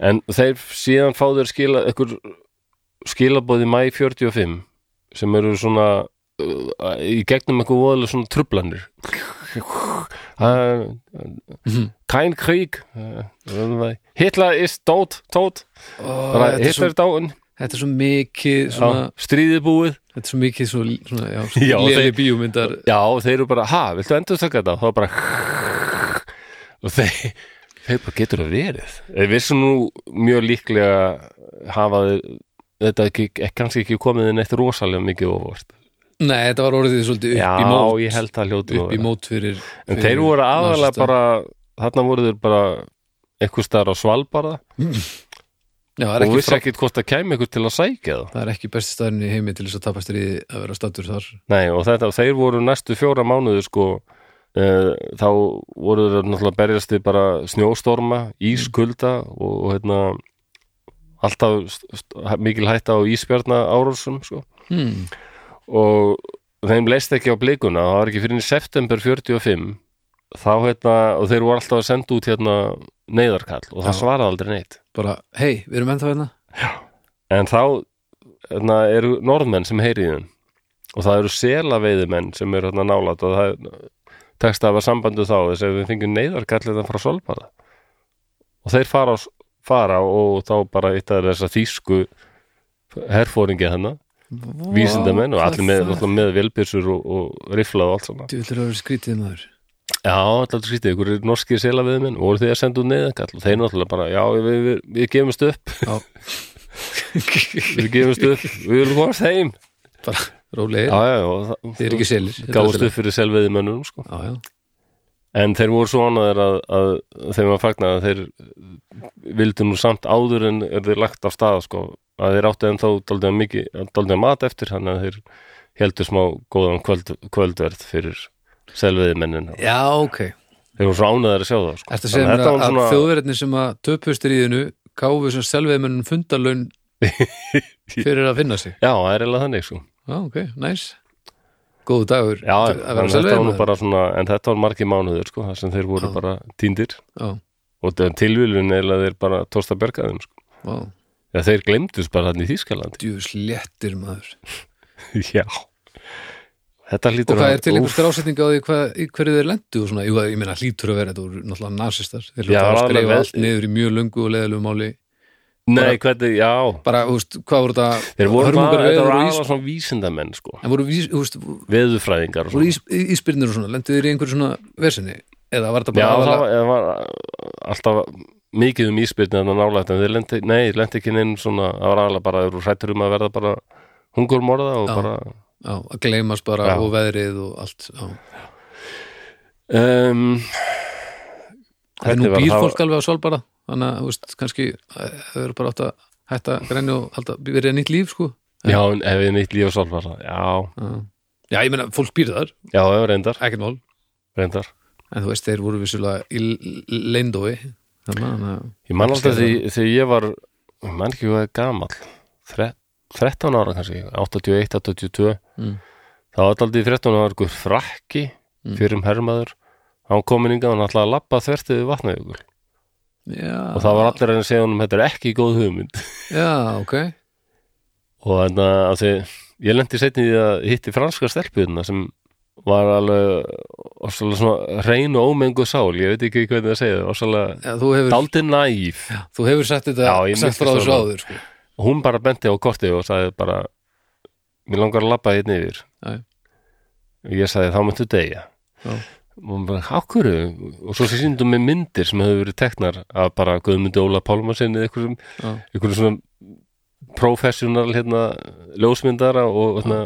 Speaker 1: En þeir síðan fá þeir skila, ykkur skilabóði mæ 45 sem eru svona uh, í gegnum eitthvað voðalega svona trublanir. Uh,
Speaker 2: Mhm.
Speaker 1: kein Krieg uh, Hitler ist dot, tot
Speaker 2: Ó,
Speaker 1: bara
Speaker 2: þetta, er svo,
Speaker 1: Hitler dáin
Speaker 2: þetta er svo mikið svona,
Speaker 1: stríðið búið
Speaker 2: þetta er svo mikið svo, svona, já,
Speaker 1: Já,
Speaker 2: léli
Speaker 1: þeir-
Speaker 2: bíómyndar
Speaker 1: Já, þeir eru bara, ha, viltu endur þakka þetta? Og þá bara og þeir, þeir bara getur það verið Þeir vissu nú mjög líklega hafa þeir- þetta ekki, ekki, kannski ekki komið inn eitt rosalega mikið ofvart
Speaker 2: Nei, þetta var orðið svolítið upp
Speaker 1: Já,
Speaker 2: í mót
Speaker 1: ég held það hljóti
Speaker 2: upp í mót fyrir, fyrir
Speaker 1: En þeir voru aðalega
Speaker 2: nasista.
Speaker 1: bara þarna voru þeir bara eitthvað staðar á Svalbarða
Speaker 2: Já, það er
Speaker 1: og
Speaker 2: ekki
Speaker 1: vissi
Speaker 2: frá,
Speaker 1: ekkit hvort það kæmi eitthvað til að sækja það
Speaker 2: það er ekki besti staðurinn í heimi til þess að tapast í að vera stattur þar
Speaker 1: Nei, og þetta, þeir voru næstu fjóra mánuði sko uh, þá voru þeir náttúrulega berjast við bara snjóstorma, ískulda og, og hérna alltaf st- st- mikil hætta á ísbjarna árásum sko
Speaker 2: hmm.
Speaker 1: og þeim leist ekki á blikuna það var ekki fyrir í september 45 þá hérna, og þeir voru alltaf að senda út hérna neyðarkall og það
Speaker 2: Já.
Speaker 1: svaraði aldrei neitt
Speaker 2: Bara, hei, við erum ennþá hérna
Speaker 1: En þá hérna, eru norðmenn sem heyri í þeim og það eru selaveiðimenn sem eru hérna, nálætt og það tekst að hafa sambandu þá þess að við fengjum neyðarkallina frá Solbara og þeir fara, á- fara og þá bara eitt af þess að þýsku herfóringi hennar,
Speaker 2: Vá,
Speaker 1: vísindamenn og
Speaker 2: hvað
Speaker 1: allir með,
Speaker 2: það-
Speaker 1: náttúrulega með velbyrsur og, og riflað og allt svona.
Speaker 2: Þú vildur að vera skrítið maður
Speaker 1: Já, allir skrítið, ykkur eru norskir selaveiðimenn og voru þeir að senda út neyðarkall og þeir náttúrulega bara, já, við, við, við gefumst upp
Speaker 2: Já.
Speaker 1: við gefumst upp, við erum komast heim
Speaker 2: Bara, rólegir,
Speaker 1: já, já, og það,
Speaker 2: þeir eru ekki selir þetta er
Speaker 1: gáðust
Speaker 2: allt í
Speaker 1: upp fyrir selviði mönnum sko.
Speaker 2: lagi. Já, já,
Speaker 1: en þeir voru svo ánæður að, að þeim að fagna að þeir vildu nú samt áður en er þeir lagt af stað sko, að þeir áttu en þá daldið mikið, daldið mat eftir þannig að þeir heldur smá góðan kvöld, kvöldverð fyrir selviði mennin
Speaker 2: já, ok
Speaker 1: þeir voru svo ánæður að sjá það sko.
Speaker 2: Ertu að segja mér
Speaker 1: Þannig þetta
Speaker 2: að,
Speaker 1: var
Speaker 2: að þjóðverðinni sem að töpustir í þinu gáfu sem selveiðmennum fundarlaun fyrir að finna sig
Speaker 1: já, það er eiginlega þannig sko.
Speaker 2: Já, ok, næs Góðu dagur
Speaker 1: já,
Speaker 2: að vera
Speaker 1: en, þetta var nú
Speaker 2: selveiðimaður.
Speaker 1: bara svona, en þetta var margir mánuður sko, þar sem þeir voru
Speaker 2: Já.
Speaker 1: bara týndir
Speaker 2: Já,
Speaker 1: og tilvílun eða þeir bara tósta bergaðum sko.
Speaker 2: vá,
Speaker 1: Já, þeir glemdust bara hann í Þýskalandi.
Speaker 2: djús léttir maður
Speaker 1: Já. Þetta
Speaker 2: Og
Speaker 1: hlýtur
Speaker 2: hvað
Speaker 1: að-
Speaker 2: er til
Speaker 1: Úff,
Speaker 2: einhver strásetning á því hvað, í hverju þeir lendu og svona, jú, ég meina hlýtur að vera þetta voru náttúrulega nasistar, þeir
Speaker 1: Já,
Speaker 2: hljóta að
Speaker 1: alveg
Speaker 2: skrifa
Speaker 1: vel-
Speaker 2: allt niður í mjög löngu og leðalegu máli
Speaker 1: Nei, hvernig, já.
Speaker 2: bara, þú veist, hvað voru þetta
Speaker 1: Þeir voru bara,
Speaker 2: hörmungar
Speaker 1: þetta
Speaker 2: veður
Speaker 1: var
Speaker 2: og
Speaker 1: aðra
Speaker 2: ís
Speaker 1: svona vísindamenn, sko.
Speaker 2: en voru, vís- þú veist,
Speaker 1: Veðufræðingar og
Speaker 2: voru
Speaker 1: svona.
Speaker 2: ís, ísbyrnir og svona lendu þeir í einhverju svona versinni eða var þetta
Speaker 1: Já,
Speaker 2: bara
Speaker 1: það
Speaker 2: aðalega
Speaker 1: var, eða var alltaf mikið um íspyrni en að nálægt en þeir lendi, nei, þeir lendi ekki neinn svona, það var aðalega bara, þeir eru hrættur um að verða bara hungurmorða og
Speaker 2: Já.
Speaker 1: bara
Speaker 2: já, að gleymast bara
Speaker 1: Já.
Speaker 2: og veðrið og allt já.
Speaker 1: um,
Speaker 2: en nú
Speaker 1: var-
Speaker 2: býr
Speaker 1: það var-
Speaker 2: fólk alveg á solbara þannig að þú veist, kannski eh, þau eru bara átt að hætta græni og halda, verið nýtt líf sko
Speaker 1: Já, en ef við nýtt líf og sálfara, já,
Speaker 2: já, já ég meina fólk býr þar,
Speaker 1: já, já, reyndar,
Speaker 2: ekkert mál
Speaker 1: reyndar.
Speaker 2: en þú veist, þeir voru vissulega í leindói þannig að
Speaker 1: Ég man alltaf
Speaker 2: Skilja.
Speaker 1: því- þegar ég var, ég man ekki hvað er gamall, Þre- 13 ára kannski, 81, 82,
Speaker 2: Mm.
Speaker 1: þá var alltaf í 13 ára ykkur frakki, fyrir um hermaður, hann komin yngað, hann ætlaði að labba þvertið við vatnajökul
Speaker 2: já,
Speaker 1: og það var allir að segja honum, þetta er ekki góð hugmynd
Speaker 2: já, ok
Speaker 1: og þannig að því, ég lendi setni því að hitti franska stelpuðina sem var alveg ofsalega svona reyn og ómengu sál, ég veit ekki hvernig að segja það, ofsalega
Speaker 2: já, þú, hefur,
Speaker 1: daldi næf
Speaker 2: þú hefur sagt þetta
Speaker 1: Já, ég
Speaker 2: sagt frá
Speaker 1: minntist
Speaker 2: þessu
Speaker 1: á það.
Speaker 2: áður sko.
Speaker 1: og hún bara benti á kortið og sagði bara mér langar að labba hérna yfir
Speaker 2: Já.
Speaker 1: og ég sagði þá mættu deyja
Speaker 2: Já.
Speaker 1: og hún bara, hákuru og svo síndum með myndir sem hefur verið teknar af bara Guðmundi Óla Pálmarsin eða einhverjum,
Speaker 2: Já.
Speaker 1: einhverjum svona professional hérna ljósmyndara og hérna,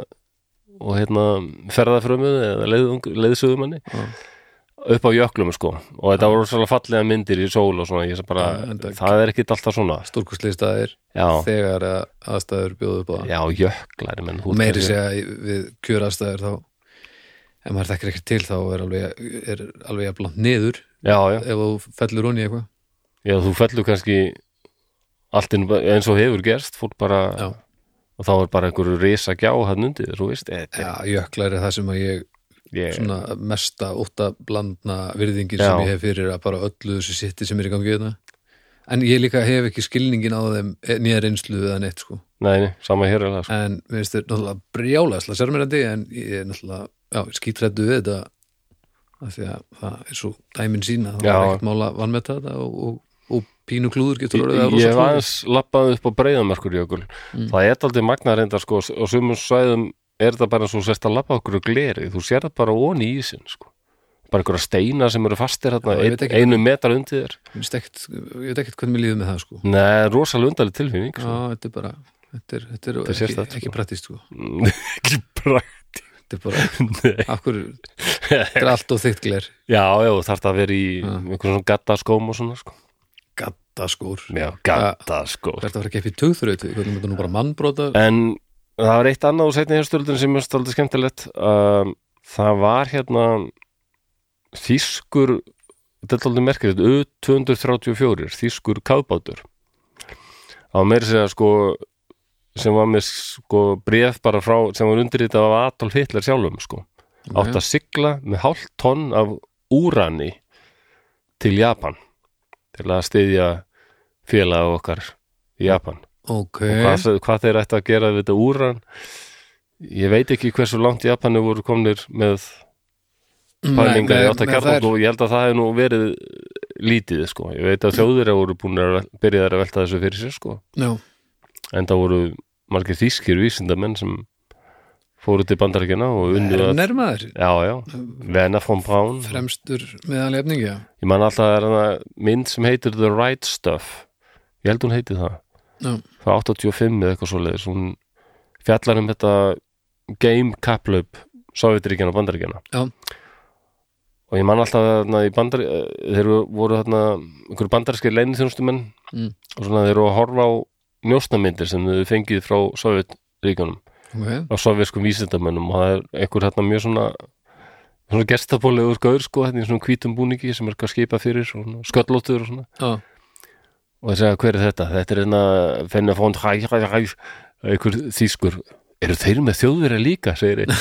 Speaker 1: og hérna ferðafrömmuð eða leiðung- leiðsögumanni
Speaker 2: Já.
Speaker 1: upp á jöklum sko og þetta voru svolítið fallega myndir í sól og svona, ég sagði bara,
Speaker 2: Já, enda-
Speaker 1: það er ekkit alltaf svona
Speaker 2: stórkustlið staðir
Speaker 1: Já.
Speaker 2: þegar að aðstæður bjóðu upp á það
Speaker 1: Já, jöklar, menn
Speaker 2: og meiri segja við kjöraðstæður þá ef maður þekkir ekkert til þá er alveg, er alveg jafnlant niður
Speaker 1: Já, já,
Speaker 2: ef þú fellur hún í eitthvað
Speaker 1: já, þú fellur kannski allt inn, eins og hefur gerst fólk bara,
Speaker 2: Já.
Speaker 1: og þá er bara einhverju risa gjá hann undir, þú veist e,
Speaker 2: já, jöklar er það sem að ég
Speaker 1: ég,
Speaker 2: svona mesta óta blandna virðingin
Speaker 1: Já.
Speaker 2: sem ég hef fyrir að bara öllu þessu sitti sem er í gangi þetta en ég líka hef ekki skilningin á þeim nýja reynslu eða neitt sko
Speaker 1: Nei, nei, sama hér er það sko.
Speaker 2: en mér finnst þér náttúrulega brjálæsla sérmyrandi en ég er náttúrulega já, skítrættu við þetta af því að það er svo dæmin sína það
Speaker 1: Já.
Speaker 2: er ekkert mála vannmeta þetta og, og, og pínu klúður getur orðið
Speaker 1: Ég
Speaker 2: að Mm. rosa
Speaker 1: hef
Speaker 2: klúður.
Speaker 1: aðeins lappað upp á breiðamarkur jökul Það er aldrei magna reyndar sko og sumum svæðum er það bara eins og þú sérst að lappa okkur og gleri, þú sér það bara ón í ísinn sko, bara einhverja steina sem eru fastir þarna,
Speaker 2: Já, ég veit
Speaker 1: ein,
Speaker 2: ekki.
Speaker 1: einu metra undir þér
Speaker 2: Mér finnst ekkert- ég veit ekkert hvernig mér líður með það sko
Speaker 1: Nei, rosalega undarleg tilfinning
Speaker 2: já,
Speaker 1: sko.
Speaker 2: þetta er bara þetta er, þetta er,
Speaker 1: er
Speaker 2: ekki,
Speaker 1: sérstakt, sko.
Speaker 2: ekki prattist sko
Speaker 1: Ekki prækt
Speaker 2: þetta er bara,
Speaker 1: Nei
Speaker 2: af hverju þetta er allt og þykkt gler
Speaker 1: Já, já, þarf það að vera í einhverjum svona gattaskóm og svona sko.
Speaker 2: gattaskór
Speaker 1: Já, gattaskóm
Speaker 2: hvert að fara að keppi tugþrötu hvernig þetta nú bara mannbróta
Speaker 1: En það var eitt annað úr setni hefstöldin sem er stöldið skemmtilegt um, Það var hérna þýskur þetta er aldrei merkilegt, U234 þýskur kafbátur á meiri segja sko sem var með sko bréf bara frá, sem var undirritað af Adolf Hitler sjálfum sko, átt að sigla með hálft tonn af úrani til Japan til að styðja félaga okkar í Japan
Speaker 2: ok,
Speaker 1: hvað, hvað þeir ættu að gera við þetta úran ég veit ekki hversu langt Japani voru komnir með pælinga í
Speaker 2: með-
Speaker 1: átta
Speaker 2: með þær-
Speaker 1: kjarnarku og ég held að það hefði nú verið lítið sko, ég veit að þjóður voru búin að byrja að velta þessu fyrir sér sko
Speaker 2: já,
Speaker 1: en það voru margir þýskir vísindamenn sem fóru til bandarækina og
Speaker 2: Eh,
Speaker 1: unnu að,
Speaker 2: nærmaður
Speaker 1: já já Vena von Braun,
Speaker 2: fremstur meðal efningi já,
Speaker 1: ég man alltaf að það er hana mynd sem heitir The Right Stuff ég held hún heiti það
Speaker 2: já.
Speaker 1: frá 85 eða eitthvað svoleiðis hún fjallar um þetta game kapplaup Sovjetiríkjana og Bandaríkjana
Speaker 2: Já.
Speaker 1: og ég man alltaf að þarna í bandar eh, þeir voru þarna einhverju bandarískir leinþjónustumenn
Speaker 2: Mm.
Speaker 1: og svona þeir voru að horfa á njósnamyndir sem þau fengið frá Sovjetiríkjunum
Speaker 2: ok,
Speaker 1: á sovjeskum vísindamönnum og það er einhver hérna mjög svona svona gestapólegur gaur sko hérna í svona hvítum búningi sem er eitthvað skipað fyrir svona sköllóttur og svona
Speaker 2: já,
Speaker 1: og þeir segja hver er þetta þetta er hérna Fenna von Hræ Hræ Hræ einhver þýskur eru þeir með þjóðverja líka segir einn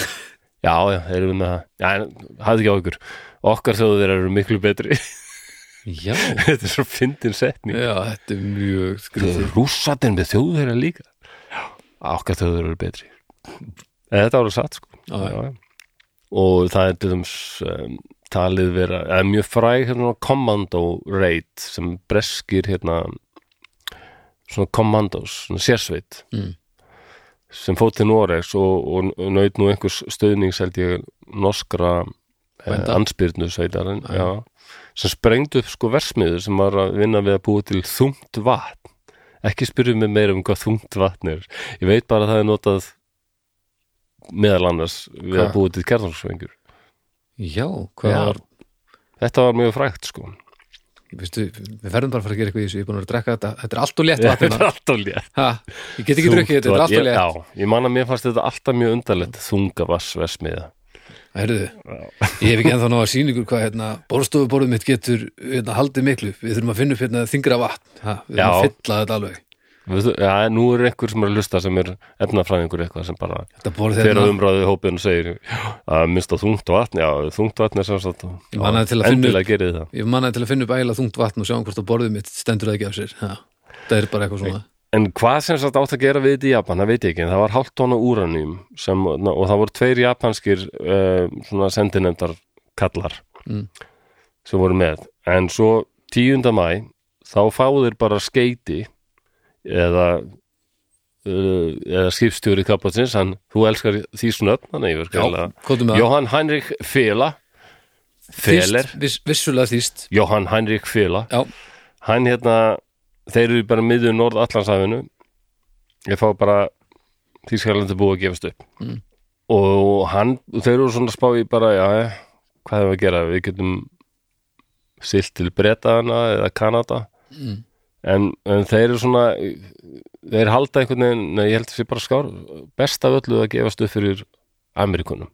Speaker 1: já já þeir eru með það já en hafði ekki á ykkur okkar þjóðverja eru miklu betri
Speaker 2: já
Speaker 1: þetta er svo fyndin setning
Speaker 2: Já, þetta er mjög skrítið
Speaker 1: rússatinn með þjóðverja líka já okkar þjóðverja eru betri en þetta voru satt sko
Speaker 2: Já, já.
Speaker 1: já. og það er til dæmis um, talið vera, eða mjög fræg hérna kommando raid sem breskir hérna svona kommandos, svona sérsveit
Speaker 2: Mm.
Speaker 1: sem fótt til Noregs og, og naut nú einhvers stöðnings held ég norskra
Speaker 2: Bænda.
Speaker 1: anspyrnu sveitarinn já, sem sprengdu upp sko versmiður sem var að vinna við að búa til þungt vatn ekki spyrjum mig meira um hvað þungt vatn er ég veit bara að það er notað meðal annars við
Speaker 2: Hvað?
Speaker 1: að búa til kjarnarsvengur
Speaker 2: Já, hvað
Speaker 1: Já.
Speaker 2: var
Speaker 1: þetta var mjög frægt sko
Speaker 2: Vistu, við verðum bara að fara að gera eitthvað í þessu, ég er búin að vera að drekka þetta þetta er allt og létt
Speaker 1: þetta er
Speaker 2: vatnina
Speaker 1: alltaf létt
Speaker 2: ha, ég get ekki
Speaker 1: Þungt
Speaker 2: drukkið þetta, þetta er
Speaker 1: vatn.
Speaker 2: allt og
Speaker 1: Ég-
Speaker 2: létt
Speaker 1: já, ég man að mér fannst þetta alltaf mjög undarlegt þunga vassversmiða
Speaker 2: Herðu, ég hef ekki ennþá ná að sína ykkur hvað hérna, borðstofuborðum mitt getur hérna, haldið miklu, við þurfum að finna upp hérna, þingra vatn, ha, við þurfum að
Speaker 1: Já.
Speaker 2: fylla þetta alveg
Speaker 1: Við þú- Já, nú er einhver sem er að hlusta sem er efnafræðingur eitthvað sem bara
Speaker 2: þetta borð
Speaker 1: þegar um-
Speaker 2: hérna,
Speaker 1: umræðu hópin og segir "Já, að minnst á þungt vatn, já, þungt vatn er sem sagt
Speaker 2: Ég man að til að finna
Speaker 1: endilega gerið það
Speaker 2: ég mannaði til að finna upp ægilega þungt vatn og sjá um hvort að borðið mitt stendur það ekki af sér ha, það er bara eitthvað svona
Speaker 1: En hvað sem sagt átt að gera við þetta í Japan, það veit ég ekki, en það var hálft tóna úranjum sem, og það voru tveir japanskir uh, svona sendinemdar kallar
Speaker 2: Mm.
Speaker 1: sem voru með. En svo 10. mæ, þá fáðir bara skeiti eða uh, eða skipstjóri kapatsins, hann, þú elskar því snöfn, hann yfir
Speaker 2: já, kóttum með
Speaker 1: Johan Heinrich Fela Feler,
Speaker 2: Þýst, viss, vissulega þýst
Speaker 1: Johan Heinrich Fela
Speaker 2: já,
Speaker 1: hann hérna þeir eru bara miður norð allansafinu ég fá bara Þískalandi búið að gefast upp
Speaker 2: Mm.
Speaker 1: og hann, þeir eru svona að spá í bara já, já, hvað hefur að gera við getum silt til Bretaðana eða Kanada
Speaker 2: Mm.
Speaker 1: en, en þeir eru svona þeir halda einhvern veginn nei, ég held að sé bara skár, best af öllu að gefast upp fyrir Amerikunum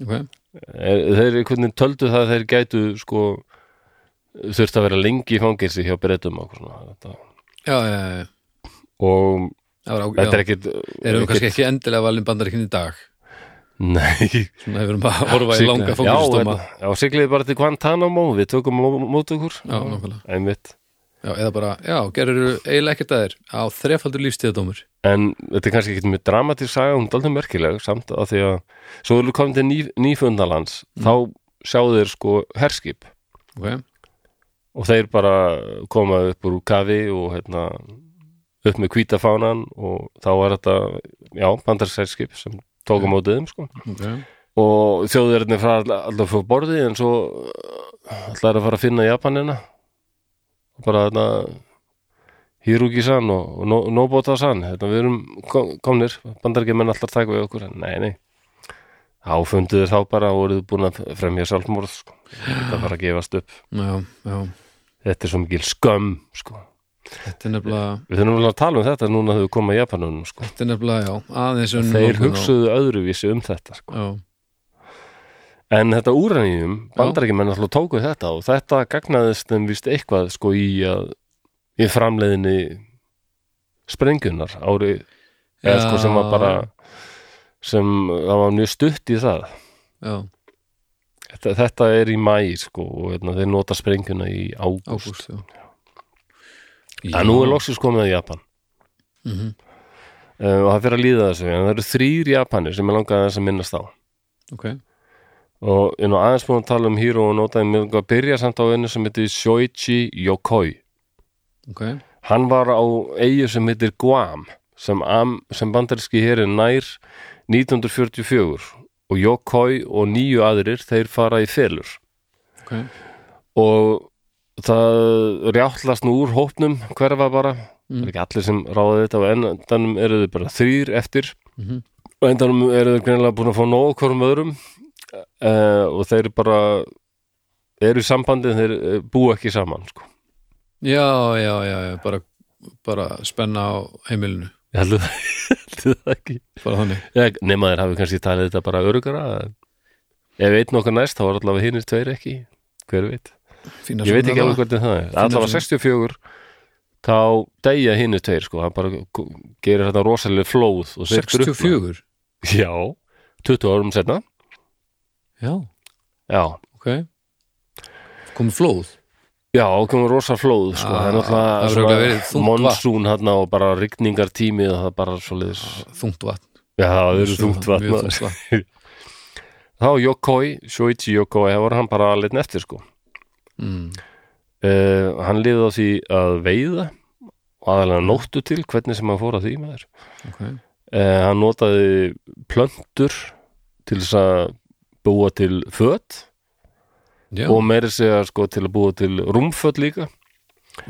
Speaker 2: ok,
Speaker 1: Er, Eh, þeir einhvern veginn töldu það að þeir gætu sko þurft að vera lengi í fangelsi hjá breytum og, svona, þetta.
Speaker 2: já, já, já, já.
Speaker 1: og
Speaker 2: Það var á-
Speaker 1: þetta er
Speaker 2: já.
Speaker 1: ekkit
Speaker 2: erum við kannski
Speaker 1: ekkit-
Speaker 2: ekki endilega valin bandaríkinn í dag
Speaker 1: Nei,
Speaker 2: svona hefur við bara horfa í
Speaker 1: Sigla-
Speaker 2: langa
Speaker 1: já, hérna-
Speaker 2: fókustóma
Speaker 1: þetta- já, sigliði bara til Guantanamo við tökum á mót okkur
Speaker 2: Já, nákvæmlega.
Speaker 1: Einmitt.
Speaker 2: Já, eða bara, já, gerur eiginlega ekkert að þér á þrefaldur lífstíðadómur
Speaker 1: en þetta er kannski ekkit mjög dramatísk saga hún er daldið merkileg samt að því að svo erum við komin til ný, nýfundalands
Speaker 2: Mm.
Speaker 1: þá sjá þeir sko herskip
Speaker 2: okay.
Speaker 1: og þeir bara koma upp úr kafi og hérna upp með kvítafánan og þá var þetta já, bandarsælskip sem tók á mótið þeim sko
Speaker 2: Okay.
Speaker 1: og þjóðverðinni frá alltaf frá borði en svo alltaf er að fara að finna Japanina og bara þetta Hirugi-san og, og No- Nobota-san hérna, við erum kom, komnir bandargemenn alltaf taka við okkur en nei, nei áfundu þeir þá bara og voruðu búin að fremja sjálfmórð sko. þetta fara að gefast upp
Speaker 2: Já, já,
Speaker 1: þetta er svo mikil skömm sko.
Speaker 2: þetta er nefnilega
Speaker 1: við þurfum alveg að tala um þetta núna þegar við komum að Japanunum sko.
Speaker 2: þetta er nefnilega, já, aðeins önnur
Speaker 1: þeir
Speaker 2: nálgun á-
Speaker 1: hugsuðu öðruvísi um þetta sko.
Speaker 2: Já,
Speaker 1: en þetta úranýjum, bandarækjumenn alltaf tóku þetta og þetta gagnaðist þeim víst eitthvað sko í að í framleiðinni sprengunar ári eða
Speaker 2: Já.
Speaker 1: sko sem var bara sem það var mjög stutt í það
Speaker 2: já,
Speaker 1: þetta, þetta er í mæ sko og hérna, þeir nota sprenguna í ágúst
Speaker 2: ágúst já.
Speaker 1: Já. En nú er loksins komið að Japan
Speaker 2: Mhm.
Speaker 1: uh, og það fyrir að líða þessu en það eru þrýr Japanir sem ég langaði þess að minnast á
Speaker 2: Ok,
Speaker 1: og ég er nú aðeins búin að tala um Hiro og notaði mig langar að byrja samt á einu sem heitir Shoichi Yokoi
Speaker 2: ok,
Speaker 1: hann var á eigu sem heitir Guam sem, am, sem bandaríski herin nær 1944 og Yokoi og nýju aðrir þeir fara í felur
Speaker 2: ok
Speaker 1: og það rjáttlast nú úr hópnum hverfa bara það er ekki allir sem ráða þetta og endanum eru þau bara þrýr eftir
Speaker 2: Mhm.
Speaker 1: og endanum eru þau greinilega búin að fá nóg af hvorum öðrum uh, og þeir bara eru í sambandi en þeir eh, búa ekki saman sko.
Speaker 2: Já, já, já, já, bara, bara spenna á heimilinu
Speaker 1: ég heldur það, heldur það ekki
Speaker 2: bara þannig,
Speaker 1: Ég, nema þeir hafi kannski talið þetta bara örugara ef einn okkar næst þá var allavega hinnir tveir ekki hver veit
Speaker 2: fína
Speaker 1: ég veit ekki
Speaker 2: alveg
Speaker 1: alveg hvernig það er allavega 64 þá degja hinnu tveir sko, hann bara k- gerir þetta rosalega flóð og sveipur upp.
Speaker 2: 64,
Speaker 1: já, 20 árum setna
Speaker 2: já,
Speaker 1: já,
Speaker 2: ok komið flóð,
Speaker 1: já, og komum rosa flóð sko,
Speaker 2: Ah,
Speaker 1: það er
Speaker 2: það hefur örugglega verið
Speaker 1: náttúrulega
Speaker 2: þungt
Speaker 1: svona monsún hann og bara rigningartími og það er bara svoleiðis
Speaker 2: þungt vatn
Speaker 1: já, það eru
Speaker 2: Mjög
Speaker 1: þungt vatn
Speaker 2: mjög
Speaker 1: maður.
Speaker 2: þungt vatn.
Speaker 1: þá Yokoi, Shoichi Yokoi það var hann bara alveg eftir sko
Speaker 2: Mm.
Speaker 1: uh, hann lifið á því að veiða og aðalega nóttu til hvernig sem hann fór að því maður
Speaker 2: ok,
Speaker 1: Eh, hann notaði plöntur til þess að búa til föt
Speaker 2: já,
Speaker 1: og meiri segja sko til að búa til rúmföt líka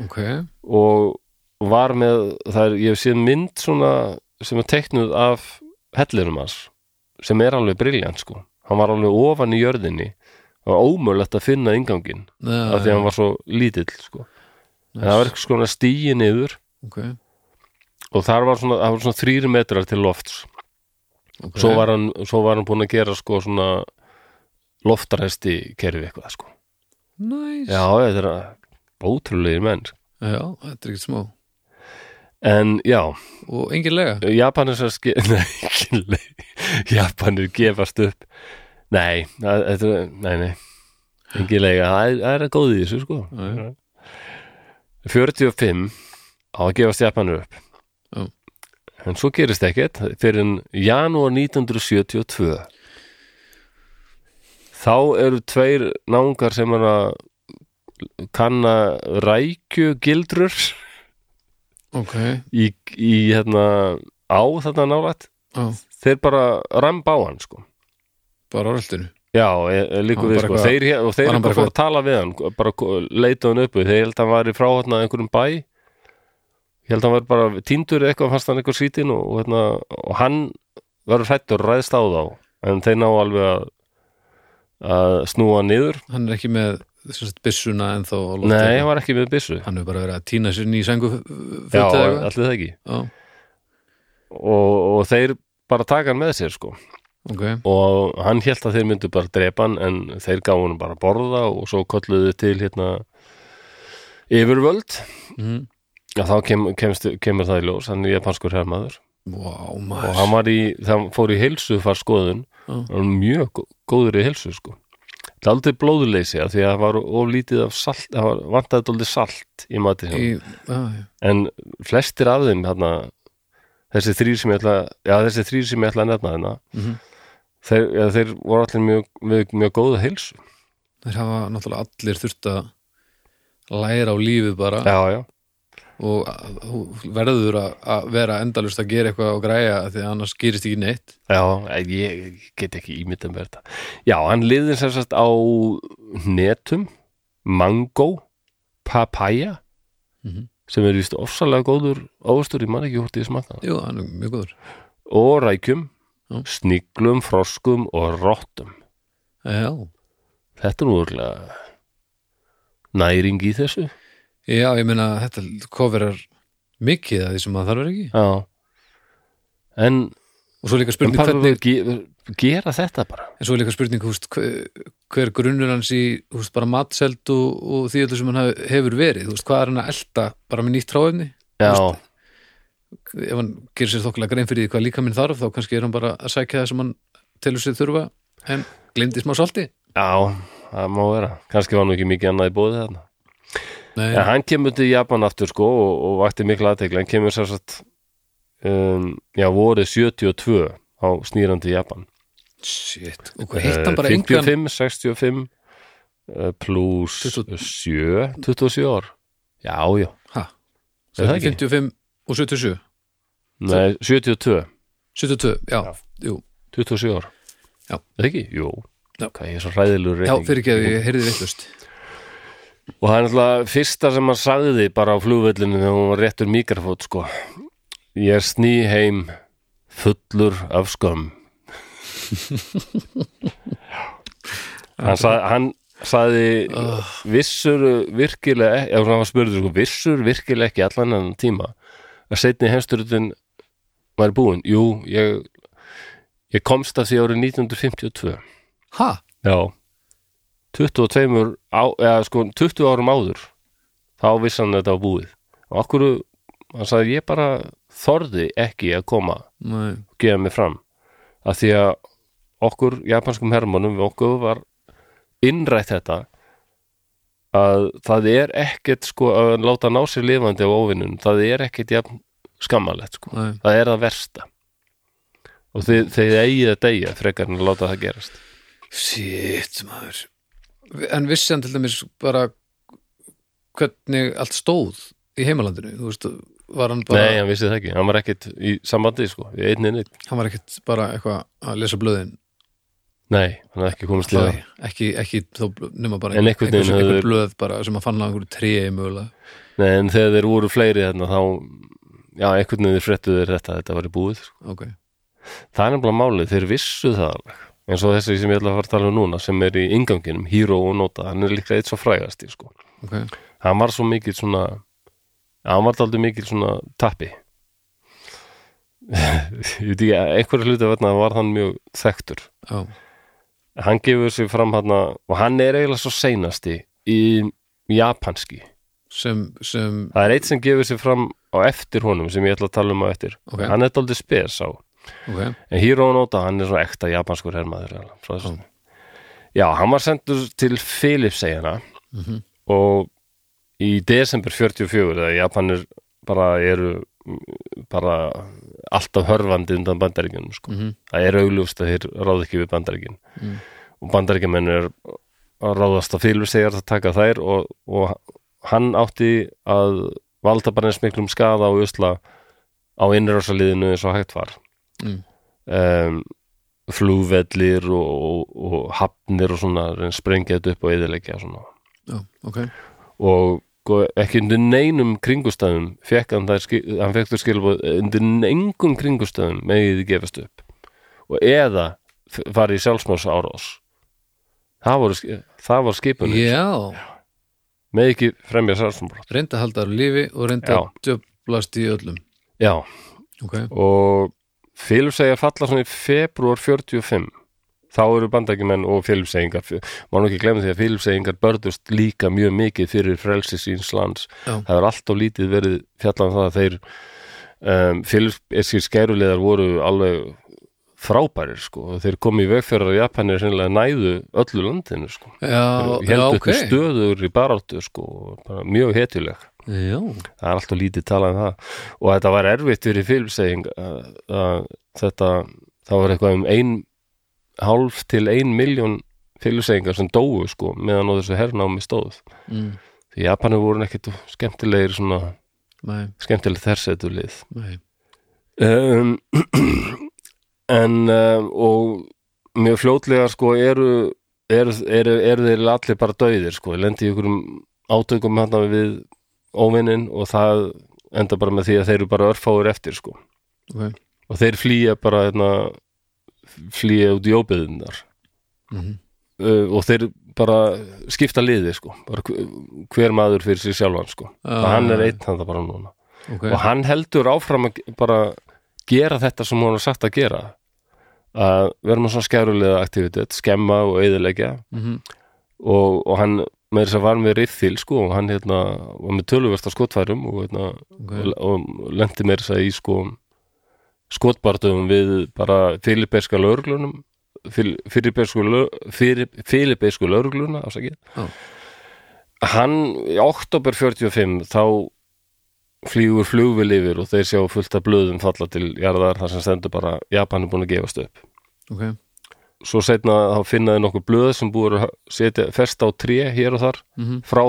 Speaker 2: ok
Speaker 1: og var með, það er, ég hef séð mynd svona sem er teknuð af hellinum hans sem er alveg briljant sko, hann var alveg ofan í jörðinni það var ómögulegt að finna ingangin af því að hann var svo lítill sko. en það var eitthvað svona stíi niður
Speaker 2: ok,
Speaker 1: og þar var svona, það var svona þrýri metrar til lofts
Speaker 2: ok
Speaker 1: svo var hann, svo var hann búin að gera sko svona loftarhesti kerfi eitthvað sko
Speaker 2: nice.
Speaker 1: já, þetta er ótrúlegir menn sko.
Speaker 2: já, þetta er ekkert smá
Speaker 1: en já,
Speaker 2: og engin lega
Speaker 1: Japanir sem ske... Nei, ekki leið Japanir gefast upp Nei, það- þetta er... Nei, nei Engi leiga, það er- það er að góði í þessu sko
Speaker 2: Já,
Speaker 1: 45 á að gefast Japanir upp
Speaker 2: Já.
Speaker 1: En svo gerist ekkert fyrir en janúar 1972 Þá eru tveir náungar sem er að kanna rækjugildrur
Speaker 2: ok,
Speaker 1: í, í hérna á þarna nálætt
Speaker 2: já,
Speaker 1: þeir bara ramb á hann sko
Speaker 2: bara orðaldinu
Speaker 1: já, e- e- líkur
Speaker 2: Hann
Speaker 1: við
Speaker 2: bara
Speaker 1: sko
Speaker 2: eitthvað-
Speaker 1: þeir, hér- og þeir
Speaker 2: var hann
Speaker 1: bara
Speaker 2: bara
Speaker 1: fór að tala við hann bara ko- leita hann uppi, þeir held að hann var í fráhotnað einhverjum bæ ég held að hann var bara tíndur eða eitthvað fannst hann eitthvað sýtin og, og, hérna, og hann verður hrættur og ræðst á þá en þeir ná alveg að, að snúa hann niður
Speaker 2: hann er ekki með sem sagt, byssuna en þó
Speaker 1: nei, hann var ekki með byssu
Speaker 2: hann hefur bara verið að týna sér ný sengu
Speaker 1: já,
Speaker 2: fötta eða eitthvað
Speaker 1: allir það ekki
Speaker 2: já,
Speaker 1: og, og þeir bara taka hann með sér sko
Speaker 2: ok,
Speaker 1: og hann hélt að þeir myndu bara drepa hann en þeir gáðu hann bara að borða og svo kolluðu til hérna yfirvöld
Speaker 2: mm.
Speaker 1: já, þá kem, kemst, kemur það í ljós hann er japanskur herrmaður
Speaker 2: wow,
Speaker 1: og
Speaker 2: maður
Speaker 1: hann var í, þegar hann fór í heilsu far skoðun,
Speaker 2: Já.
Speaker 1: hann var mjög gó- góður í heilsu sko það er aldrei blóðuleysi af því að það var of lítið af salt það var, vantaði aldrei salt í mati hann
Speaker 2: í, já, já,
Speaker 1: en flestir af þeim hérna, þessi þrýr sem ég ætla já, þessi þrýr sem ég ætla að nefna hérna
Speaker 2: Mhm.
Speaker 1: þeir, ja, þeir voru allir mjög, mjög, mjög góða heilsu
Speaker 2: þeir hafa náttúrulega allir þurft að læra á lífið bara
Speaker 1: já, já,
Speaker 2: og að- þú verður að- að vera endalust að gera eitthvað og græja af því að annars gerist ekki neitt
Speaker 1: já ég, ég get ekki ímyndað með þetta já, hann liði sem sagt á netum, mango papaya
Speaker 2: Mhm.
Speaker 1: sem er víst ofsalega góður ávöxtur, ég man ekki hvort ég smaka það
Speaker 2: jú, hann er mjög góður
Speaker 1: og rækjum,
Speaker 2: Já.
Speaker 1: sniglum, froskum og rottum
Speaker 2: já,
Speaker 1: þetta er nú úrlega næring í þessu
Speaker 2: já ég meina þetta kofirar mikið að því sem maður þarf ekki
Speaker 1: já en,
Speaker 2: og svo er líka
Speaker 1: en
Speaker 2: spurning hvernig,
Speaker 1: ge, gera þetta bara
Speaker 2: en svo er líka spurning húst, hver, hver grunnur hans í húst, bara matselt og, og því öllu sem hann hef- hefur verið húst, hvað er hann að elta bara með nýtt tráefni
Speaker 1: já,
Speaker 2: ef hann gerir sér þokkilega grein fyrir því hvað líka minn þarf þá kannski er hann bara að sækja það sem hann telur sér þurfa en glimdi smá salti
Speaker 1: já, það má vera kannski var nú ekki mikið annað í bóðið þarna
Speaker 2: Nei,
Speaker 1: En hann kemur til Japan aftur sko og, og vakti mikla aðtekla, hann kemur sér satt um, já, vorið 72 á snýrandi Japan
Speaker 2: shit, og hvað hitt hann
Speaker 1: Eh,
Speaker 2: bara engan
Speaker 1: 55, 65 uh, plus
Speaker 2: 20.
Speaker 1: 7 27 ár já, já,
Speaker 2: Ha,
Speaker 1: Er það ekki?
Speaker 2: 55 og 77
Speaker 1: Nei, 72
Speaker 2: 72, já,
Speaker 1: Já.
Speaker 2: jú
Speaker 1: 27 ár
Speaker 2: Já.
Speaker 1: Er það ekki? Jú,
Speaker 2: Já.
Speaker 1: Hvað, ég er svo hræðilur
Speaker 2: Já, fyrir ekki að ég heyrði veitlust
Speaker 1: og það er náttúrulega fyrsta sem hann sagði bara á flugvöllinu þegar hún var réttur mikrafót sko ég sný heim fullur af skömm hann, sag, hann sagði vissur uh, virkilega ef hann var spurður sko, vissur virkilega ekki allan enn tíma að setni heimsturðin var búin jú, ég, ég komst að því árið 1952
Speaker 2: Ha,
Speaker 1: Já 22 á, eða, sko, 20 árum áður þá vissi hann að þetta var búið og okkur, hann sagði ég bara þorði ekki að koma og
Speaker 2: nei,
Speaker 1: gefa mig fram að því að okkur japanskum hermónum við okkur var innrætt þetta að það er ekkert sko að láta ná sér lifandi á óvinnun það er ekkert jafn skammalegt sko.
Speaker 2: nei
Speaker 1: það er það versta og þið, þið eigið að deyja frekar en að láta það gerast
Speaker 2: Shit, maður En vissi hann til dæmis bara hvernig allt stóð í heimalandinu, þú veist var hann bara,
Speaker 1: Nei, hann vissi það ekki, hann var ekkit í sambandi sko, í einni neitt
Speaker 2: hann var ekkert bara eitthvað að lesa blöðin
Speaker 1: Nei, hann hafði ekki komist í það
Speaker 2: Nei, ekki, ekki þó nema bara
Speaker 1: En einhvern veginn
Speaker 2: einhver,
Speaker 1: höfðu-
Speaker 2: einhver blöð bara sem að fann á einhverju tréi mögulega
Speaker 1: Nei, en þegar þeir voru fleiri þarna þá Já, einhvern veginn þeir fréttu þeir þetta, þetta var í búið sko.
Speaker 2: ok,
Speaker 1: Það er nefnilega málið, þeir vissu það alveg eins og þessi sem ég ætla að fara að tala um núna sem er í inganginum, Hero og Nota hann er líka eitt svo frægast í sko
Speaker 2: ok,
Speaker 1: hann var svo mikill svona hann var aldrei mikill svona tappi ég veit ekki, einhverju hluti verðna var hann mjög þekktur
Speaker 2: já,
Speaker 1: hann gefur sig fram hann og hann er eiginlega svo seinasti í japanski
Speaker 2: sem, sem
Speaker 1: það er eitt sem gefur sig fram á eftir honum sem ég ætla að tala um á eftir
Speaker 2: Ok.
Speaker 1: hann er aldrei spes á
Speaker 2: ok,
Speaker 1: en Hiro Noda, hann er svona ekta japanskur hermaður eiginlega, frá þessu já, hann var sendur til Filipseyjana og í desember 44 þegar Japanir bara eru mm, bara alltaf hörfandi undan bandaríkjunum sko. það er augljóst að þeir ráð ekki við bandaríkin og bandaríkjumenn er að ráðast að Filipseyjar að taka þær og, og hann átti að valda bara eins miklum skaða og usla á innrásaliðinu eins og hægt var um, flúvellir og, og, og hafnir og svona reyna að sprengja þetta upp og eðilegja svona.
Speaker 2: já, ok
Speaker 1: og sko, ekki undir neinum kringustæðum fekk hann þær skil, hann fekk þau skilabóð undir nengum kringustæðum megið þið gefast upp og eða f- fara í sjálfsmáls árás það, voru, sk- það var skipunni yeah.
Speaker 2: já,
Speaker 1: með ekki fremja sjálfsmáls
Speaker 2: reynda að halda þar á lífi og reynda að djöblast í öllum
Speaker 1: já
Speaker 2: ok,
Speaker 1: og Filipseyjar falla svona í februar 45 þá eru bandækjumenn og Filipseyingar má nú ekki glemma því að Filipseyingar börðust líka mjög mikið fyrir frelsi síns lands
Speaker 2: Já.
Speaker 1: það er alltof lítið verið fjallan það að þeir um, Filipseyskir skæruleðar voru alveg frábærir sko og þeir komu í vegferðar að Japanir sennilega næðu öllu landinu sko
Speaker 2: já,
Speaker 1: og
Speaker 2: já,
Speaker 1: heldur
Speaker 2: ok
Speaker 1: okay. stöður í baráttu sko og bara mjög hetileg
Speaker 2: já,
Speaker 1: það er alltaf lítið talað um það og þetta var erfitt fyrir filmseging að þetta það var eitthvað um ein hálf til ein miljón filmsegingar sem dóu sko meðan á þessu hernámi stóð
Speaker 2: mm,
Speaker 1: því Japanir voru ekkit skemmtilegir svona
Speaker 2: nei,
Speaker 1: skemmtileg þersetulið
Speaker 2: nei
Speaker 1: um, en um, og mjög fljótlega sko eru eru, eru, eru þeir allir bara döiðir sko, lendi í einhverjum átökum hérna við óvinnin og það enda bara með því að þeir eru bara örfáir eftir sko
Speaker 2: ok,
Speaker 1: og þeir flýja bara hérna, flýja út í óbyðunar
Speaker 2: Mhm.
Speaker 1: uh, og þeir bara skipta liði sko bara hver- hver maður fyrir sig sjálfan sko
Speaker 2: Ah.
Speaker 1: og hann er einn hann bara núna
Speaker 2: ok
Speaker 1: og hann heldur áfram að ge- bara gera þetta sem hún er sagt að gera að vera með svona skærulega aktivitet, skemma og eðilegja
Speaker 2: Mhm.
Speaker 1: og, og hann með þess að segja var með riffil sko og hann hérna var með töluversta skotfærum og, hérna,
Speaker 2: Ok.
Speaker 1: og lendi með þess að segja í sko skotbartöðum við bara filiberska lögreglunum filibersku filibersku lögregluna ásakið
Speaker 2: Já.
Speaker 1: hann í oktober 45 þá flýgur flugvil yfir og þeir sjá fullt af blöðum falla til jarðar þar sem stendur bara Japan er búin að gefast upp
Speaker 2: ok,
Speaker 1: svo setna þá finnaði nokkuð blöð sem búið að setja festa á tré hér og þar
Speaker 2: Mhm.
Speaker 1: frá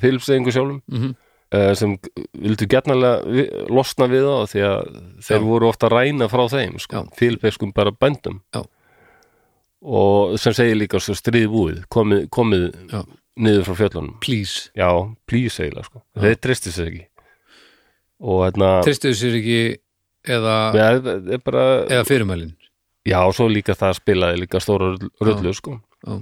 Speaker 1: Filipseyingu sjálfum
Speaker 2: mm
Speaker 1: eh, sem vildu getnalega vi- losna við þá því að þeir
Speaker 2: Já.
Speaker 1: voru ofta ræna frá þeim
Speaker 2: Já.
Speaker 1: sko, Filipskum bara bændum
Speaker 2: Já.
Speaker 1: og sem segir líka svo stríð búið komið, komið
Speaker 2: Já.
Speaker 1: niður frá fjöllunum
Speaker 2: please
Speaker 1: já, please eiginlega sko þeir tristu sér ekki og hérna
Speaker 2: tristuðu sér ekki eða,
Speaker 1: ja, það er bara,
Speaker 2: eða fyrirmælin
Speaker 1: já, svo líka það spilaði líka stóra rullu sko
Speaker 2: já,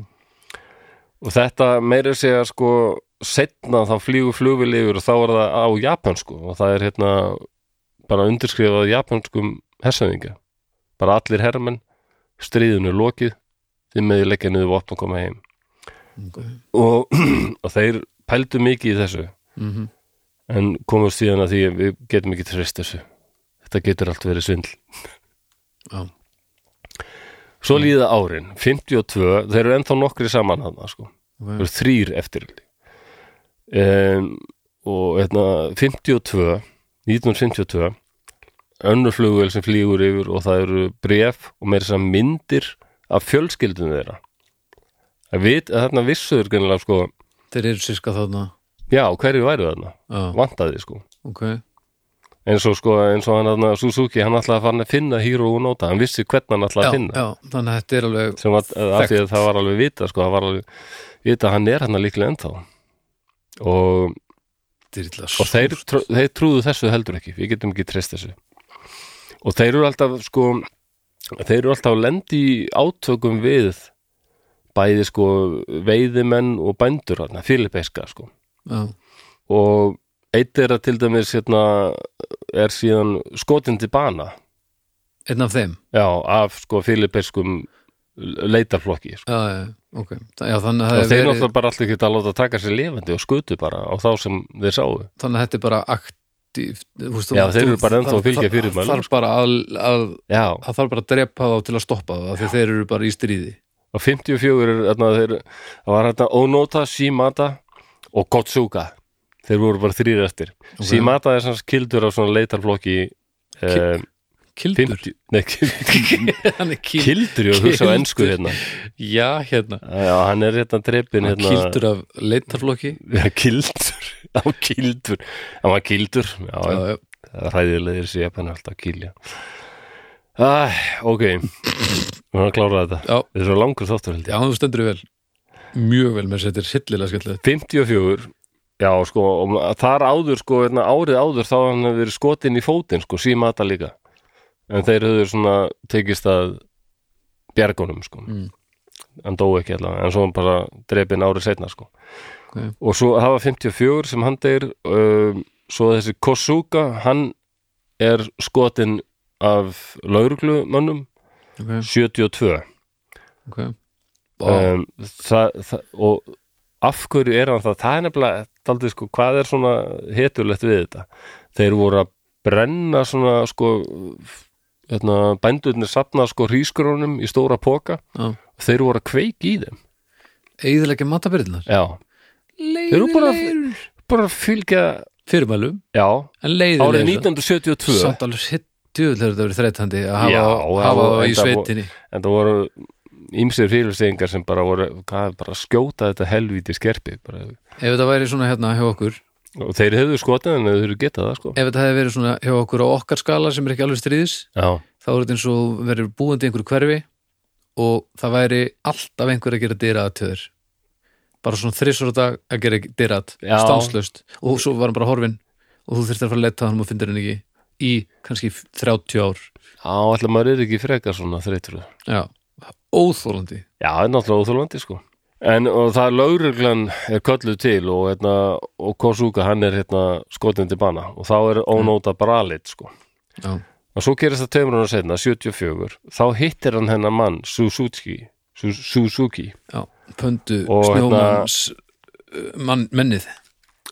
Speaker 1: og þetta meira segja sko setna þá flýgur flugvil yfir og þá er það á japansku og það er hérna bara undirskrifað japanskum hersöðinga bara allir herrmenn stríðinu er lokið þið meði leggja niður vopn og koma heim
Speaker 2: ok
Speaker 1: og, og þeir pældu mikið í þessu
Speaker 2: mm
Speaker 1: en komum síðan að því að við getum ekki trist þessu þetta getur allt verið svindl
Speaker 2: Já.
Speaker 1: svo líða árin 52, þeir eru ennþá nokkri saman hana, sko.
Speaker 2: Ok.
Speaker 1: þeir eru þrýr eftir um, og hérna 52 1952 önnur flugvél sem flýgur yfir og það eru bref og meira þess að segja myndir af fjölskyldunum þeirra að vit, að þarna vissuður gennilega sko,
Speaker 2: þeir eru sirka þarna
Speaker 1: já, hverju væru þarna
Speaker 2: já,
Speaker 1: vantaði sko
Speaker 2: ok,
Speaker 1: eins og sko, eins og hann að Suzuki, hann ætlaði að fara að finna Hiro og Nóta, hann vissi hvern hann ætlaði
Speaker 2: já,
Speaker 1: að finna
Speaker 2: já, þannig að þetta er alveg
Speaker 1: sem var, af því að
Speaker 2: Þekkt.
Speaker 1: það var alveg vita sko, það var alveg vita að hann er hann líklega ennþá og,
Speaker 2: dyrla
Speaker 1: og þeir, trú, þeir trúðu þessu heldur ekki við getum ekki treyst þessu og þeir eru alltaf sko þeir eru alltaf að lendi í átökum við bæði sko veiðimenn og bændur hann, Filipeiska sko
Speaker 2: já,
Speaker 1: og eitt er að til dæmis hérna er síðan skotin til bana
Speaker 2: einn af þeim
Speaker 1: já, af sko Filipeiskum leitarflokki sko.
Speaker 2: já, já, ok, Þa- já, þannig að það
Speaker 1: og
Speaker 2: hefur
Speaker 1: þeir
Speaker 2: verið-
Speaker 1: náttúrulega bara allir geta að láta taka sér lifandi og skutu bara á þá sem þeir sáu
Speaker 2: þannig að þetta er bara aktíft þú veist,
Speaker 1: Já,
Speaker 2: þú-
Speaker 1: þeir eru bara ennþá að fylgja
Speaker 2: þarf-
Speaker 1: fyrirmælum, sko.
Speaker 2: þarf bara að, að,
Speaker 1: já,
Speaker 2: að þarf bara að drepa þá til að stoppa þá af því þeir eru bara í stríði
Speaker 1: og 54 er þarna þeir, það var hérna Onota, Shimata og Gotsuga þeir voru bara þrýr eftir Shimata er sanns kildur af svona leitarflokki eh,
Speaker 2: kildur,
Speaker 1: 50, nei, kildur
Speaker 2: hann er kild,
Speaker 1: kildur, ég hugsa á ensku hérna
Speaker 2: já, hérna
Speaker 1: já, hann er hérna drepin
Speaker 2: hann
Speaker 1: hérna,
Speaker 2: kildur af leitarflokki
Speaker 1: Já, kildur, á kildur hann var kildur, já,
Speaker 2: já,
Speaker 1: já.
Speaker 2: já,
Speaker 1: ræðilegir sér hann er alltaf að kilja Æ, ok við erum að klára þetta
Speaker 2: já,
Speaker 1: þetta er svo langur þáttur held ég
Speaker 2: já, þú stendur vel mjög vel með þetta er hillilega skemmtilegt
Speaker 1: 54, já sko og þar áður sko, hérna, árið áður þá hafði hann verið skotin í fótinn sko, síma þetta líka en þeir höfðu svona tekist að bjargunum sko
Speaker 2: Mm.
Speaker 1: hann dói ekki allavega, en svo hann bara drepin árið setna sko
Speaker 2: Ok.
Speaker 1: og svo hafa 54 sem hann deyr um, svo þessi Kosuka hann er skotin af lauruglumönnum
Speaker 2: ok,
Speaker 1: 72
Speaker 2: ok Vá,
Speaker 1: um, það, það, og af hverju er hann það það er nefnilega, daldið sko, hvað er svona hetulegt við þetta þeir voru að brenna svona sko, hérna, bændurnir safna sko hrísgrónum í stóra póka
Speaker 2: já.
Speaker 1: þeir voru að kveiki í þeim
Speaker 2: eigðilega matabyrðinar
Speaker 1: já, þeir eru bara, bara að fylgja
Speaker 2: fyrirmælum,
Speaker 1: já,
Speaker 2: en
Speaker 1: árið
Speaker 2: leiðilega
Speaker 1: 1972
Speaker 2: samt alveg hittu þegar þetta verið þreytandi að
Speaker 1: Já,
Speaker 2: hafa,
Speaker 1: já,
Speaker 2: hafa
Speaker 1: og
Speaker 2: í
Speaker 1: þetta vo-
Speaker 2: sveitinni
Speaker 1: en það voru ýmsir fyrirstegingar sem bara voru hvað, bara að skjóta þetta helvíti skerpi bara.
Speaker 2: ef þetta væri svona hérna hjá okkur
Speaker 1: og þeir hefðu skotið en þeir hefðu getað það sko
Speaker 2: ef þetta hefði verið svona hjá okkur á okkar skala sem er ekki alveg stríðis
Speaker 1: já,
Speaker 2: þá er þetta eins og verið búandi í einhverju hverfi og það væri alltaf einhver að gera dyrað til þér bara svona þrissur á dag að gera dyrað
Speaker 1: Já.
Speaker 2: stanslöst og svo var hann bara horfinn og þú þurftir að fara að leta hann og fyndir hann ekki í kannski 30 ár
Speaker 1: Já, ætla maður er ekki frekar svona þreytur
Speaker 2: já, óþólandi
Speaker 1: Já, það er náttúrulega óþólandi sko En og það er lögreglan er kölluð til og, hérna, og Kosuka hann er hérna, skotin til bana og þá er ónóta bralit sko
Speaker 2: já,
Speaker 1: og svo gerist það tveimur hann setna, 74 þá hittir hann hennar mann Suzuki Su- Suzuki
Speaker 2: já, pöndu
Speaker 1: Og hérna-
Speaker 2: snjómanns uh, mann, mennið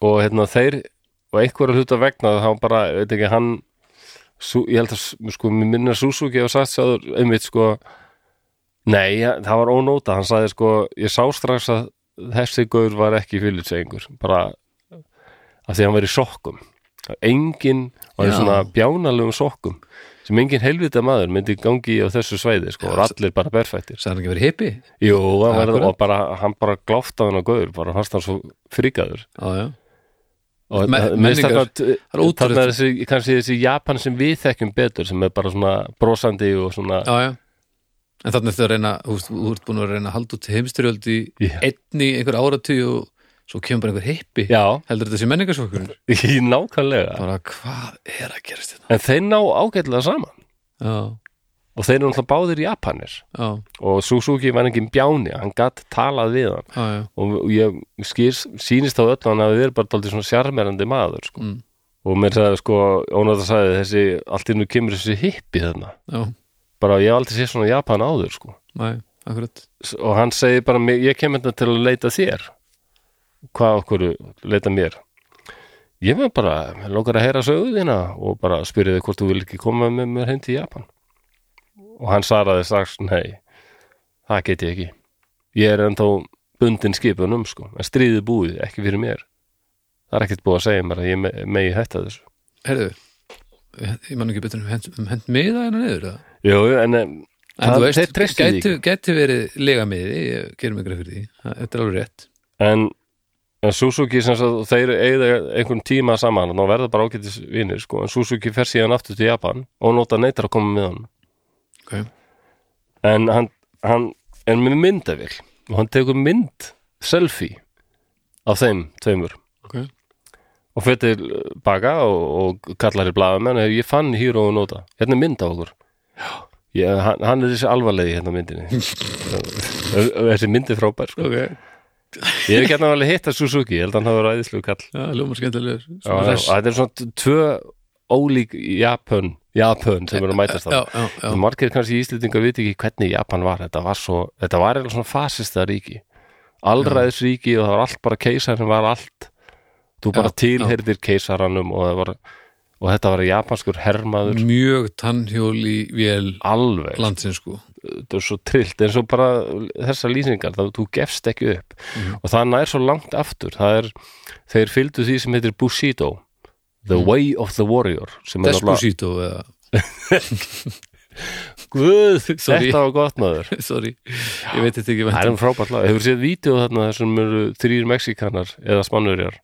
Speaker 1: og hérna þeir og einhverja hluta vegna þá bara, veit ekki, hann sú, ég held að sko, mér minna Suzuki hafa sagt sáður, einmitt sko nei, ja, það var ónóta, hann sagði sko ég sá strax að þessi gaur var ekki fyrirtsegingur, bara af því að hann var í sokkum engin, var í
Speaker 2: Já.
Speaker 1: svona bjánalögum sokkum, sem engin helvita maður myndi gangi á þessu svæði sko, og allir bara berfættir
Speaker 2: sagði hann ekki verið hippi
Speaker 1: Jú, hann var,
Speaker 2: Akkurat.
Speaker 1: og bara, hann bara gláfti á hann á gaur, bara fannst hann svo fríkaður
Speaker 2: já, já
Speaker 1: og
Speaker 2: Me-
Speaker 1: það-
Speaker 2: menningar.
Speaker 1: mér finnst þarna-
Speaker 2: Það er ótrúlegt.
Speaker 1: þarna er þessi, kannski þessi Japan sem við þekkjum betur sem er bara svona brosandi og svona
Speaker 2: já, já. En þannig þetta að reyna, þú veist, þú ert búin að vera að reyna að halda út heimstyrjöld í
Speaker 1: Já.
Speaker 2: einni einhver áratug og svo kemur bara einhver hippi
Speaker 1: já,
Speaker 2: heldur þetta sé menningarsokkur
Speaker 1: í nákvæmlega
Speaker 2: bara hvað er að gerast hérna? þetta
Speaker 1: en þeir ná ágætlega saman
Speaker 2: já,
Speaker 1: og þeir eru náttúrulega báðir Japanir
Speaker 2: já,
Speaker 1: og Suzuki var engin bjáni hann gatt talað við hann
Speaker 2: já, já,
Speaker 1: og ég skýr, sýnist á öllu að hann hafi verið bara daldið svona sjarmerandi maður sko.
Speaker 2: Mm.
Speaker 1: og mér sagði sko, ónátt að sagði þessi, allt innu kemur þessi hippi þarna
Speaker 2: já,
Speaker 1: bara ég hef aldrei séð svona Japan áður sko.
Speaker 2: næ, akkurat
Speaker 1: S- og hann segi bara "Mig- ég kem hérna til að leita þér hvað okkur leita mér ég með bara mig langar að heyra sögu þína og bara spyrjaði hvort þú vil ekki koma með mér heim til Japan og hann svaraði strax nei, það get ég ekki ég er ennþá bundin skipunum sko, en stríðið búið, ekki fyrir mér það er ekkert búið að segja mér að ég me- megi hætta þessu
Speaker 2: heyrðu, ég man ekki betur um hend, um hend miða hérna niður eða?
Speaker 1: Jú, jú, en em,
Speaker 2: en
Speaker 1: það-
Speaker 2: þú
Speaker 1: þeir
Speaker 2: veist,
Speaker 1: treystu því
Speaker 2: gæti, gæti verið lega miði, ég gerum ykkur fyrir því, Það- þetta er alveg rétt
Speaker 1: en En Suzuki sem sagt, þeir eigða einhvern tíma saman og verða bara ágætis vinir sko. en Suzuki fer síðan aftur til Japan og nota neytar að koma með hann
Speaker 2: okay.
Speaker 1: en hann, hann er með myndavél og hann tekur mynd, selfie af þeim tveimur
Speaker 2: Okay.
Speaker 1: og fer til eh, baka og, og kallar í blaðamenn og ég fann hýru og nota, hérna er mynd af okkur ég, hann, hann er þessi alvarlegi hérna á myndinni þessi myndi frábær sko.
Speaker 2: ok,
Speaker 1: ég hef ekki hérna alveg hitt að Suzuki ég held að hann hafa ræðislu kall
Speaker 2: já, ljóma skemmtilegur
Speaker 1: Já, já,
Speaker 2: Hress.
Speaker 1: þetta er svona tvö ólík Japan, Japan sem eru að mætast
Speaker 2: já,
Speaker 1: það.
Speaker 2: já, já,
Speaker 1: Margir kannski í Íslendinga viti ekki hvernig Japan var. Þetta var svo, þetta var eða svona fasista ríki. Allræðisríki og það var allt bara keisarinn var allt. Þú bara
Speaker 2: Já,
Speaker 1: tilherðir keisaranum og, það var, og þetta var japanskur
Speaker 2: Mm.
Speaker 1: hermaður
Speaker 2: mjög tannhjól í vél
Speaker 1: alveg.
Speaker 2: landsins sko
Speaker 1: þetta er svo trillt eins og bara þessar lýsingar, það þú gefst ekki upp
Speaker 2: Mhm.
Speaker 1: og það nær svo langt aftur það er, þeir fylgdu því sem heitir Bushido The
Speaker 2: Mhm.
Speaker 1: Way of the Warrior sem er náttúrulega-
Speaker 2: Despacito eða,
Speaker 1: Guð,
Speaker 2: Sorry.
Speaker 1: þetta var gott maður
Speaker 2: sorry ég veit þetta ekki
Speaker 1: það er um
Speaker 2: væntum.
Speaker 1: frábært lag, hefur séð vídeo þarna þar sem eru þrýr mexikanar eða spannurjar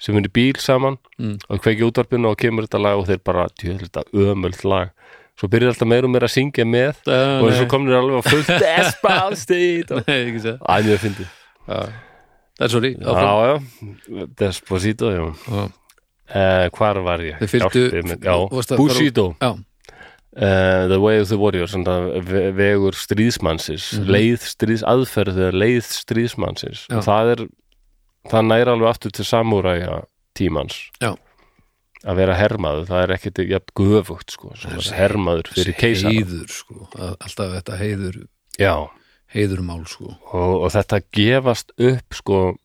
Speaker 1: sem eru í bíl saman
Speaker 2: Mm.
Speaker 1: og kveiki útvarpinu og kemur þetta lag og þeir bara, djú, þetta ömöld lag svo byrjar alltaf meira og meira að syngja með
Speaker 2: Ah,
Speaker 1: og svo
Speaker 2: nei.
Speaker 1: komnir alveg að fullt Despacito
Speaker 2: Nei, ekki segja.
Speaker 1: Æ, mjög fyndið
Speaker 2: það er sorry áfram.
Speaker 1: Já, já, Despacito, já.
Speaker 2: Já.
Speaker 1: Uh, hvar var ég?
Speaker 2: Þeir fylgdu-
Speaker 1: Hjálpi mér,
Speaker 2: þú varst
Speaker 1: já,
Speaker 2: að-
Speaker 1: Bushido,
Speaker 2: já,
Speaker 1: uh, The Way of the Warrior, sem það ve- vegur stríðsmannsins, leið stríðs, aðferðu, leið stríðsmannsins.
Speaker 2: Mhm. Já.
Speaker 1: Það er, það næra alveg aftur til samúræja tímans.
Speaker 2: Já.
Speaker 1: Að vera hermaður, það er ekkit jafn guðvögt, sko, sem að vera hermaður fyrir keisara.
Speaker 2: heiður sko að- alltaf þetta heiður
Speaker 1: Já.
Speaker 2: heiðurmál sko
Speaker 1: og, og þetta gefast upp sko,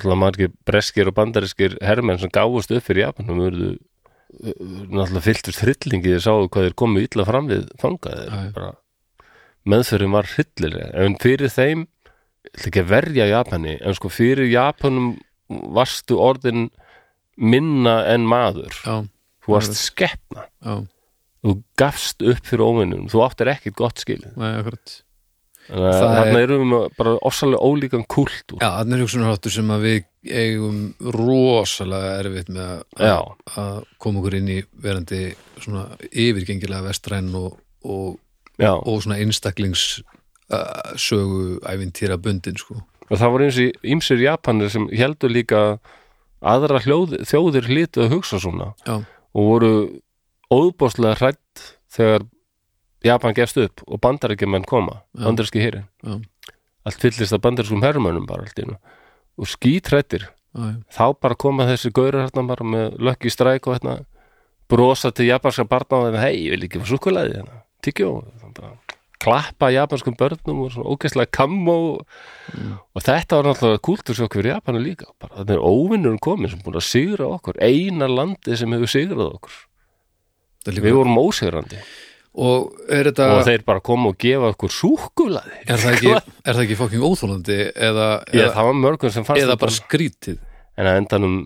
Speaker 1: náttúrulega margir breskir og bandariskir hermenn sem gáfust upp fyrir Japanum urðu uh, náttúrulega fylltust hryllingi þeir sáu hvað þeir komu illa fram
Speaker 2: Já,
Speaker 1: við
Speaker 2: já.
Speaker 1: fangaði bara meðförin var hryllileg en fyrir þeim, ég ætla ekki að verja Japani, en sko fyrir Japanum varstu orðin minna en maður
Speaker 2: já,
Speaker 1: þú varst skeppna
Speaker 2: já,
Speaker 1: þú gafst upp fyrir óvinnum þú áttir ekkit gott skilið
Speaker 2: nei, akkurat
Speaker 1: þannig að
Speaker 2: Það er-
Speaker 1: þarna erum við með bara ofsalega ólíkan kultúr
Speaker 2: já, þannig er hugsunarháttur sem að við eigum rosalega erfitt með að-
Speaker 1: Já,
Speaker 2: að koma okkur inn í verandi svona yfirgengilega vestræn og, og,
Speaker 1: já, og,
Speaker 2: og svona einstaklings uh, sögu ævintýra bundin sko.
Speaker 1: það voru eins og ímsir Japanir sem heldur líka að aðra hljóð, þjóðir hlitu að hugsa svona
Speaker 2: já,
Speaker 1: og voru óðbóðslega hrætt þegar Japan gefst upp og bandarækjumenn koma,
Speaker 2: Já.
Speaker 1: bandaríski hérin
Speaker 2: Já.
Speaker 1: allt fyllist af bandarískum hermönnum bara allt innu og skítrættir
Speaker 2: já, já,
Speaker 1: þá bara koma þessi gaurar hérna bara með lökki stræk og hérna brosa til japanska barna og þeim hei, ég vil ekki fá súkulaði hérna, tyggjó bara klappa japanskum börnum og svona ógeðslega kammo
Speaker 2: Mm.
Speaker 1: og þetta var náttúrulega kultursjók fyrir Japanu líka, bara þannig er óvinnurinn komin sem búin að sigra okkur, eina landi sem hefur sigrað okkur,
Speaker 2: það er
Speaker 1: við
Speaker 2: líka
Speaker 1: vorum ósigrandi
Speaker 2: og er þetta
Speaker 1: og þeir bara koma og gefa okkur súkulaði
Speaker 2: er það, ekki, er það ekki fóking óþólandi eða,
Speaker 1: Ég,
Speaker 2: eða,
Speaker 1: það var mörgum sem fannst
Speaker 2: eða
Speaker 1: þetta-
Speaker 2: bara skrítið
Speaker 1: en að endanum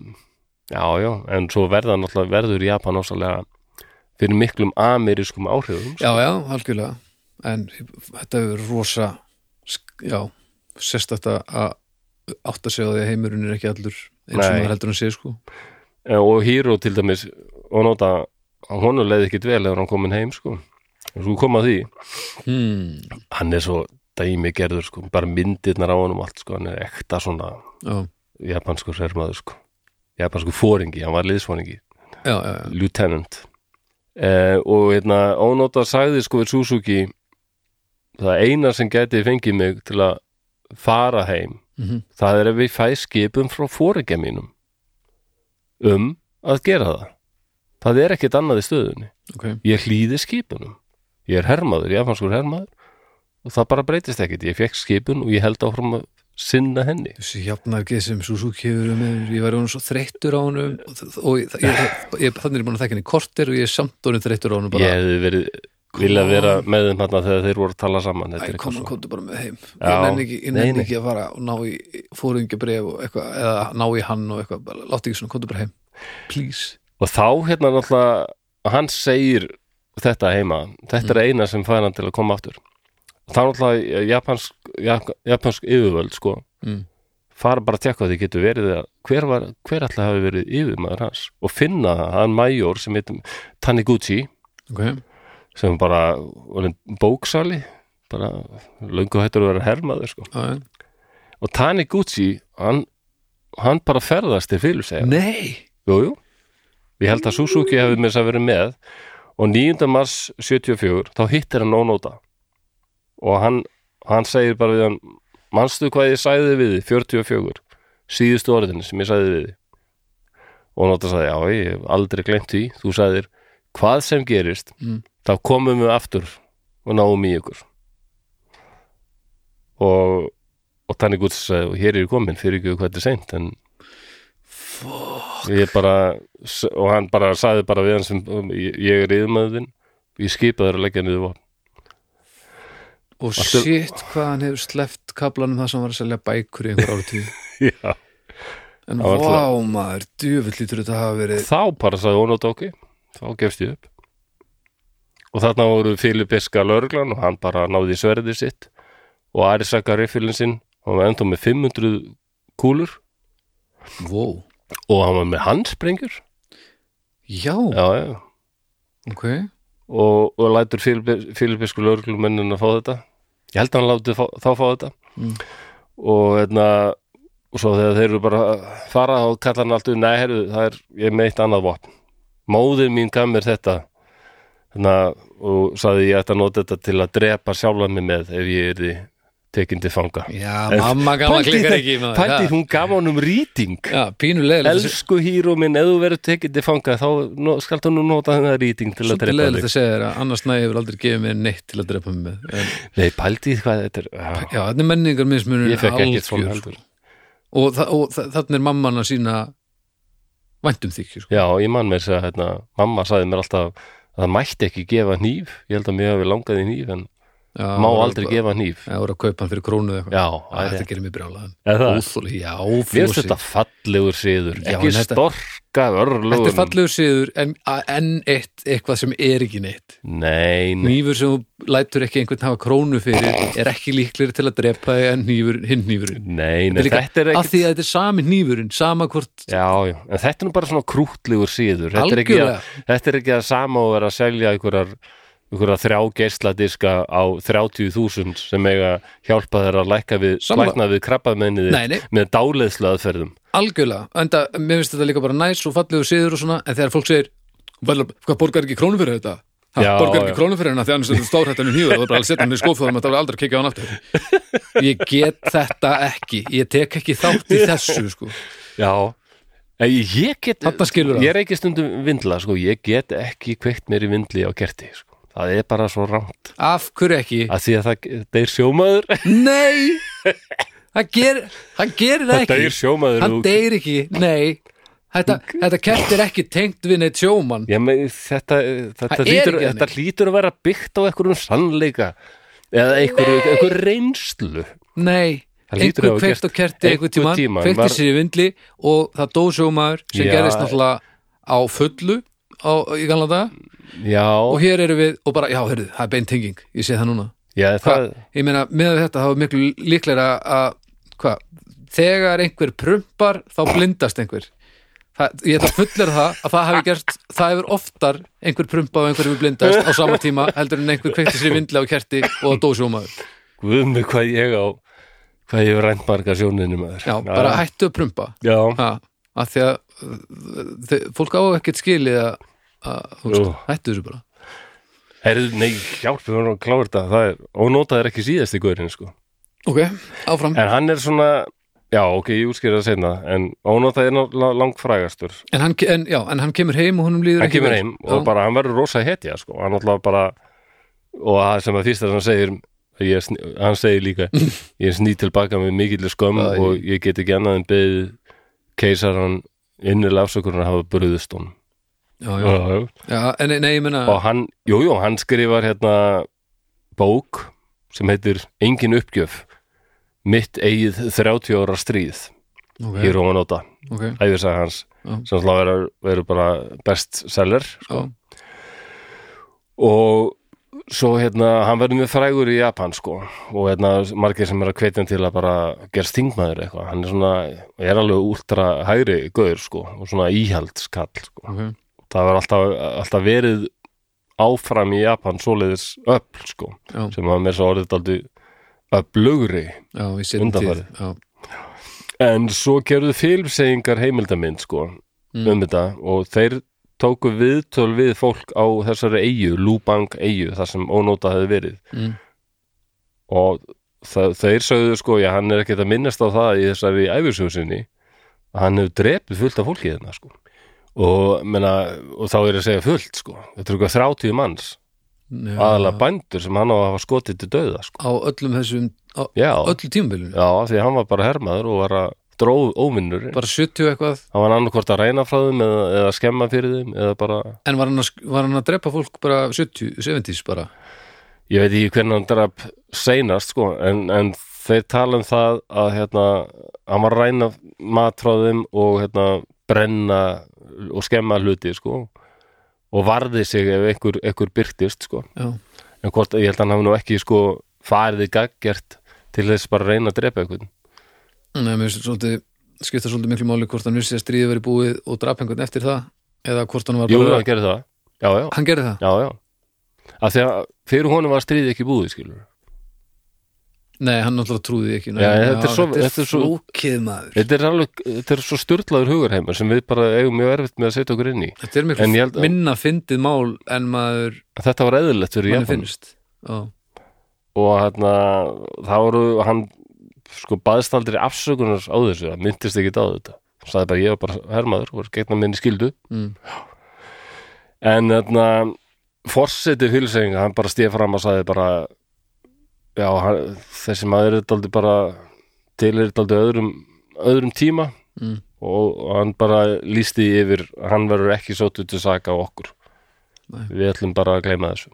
Speaker 1: já, já, en svo verða náttúrulega verður Japan ásalega fyrir miklum amerískum áhrifum sko.
Speaker 2: já, já, algjörlega en þetta hefur verið rosa sk- já, sérst þetta að átt að segja því að heimurinn er ekki allur eins og
Speaker 1: Nei.
Speaker 2: maður heldur hann sé sko
Speaker 1: Eh, og Hiro til dæmis og nota, honu leiði ekkit vel ef hann komin heim, sko og svo koma því,
Speaker 2: hmm.
Speaker 1: hann er svo dæmi gerður, sko, bara myndirnar á honum og allt, sko, hann er ekta svona
Speaker 2: já,
Speaker 1: japanskur sermaður, sko japanskur fóringi, hann var liðsfóringi
Speaker 2: já, já, já.
Speaker 1: lieutenant eh, og hérna ónóta sagði sko við Suzuki það eina sem gæti fengið mig til að fara heim
Speaker 2: Mhm.
Speaker 1: það er ef við fæ skipum frá fóringja mínum um að gera það það er ekkert annað í stöðunni
Speaker 2: ok
Speaker 1: ég hlýði skipunum ég er hermaður, ég er fanskur hermaður og það bara breytist ekkert, ég fekk skipun og ég held áfram að sinna henni
Speaker 2: þessi jafnargið sem Suzuki hefur verið með ég var honum svo þreyttur á honum og, og ég, ég, ég, þannig er ég búin að þekka henni kortir og ég er samt honum þreyttur á honum
Speaker 1: ég
Speaker 2: bara,
Speaker 1: hefði verið vilja
Speaker 2: Come
Speaker 1: vera með þeim þarna þegar þeir voru að tala saman
Speaker 2: æ,
Speaker 1: Þetta er eitthvað
Speaker 2: kom,
Speaker 1: svo-
Speaker 2: komdu bara með heim
Speaker 1: Já.
Speaker 2: ég nenni ekki, ég
Speaker 1: Nei, nei.
Speaker 2: nenni ekki að fara og ná í fóringabref og eitthvað, eða ná í hann og eitthvað, bara, láttu ekki svona, komdu bara heim please,
Speaker 1: og þá hérna náttúrulega hann segir þetta heima þetta er eina sem fær hann til eh, að koma aftur þá náttúrulega japansk, jak- japansk yfirvöld sko
Speaker 2: Mm.
Speaker 1: fara bara að tekka því getur verið að hver, var, hver alltaf hafi verið yfirmaður hans og finna hann major sem heitum Taniguchi
Speaker 2: ok,
Speaker 1: sem bara orðinn bóksali bara löngu hættur að vera hermaður sko.
Speaker 2: já, já.
Speaker 1: og Taniguchi hann, hann bara ferðast til Filippseyja
Speaker 2: Nei
Speaker 1: Jú, jú. Ég held að Suzuki hefði með þess að verið með og 9. mars 74 þá hittir hann ónóta og hann, hann segir bara við hann manstu hvað ég sæði við þið 44, síðustu orðin sem ég sæði við þið og nóta sagði, já, ég hef aldrei glemt því þú sagðir, hvað sem gerist
Speaker 2: Mm.
Speaker 1: þá komum við aftur og náum í ykkur og og þannig út sagði, og hér er ég komin fyrir ekki hvað þetta er seint en ég bara og hann bara sagði bara við hann sem um, ég ég er yfirmaðurinn ég skipa þér að leggja niður vopn
Speaker 2: Og
Speaker 1: Allt er-
Speaker 2: shit hvað hann hefur sleppt kablanum það sem hann var að selja bækur í einhver ártíð
Speaker 1: já.
Speaker 2: En
Speaker 1: Það var
Speaker 2: vá maður, djöfull lítur þetta hafa verið
Speaker 1: þá bara sagði hún á dóki þá gefst ég upp og þarna voru Filipiska lörglan og hann bara náði í sverðið sitt og Arisaka riffilin sinn hann var ennþá með 500 kúlur
Speaker 2: Vó,
Speaker 1: og hann var með handsprengjur
Speaker 2: já,
Speaker 1: já, já.
Speaker 2: ok
Speaker 1: og, og lætur filipisku lögreglumennin að fá þetta ég held að hann láti fá, þá fá þetta
Speaker 2: Mm.
Speaker 1: og hérna og svo þegar þeir eru bara að fara þá kallar hann alltaf, nei herru, það er ég er með eitt annað vopn, móðir mín gaf mér þetta hérna, og sagði ég ætti að nota þetta til að drepa sjálfa mig með ef ég er því tekin til fanga
Speaker 2: Já,
Speaker 1: En-
Speaker 2: mamma gamla
Speaker 1: Pældi
Speaker 2: klikkar
Speaker 1: þe-
Speaker 2: ekki maður,
Speaker 1: pældi,
Speaker 2: já.
Speaker 1: hún gaf honum rýting
Speaker 2: Já, pínulegilegt
Speaker 1: elsku hýrú minn, ef þú verður tekin til fanga þá no, skal þú nú nota þennan rýting til að
Speaker 2: Svolítið
Speaker 1: drepa
Speaker 2: leiðilegt
Speaker 1: þig
Speaker 2: að segja þér að annars næ hefur aldrei gefið mér neitt til að drepa mig með en,
Speaker 1: nei, pældi því hvað þetta er já.
Speaker 2: Já, þannig er menningar mismunur
Speaker 1: Ég fekk ekkert svona
Speaker 2: sko.
Speaker 1: sko. heldur
Speaker 2: Og, þa og þa þannig er mamman að sína væntum þykju sko.
Speaker 1: Já, ég man mér að hérna, mamma sagði mér alltaf að það mætti ekki gefa hníf ég held að mér hafi langað í hníf en
Speaker 2: já,
Speaker 1: má
Speaker 2: og-
Speaker 1: aldrei gefa hníf Já,
Speaker 2: Já, voru að kaupa hann fyrir krónu eða eitthvað
Speaker 1: það er
Speaker 2: Þetta
Speaker 1: ekki
Speaker 2: gerir mér brjálaðan
Speaker 1: Er það?
Speaker 2: Óþóli, já,
Speaker 1: Mér finnst
Speaker 2: fjósi
Speaker 1: þetta fallegur siður,
Speaker 2: Já,
Speaker 1: ekki
Speaker 2: en þetta-
Speaker 1: storka örlugun
Speaker 2: Þetta er fallegur siður en, en eitt eitthvað sem er ekki neitt
Speaker 1: Nei, nei,
Speaker 2: Nýfur sem þú lætur ekki einhvern hafa krónu fyrir er ekki líklegri til að drepa þig en nýfur, hinn nýfurinn
Speaker 1: nei, nei þetta er
Speaker 2: Af
Speaker 1: ekki
Speaker 2: því að þetta er sami nýfurinn, sama hvort
Speaker 1: Já, já, en þetta er nú bara svona krútlegur síður þetta er, ekki að, þetta er ekki að sama og vera að selja einhverjar, einhverjar þrjá geisladiska á 30.000 sem eiga hjálpa þeir að lækka við,
Speaker 2: Sammála.
Speaker 1: lækna við krabbamennið
Speaker 2: Nei, nei.
Speaker 1: með dáleiðslu aðferðum
Speaker 2: Algjörlega, enda, mér finnst þetta líka bara næs og fallegur siður og svona, en þegar fólk segir "Vel, hvað borgar ekki krónu fyrir þetta? Ha,
Speaker 1: Já,
Speaker 2: borgar
Speaker 1: já.
Speaker 2: ekki krónu fyrir hennar því annars er þetta um stórhættanum hýður og það er bara að setja hann í skófóðum að það var aldrei að kikja á hann aftur Ég get þetta ekki, ég tek ekki þátt í þessu sko.
Speaker 1: Já En Ég get,
Speaker 2: Þarna skilur
Speaker 1: ég er ekki stundum vindla, sko, ég get ekki kveikt mér í vindli á kerti, sko. Það er bara svo rámt.
Speaker 2: Af hverju ekki?
Speaker 1: Að því að það deyr sjómaður,
Speaker 2: Nei! Hann gerir, hann gerir það ekki
Speaker 1: deyr sjómaður.
Speaker 2: Hann
Speaker 1: og-
Speaker 2: deyr ekki, nei Þetta, þetta kert er ekki tengt við neitt sjómann
Speaker 1: Ég með þetta, þetta,
Speaker 2: Það er
Speaker 1: hlýtur,
Speaker 2: ekki
Speaker 1: þetta
Speaker 2: þannig.
Speaker 1: hlýtur að vera byggt á einhverjum sannleika eða einhverju, einhverju reynslu.
Speaker 2: Nei,
Speaker 1: Það hlýtur að
Speaker 2: einhver
Speaker 1: hafa
Speaker 2: kveikt
Speaker 1: gerst
Speaker 2: og kerti einhver
Speaker 1: einhvern
Speaker 2: tíman,
Speaker 1: tímann,
Speaker 2: kveikti
Speaker 1: var-
Speaker 2: sér í vindli og það dó sjómaður sem
Speaker 1: Já.
Speaker 2: gerðist náttúrulega á fullu á, í gamla daga
Speaker 1: Já,
Speaker 2: og hér eru við og bara, já, hörðu, það er beint tenging ég sé það núna.
Speaker 1: já það,
Speaker 2: Hvað, ég meina, með þetta þá er miklu líklega að, hvað, þegar einhver prumpar þá blindast einhver Það, ég ætla að fullir það að það hafi gerst það hefur oftar einhver prumpað og einhver hefur blindast á sama tíma heldur en einhver kveikti sér í vindli á kerti og dó sjómaður
Speaker 1: guðum við hvað ég á, hvað ég hef rænt marga sjóninu maður.
Speaker 2: já, bara hættu að prumpa
Speaker 1: Já,
Speaker 2: ha, að því að uh, þe- fólk á ekkert skilið að, að þú veist,
Speaker 1: Jú.
Speaker 2: hættu þessu bara
Speaker 1: herðu, nei, hjálp, við vorum að klára þetta, það er, og notaður ekki síðasti guðurinn, sko.
Speaker 2: ok, áfram,
Speaker 1: En hann er svona Já, ok, ég útskýra það seinna En ónóta er náttúrulega langfrægastur
Speaker 2: en hann, ke- en, já, en hann kemur heim og honum líður
Speaker 1: Hann
Speaker 2: ekki
Speaker 1: kemur
Speaker 2: vel.
Speaker 1: heim
Speaker 2: Já.
Speaker 1: og bara hann verður rosa hetja sko. Hann náttúrulega bara Og það sem að fyrst að hann segir ég, er sn- Hann segir líka Ég er sný tilbaka með mikill skömm
Speaker 2: Æ.
Speaker 1: Og ég get ekki annað en beðið Keisaran innilega afsökurinn að hafa brugðist honum
Speaker 2: já, já,
Speaker 1: Já, já.
Speaker 2: já, en nei, ég menna
Speaker 1: Og hann, jú, jú, hann skrifar hérna Bók sem heitir Engin uppgjöf Mitt eigið 30 ára stríð
Speaker 2: ok,
Speaker 1: Hér og hann óta
Speaker 2: ok,
Speaker 1: æfisaga hans
Speaker 2: Já.
Speaker 1: sem slá verður, verður bara best seller
Speaker 2: já,
Speaker 1: og svo hérna, hann verður mjög frægur í Japan sko og hérna, margir sem er að hvetja hann til að bara gerast þingmaður eitthvað hann er svona, er alveg últra hægri gaur sko og svona íhaldskall sko.
Speaker 2: Ok.
Speaker 1: það var alltaf, alltaf verið áfram í Japan svoleiðis öll sko
Speaker 2: Já.
Speaker 1: sem var með svo orðið daldi öflugri
Speaker 2: já, í seinni tíð
Speaker 1: Undanfarið.
Speaker 2: já,
Speaker 1: en svo gerðu filmsegingar heimildamind sko
Speaker 2: Mm.
Speaker 1: um þetta og þeir tóku viðtöl við fólk á þessari eigu, Lubang eigu þar sem ónóta hefði verið
Speaker 2: Mm.
Speaker 1: og það, þeir sögðu sko, já hann er ekkert að minnast á það í þessari æfisjóðsynni að hann hefur drepið fullt af fólki þeirna sko og, menna, og þá er að segja fullt sko, þetta er eitthvað 30 manns
Speaker 2: já,
Speaker 1: aðalega bændur sem hann á að hafa skotið til dauða sko,
Speaker 2: á öllum þessum á
Speaker 1: já,
Speaker 2: öllu tímabilinu,
Speaker 1: já því að hann var bara hermaður og var að dróð óvinnur
Speaker 2: bara 70 eitthvað
Speaker 1: hann var annarkvort að reyna frá þeim eða, eða skemma fyrir þeim eða bara,
Speaker 2: en var hann, að, sk- var hann að drepa fólk bara 70, 70s bara
Speaker 1: ég veit ekki hvernig hann draf seinast sko, en, en þeir tala um það að hérna, hann var að reyna mat frá þeim og hérna, brenna og skemma hluti sko, og varði sig ef einhver, einhver byrtist sko.
Speaker 2: já,
Speaker 1: en hvort, ég held að hann hafi nú ekki sko, farið í gaggjart til þess bara að reyna að drepa einhvern
Speaker 2: Nei, mér finnst svolítið, skipta svolítið miklu máli hvort hann vissi að stríðið verið búið og drap einhvern eftir það eða hvort hann var
Speaker 1: Jú,
Speaker 2: bara
Speaker 1: hann gerði það já, já,
Speaker 2: hann gerði það,
Speaker 1: já, já. Af því að fyrir honum var stríði ekki búið skilur
Speaker 2: nei, hann náttúrulega trúði því ekki nei,
Speaker 1: Já, þetta er svo- þetta er svo-
Speaker 2: flókið maður
Speaker 1: Þetta er alveg, þetta er svo styrlaður hugurheimur sem við bara eigum mjög erfitt með að setja okkur inn í
Speaker 2: þetta er miklu
Speaker 1: En ég held að-
Speaker 2: minna fyndið mál en maður
Speaker 1: Þetta var eðlilegt fyrir
Speaker 2: hann
Speaker 1: Japan
Speaker 2: finnst já,
Speaker 1: og hérna, það voru hann sko baðst aldrei afsökunar á þessu, það myndist ekki á þetta hann sagði bara ég var bara hermaður og var gegna minni skildu
Speaker 2: mm,
Speaker 1: en þarna forseti fylsing, hann bara stíð fram og sagði bara já, hann, þessi maður er þetta aldrei bara til er þetta aldrei öðrum öðrum tíma
Speaker 2: Mm.
Speaker 1: og og hann bara lísti yfir hann verður ekki sóttu til saka á okkur
Speaker 2: Nei.
Speaker 1: við ætlum bara að gleyma þessu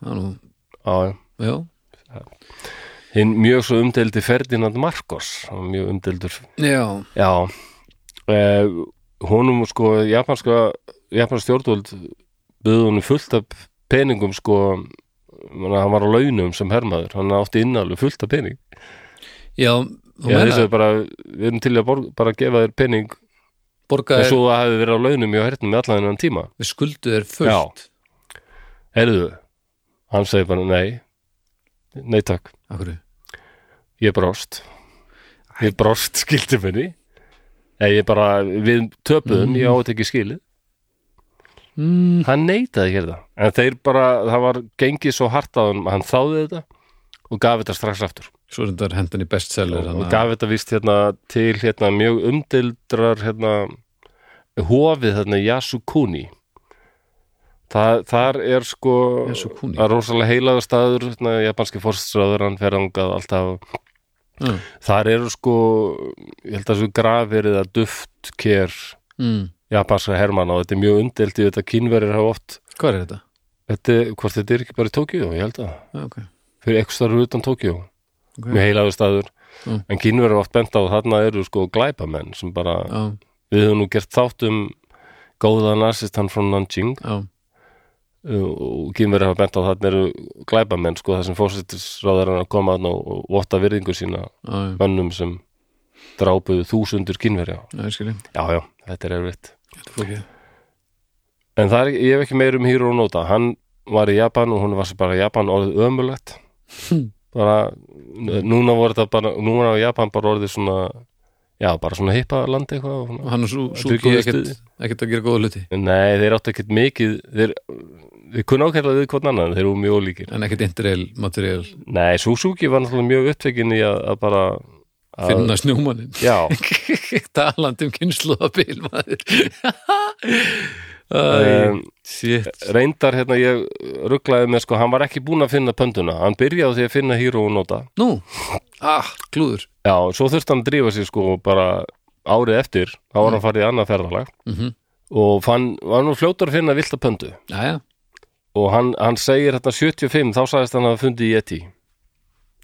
Speaker 2: já, nú,
Speaker 1: á,
Speaker 2: já,
Speaker 1: hinn mjög svo umdeldi Ferdinand Marcos hann var mjög umdeldur
Speaker 2: já
Speaker 1: Já eh, honum sko japanska, japanska stjórnvöld byggði honum fullt af peningum sko manna, hann var á launum sem hermaður hann átti innalveg fullt af pening
Speaker 2: já, þú
Speaker 1: Já,
Speaker 2: meina,
Speaker 1: þeir sagði bara, við erum til að borg, bara gefa þér pening
Speaker 2: borga
Speaker 1: en
Speaker 2: er,
Speaker 1: svo það hefði verið á launum hjá hernum í allan þennan tíma
Speaker 2: við skuldu er fullt
Speaker 1: Herðu, hann segi bara nei nei takk,
Speaker 2: af hverju,
Speaker 1: ég brost ég brost skildi minni Nei, ég bara, við töpuðum, ég átt ekki skilið
Speaker 2: mm,
Speaker 1: hann neitaði hér það en þeir bara, það var gengið svo hart að hann, hann þáði þetta og gaf þetta strax aftur
Speaker 2: svo er þetta hendan í bestseller
Speaker 1: og,
Speaker 2: þannig
Speaker 1: og
Speaker 2: að-
Speaker 1: gaf þetta vist hérna til hérna mjög umdildrar hérna hofið hérna Yasukuni Þa, þar er sko
Speaker 2: Yasukuni.
Speaker 1: það er rosalega heilaður staður hérna, japanski fórstsraður, hann fer þangað alltaf
Speaker 2: Já,
Speaker 1: þar eru sko, ég held að svo grafir eða duftker
Speaker 2: mm,
Speaker 1: japanska hermann og þetta er mjög umdild í þetta kínverðir hafa oft
Speaker 2: hvað er þetta?
Speaker 1: Þetta, er- hvort þetta er ekki bara í Tókíó, ég held að
Speaker 2: Já, ok,
Speaker 1: fyrir eitthvað starf utan Tókíó
Speaker 2: ok
Speaker 1: mjög heilagur staður,
Speaker 2: Mm.
Speaker 1: en kínverður er oft bent á að þarna eru sko glæpamenn sem bara,
Speaker 2: já,
Speaker 1: við höfum nú gert þátt um góða nasistan frá Nanjing
Speaker 2: já,
Speaker 1: uh, og kínverður hafa bent á að þarna eru glæpamenn sko, þar sem fórsetisráðarinn að koma þarna og, og votta virðingu sína
Speaker 2: já, já.
Speaker 1: mönnum sem drápuðu þúsundur kínverja
Speaker 2: Já, ég skilji,
Speaker 1: já, já, þetta er erfitt
Speaker 2: þetta er flókið
Speaker 1: en það er, ég hef ekki meir um Hiro Nota hann var í Japan og hún var svo bara Japan orðið ömulegt bara, núna voru þetta bara núna var Japan bara orðið svona já, bara svona hippa landi eitthvað og
Speaker 2: og
Speaker 1: svona.
Speaker 2: hann og svo, svo
Speaker 1: Þetta er ekki
Speaker 2: ekkert, ekkert að gera góða hluti
Speaker 1: nei, þeir áttu ekkert mikið þeir, þeir kunna ákærlega við hvort annan þeir eru mjög ólíkir
Speaker 2: en ekkert interrail material
Speaker 1: nei, Suzuki var náttúrulega mjög upptvekinn í að, að bara að,
Speaker 2: finna snjómanin
Speaker 1: já,
Speaker 2: talandi um kynnslóðabil maður Æ,
Speaker 1: um,
Speaker 2: shit
Speaker 1: reyndar hérna ég rugglaði með sko, hann var ekki búinn að finna pönduna hann byrjaði á því að finna Hiro Nota
Speaker 2: nú, ah, klúður
Speaker 1: Já, svo þurfti hann að drífa sér sko bara árið eftir, þá var
Speaker 2: Mm.
Speaker 1: hann farið í annað ferðalag
Speaker 2: Mhm.
Speaker 1: og fann, var nú fljótur að finna vilda pöndu
Speaker 2: Jæja,
Speaker 1: og hann, hann segir hérna 75, þá sagðist hann að hafa fundið Yeti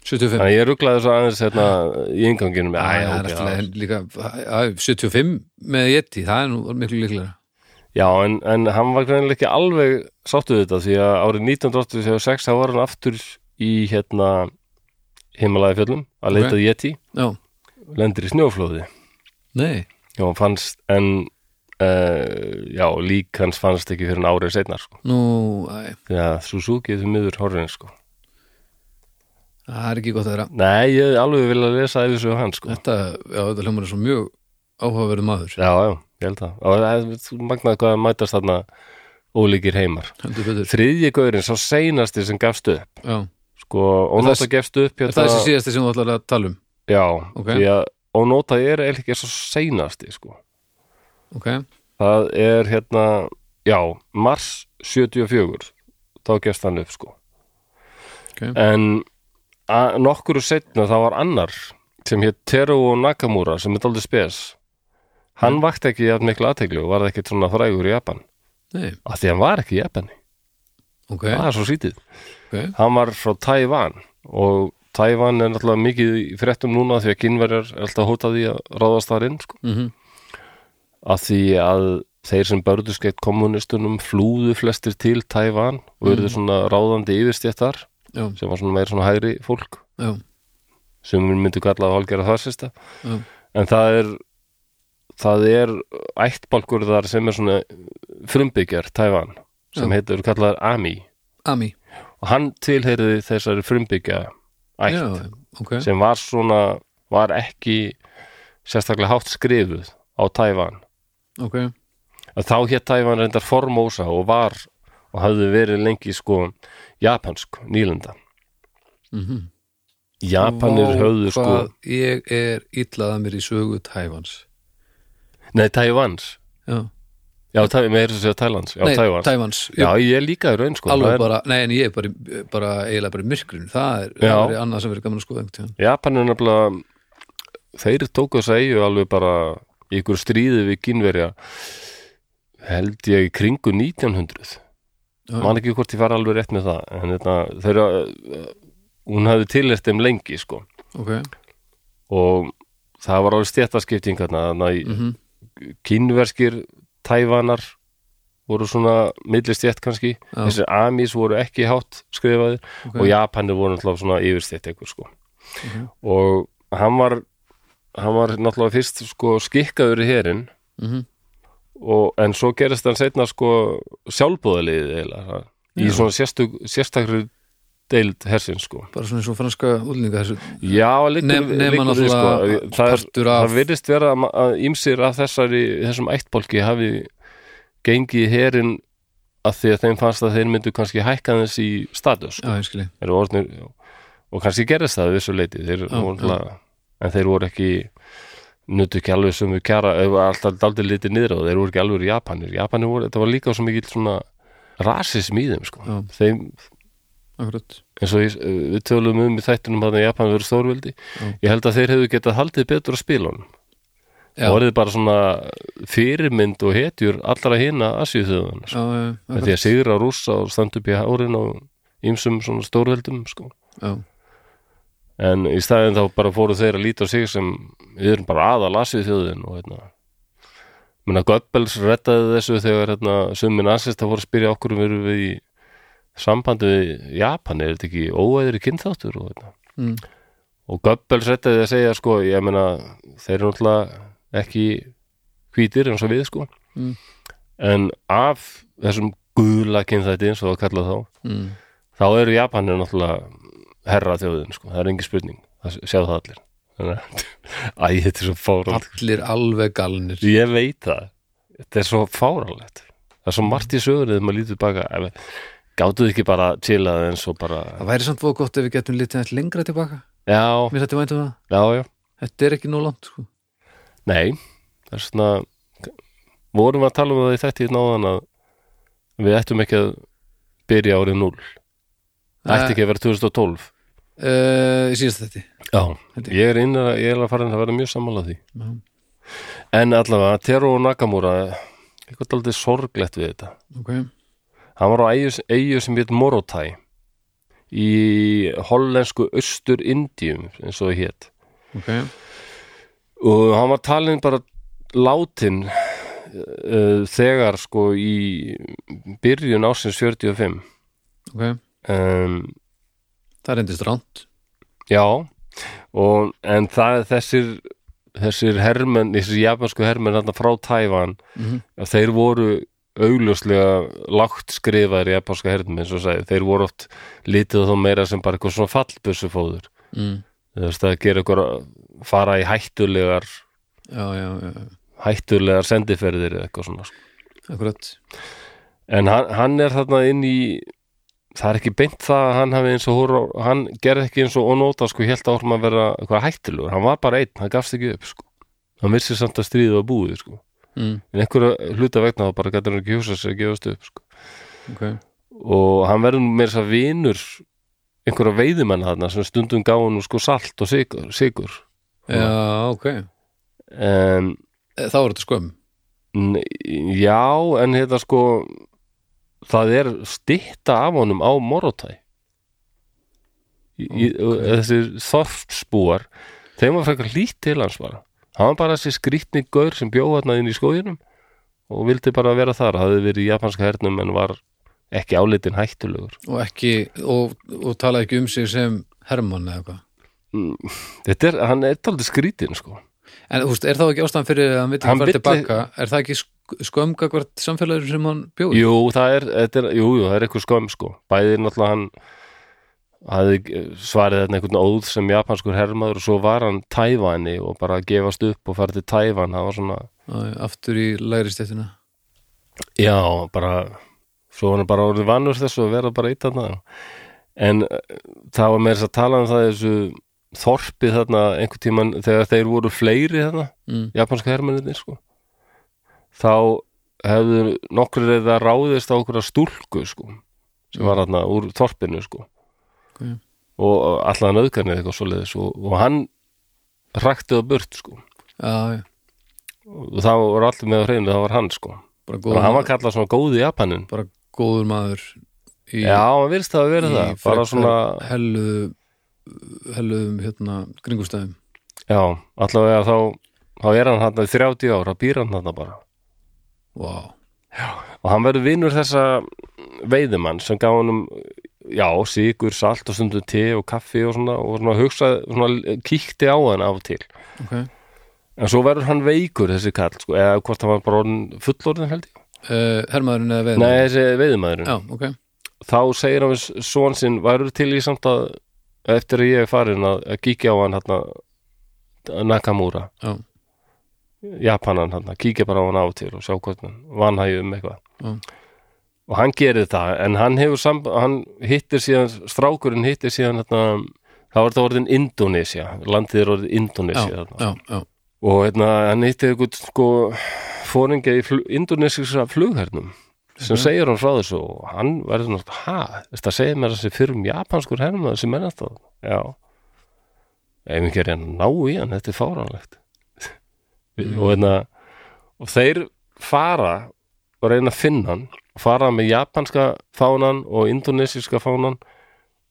Speaker 2: 75
Speaker 1: þannig að ég rugglaði þessu aðeins hérna í inganginum
Speaker 2: Æ,
Speaker 1: Æ,
Speaker 2: það er
Speaker 1: ok,
Speaker 2: alltaf líka, æ, æ, 75 með Yeti, það er nú miklu líklega
Speaker 1: já. Já, en, en hann var greinilega ekki alveg sáttu þetta því að árið 1986 þá var hann aftur í hérna himalæði fjöllum að leita
Speaker 2: Ok.
Speaker 1: okay. Yeti,
Speaker 2: Já,
Speaker 1: lendir í snjóflóði
Speaker 2: nei,
Speaker 1: já, hann fannst en uh, já, lík hans fannst ekki fyrir en árið seinna sko.
Speaker 2: nú, æ,
Speaker 1: því að Suzuki þau miður horfinn sko.
Speaker 2: það er ekki gott að vera
Speaker 1: Nei, ég hefði alveg vilja lesa yfir svo hann sko.
Speaker 2: Þetta, já, þetta hljómar er svo mjög áhugaverð maður,
Speaker 1: Já, já, ég held það og það er- þú magnaði hvað að mætast þarna ólíkir heimar
Speaker 2: heldur betur
Speaker 1: Þriðji gaurinn, sá seinasti sem gafst upp
Speaker 2: Já,
Speaker 1: sko, og
Speaker 2: Er það-
Speaker 1: náttúrulega gefst upp hérna-
Speaker 2: er það þessi síðasti sem þú ætlar að tala um
Speaker 1: Já,
Speaker 2: Ok.
Speaker 1: því að ónótað er eiginlega ekki svo seinasti sko.
Speaker 2: Ok,
Speaker 1: Það er hérna, já, mars 74, þá gefst hann upp sko.
Speaker 2: ok,
Speaker 1: En a- nokkru setna þá var annar sem hétt Teruo Nakamura sem er daldið spes.
Speaker 2: Mm.
Speaker 1: Hann vakti ekki jafn miklu aðteglu og varði ekkit svona frægur í Japan.
Speaker 2: nei,
Speaker 1: Af því hann var ekki í Japani,
Speaker 2: ok,
Speaker 1: það er svo sítið.
Speaker 2: ok
Speaker 1: Hann var frá Tævan og Tævan er náttúrulega mikið í fréttum núna því að kynverjar er alltaf hótaði að ráðast þar inn sko.
Speaker 2: mhm,
Speaker 1: að því að þeir sem börðust gegn kommunistunum flúðu flestir til Tævan og
Speaker 2: Mhm.
Speaker 1: verður svona ráðandi yfirstjættar
Speaker 2: Já,
Speaker 1: sem var svona meir svona hægri fólk
Speaker 2: já,
Speaker 1: sem við myndum kallað hálgera þarsista
Speaker 2: já,
Speaker 1: en það er það er ættbálkur þar sem er svona frumbyggjar Tævan sem
Speaker 2: Já.
Speaker 1: heitir kallaðar Ami
Speaker 2: Ami
Speaker 1: og hann tilheyrði þessari frumbyggja ætt
Speaker 2: Já, ok,
Speaker 1: sem var svona var ekki sérstaklega hátt skrifuð á Tævan
Speaker 2: ok,
Speaker 1: að þá hétt Tævan reyndar Formosa og var og hafði verið lengi sko japansk nýlenda
Speaker 2: mhm
Speaker 1: Japanir
Speaker 2: Vá,
Speaker 1: höfðu sko
Speaker 2: hvað Ég er illað að mér í sögu Tævans
Speaker 1: nei Tævans,
Speaker 2: Já,
Speaker 1: já Tævans, með þess að segja Tælands já
Speaker 2: nei,
Speaker 1: Tævans,
Speaker 2: Tævans.
Speaker 1: já
Speaker 2: Ég,
Speaker 1: ég er líka í raun sko
Speaker 2: alveg
Speaker 1: Það er,
Speaker 2: bara, nei en ég er bara, í- bara eiginlega bara í myrkrun, það er,
Speaker 1: Já.
Speaker 2: það er annað sem verið gaman að skoða einhvern tíðan
Speaker 1: Japanir nefnilega þeir tóku þess að eigu alveg bara í ykkur stríði við kynverja held ég í kringu 1900
Speaker 2: Já.
Speaker 1: man ekki hvort ég fara alveg rétt með það en þetta, þeirra eh, hún hafði tilhert þeim lengi sko
Speaker 2: Ok,
Speaker 1: og það var alveg stjættaskipting þarna, þannig að
Speaker 2: mhm,
Speaker 1: kínverskir tævanar voru svona millistjætt kannski,
Speaker 2: Já.
Speaker 1: þessir amis voru ekki hátt skrifaðir
Speaker 2: ok Mhm.
Speaker 1: og japanir voru náttúrulega svona yfirstjætt eitthvað sko og hann var hann var náttúrulega fyrst sko skikkaður í herin
Speaker 2: mhm,
Speaker 1: og, en svo gerist hann setna sko sjálfbúðaliðið eiginlega í
Speaker 2: Já.
Speaker 1: svona sérstök, sérstakri deild hersins sko
Speaker 2: Bara svona eins og franska útlendinga þessu
Speaker 1: Já, liggur,
Speaker 2: Nem- nema
Speaker 1: liggur við sko
Speaker 2: náttúrulega
Speaker 1: það, er,
Speaker 2: partur af-
Speaker 1: það virðist vera að ma- að ýmsir af þessari, þessum ættbólki hafi gengið herin að því að þeim fannst að þeir myndu kannski hækka þess í status
Speaker 2: Já, ég skilji,
Speaker 1: Þeir eru orðnir, já. og kannski gerist það við þessu leiti þeir,
Speaker 2: Já,
Speaker 1: voru náttúrulega- en þeir voru ekki nutu ekki alveg sem við kjara eh, eða var alltaf daldið litið niður og þeir voru ekki alveg Japanir, Japanir voru, þetta var líka svo mikill svona rasism í þeim sko.
Speaker 2: Já.
Speaker 1: þeim,
Speaker 2: akkurat
Speaker 1: eins og ég, við tölum um í þættunum að Japan verið stórvildi
Speaker 2: Já.
Speaker 1: ég held að þeir hefðu getað haldið betur á spilunum
Speaker 2: Já.
Speaker 1: og orðið bara svona fyrirmynd og hetjur allra hina asjúþjóðan sko.
Speaker 2: Já, já,
Speaker 1: með
Speaker 2: akkurat
Speaker 1: því að sigra rússa og standa upp í hárin og ýmsum svona stórveldum sko.
Speaker 2: Já,
Speaker 1: en í staðin þá bara fóru þeir að líta á sig sem við erum bara aðal asjúþjóðin og hérna menna Goebbels rettaði þessu þegar hérna sumin asist að fóru að spyrja okkur um við erum við í sambandi við Japan er þetta ekki óæðri kynþáttur og hérna
Speaker 2: mm,
Speaker 1: og Goebbels rettaði að segja sko, ég meina, þeir eru náttúrulega ekki hvítir eins og við sko
Speaker 2: Mm.
Speaker 1: en af þessum gula kynþætti eins og það kalla þá
Speaker 2: mm,
Speaker 1: þá eru Japanir náttúrulega herra þjóðin sko, það er engin spurning það sjá það allir Þannig að- Æ, þetta er svo fáralegt
Speaker 2: Allir alveg galnir
Speaker 1: ég veit það, þetta er svo fáralegt það er svo margt í sögunni þegar maður lítið baka gáttuð ekki bara til aðeins og bara,
Speaker 2: Það væri samt fóð gott ef við getum litið nætt lengra tilbaka
Speaker 1: já,
Speaker 2: Mér þetta væntum það,
Speaker 1: já, já
Speaker 2: þetta er ekki nóg langt sko.
Speaker 1: Nei, það er svona vorum við að tala um það í þetta í náðan að við ættum ekki að byrja árið 0 ætti ekki að vera 2012
Speaker 2: uh, Síðast þetta
Speaker 1: Já,
Speaker 2: held ég.
Speaker 1: ég er inn að ég er að fara að vera mjög sammála því
Speaker 2: Já.
Speaker 1: En allavega, Tero Nakamura eitthvað aldrei sorglegt við þetta
Speaker 2: Ok,
Speaker 1: Hann var á eigu, eigu sem hétt Morotai í hollensku Östur-Indíum eins og það hétt
Speaker 2: ok
Speaker 1: og hann var talin bara látin uh, þegar sko í byrjun ásins 45
Speaker 2: ok,
Speaker 1: um,
Speaker 2: það reyndist ránt
Speaker 1: já og, en það er þessir þessir hermenn, þessir japansku hermenn þarna frá Tævan
Speaker 2: Mhm.
Speaker 1: að þeir voru augljóslega lágt skrifaðir japanska hernum eins og sagði, þeir voru oft litið á þá meira sem bara eitthvað svona fallbussufóður
Speaker 2: mm.
Speaker 1: þú veist það gera ykkur að fara í hættulegar
Speaker 2: já, já, já, já,
Speaker 1: hættulegar sendiferðir eða eitthvað svona sko.
Speaker 2: akkurat
Speaker 1: En hann, hann er þarna inn í það er ekki beint það að hann hafi eins og horror, hann gerði ekki eins og onóta sko helt áfram að vera eitthvað hættilegur hann var bara einn, hann gafst ekki upp sko hann vissi samt að stríðið var búið sko
Speaker 2: mm.
Speaker 1: en einhverja hluta vegna þá bara gæti hann ekki hugsað sér að gefast upp sko
Speaker 2: ok,
Speaker 1: og hann verður nú meira þess að vinur einhverja veiðimenn þarna sem stundum gá hann sko salt og sigur, sigur.
Speaker 2: já, ok
Speaker 1: en
Speaker 2: Eh, þá er þetta skömm
Speaker 1: N- Já, en hérna sko það er stitta af honum á Morotai okay. þessir þorfsbúar þeim var frekar lít til hans bara hann var bara þessi skrýtni gaur sem bjóð hérna inn í skóginum og vildi bara vera þar, hafði verið í japanska hernum en var ekki álitin hættulegur
Speaker 2: og ekki, og, og tala ekki um sig sem Hermann eða eitthvað
Speaker 1: þetta er, hann er aldrei skrýtin sko
Speaker 2: En þú veist, er þá ekki ástæðan fyrir að hann veit ekki
Speaker 1: Hann
Speaker 2: hvað
Speaker 1: vill-
Speaker 2: tilbaka? Er það ekki skömgakvart samfélagir sem hann bjóði?
Speaker 1: Jú, það er, þetta er, jú, jú, það er eitthvað skömm sko Bæði náttúrulega hann hafði eh, svarið þetta einhvern óð sem japanskur hermaður og svo var hann Tævani og bara að gefast upp og farið til Tævan það var svona,
Speaker 2: Aftur í læri stéttina.
Speaker 1: já, bara svo var hann bara orðið vanur þessu að vera bara eitt þarna en eh, það var með þess að tala um það í þessu þorpið þarna einhvern tímann þegar þeir voru fleiri þarna
Speaker 2: Mm.
Speaker 1: japanska hermenninni sko þá hefðu nokkur eða ráðist á okkur að stúlku sko sem var hann úr þorpinu sko
Speaker 2: Ok.
Speaker 1: og allan auðgarnið eitthvað svoleiðis og, og hann hraktið á burt sko
Speaker 2: Já, já,
Speaker 1: og það voru allir með á hreinu það var hann sko
Speaker 2: bara
Speaker 1: og hann var
Speaker 2: góður,
Speaker 1: kallað svona góði Japanin
Speaker 2: bara góður maður í,
Speaker 1: já, hann virðist það að vera það bara svona,
Speaker 2: hellu, helluðum hérna kringustæðum.
Speaker 1: já, allavega þá þá er hann hann í 30 ára, býr hann hann bara
Speaker 2: Vá,
Speaker 1: og hann verður vinur þessa veiðumann sem gaf honum já, sigur, salt og stundum te og kaffi og svona, og svona hugsaði svona kíkti á hann af og til
Speaker 2: ok.
Speaker 1: en svo verður hann veikur þessi kall sko, eða hvort hann var bara orðin fullorðin held ég
Speaker 2: Uh, hermaðurinn eða veðin?
Speaker 1: nei, þessi veiðumæðurinn
Speaker 2: Já, ok.
Speaker 1: þá segir hann við svon sinn, værið til í samt að eftir að ég er farin að, að kíkja á hann hann Nakamura,
Speaker 2: Já,
Speaker 1: Japanan hann, kíkja bara á hann á og til og sjá hvort hann vanhæði um eitthvað
Speaker 2: já,
Speaker 1: og hann gerir það en hann hefur samb hann hittir síðan, strákurinn hittir síðan hérna, það var þetta orðin Indonesia landið er orðið
Speaker 2: já,
Speaker 1: Indonesia
Speaker 2: já,
Speaker 1: hérna.
Speaker 2: já.
Speaker 1: og hérna, hann hittir eitthvað sko, fóringa í fl indonesiksa flughernum sem segir hann frá þessu og hann verður náttúrulega, ha, þetta segir mér þessi fyrrum japanskur hermaður sem er náttúrulega já ef ekki er hann að ná í hann, þetta er fáránlegt og hérna og þeir fara og reyna að finna hann fara með japanska fánan og indonesíska fánan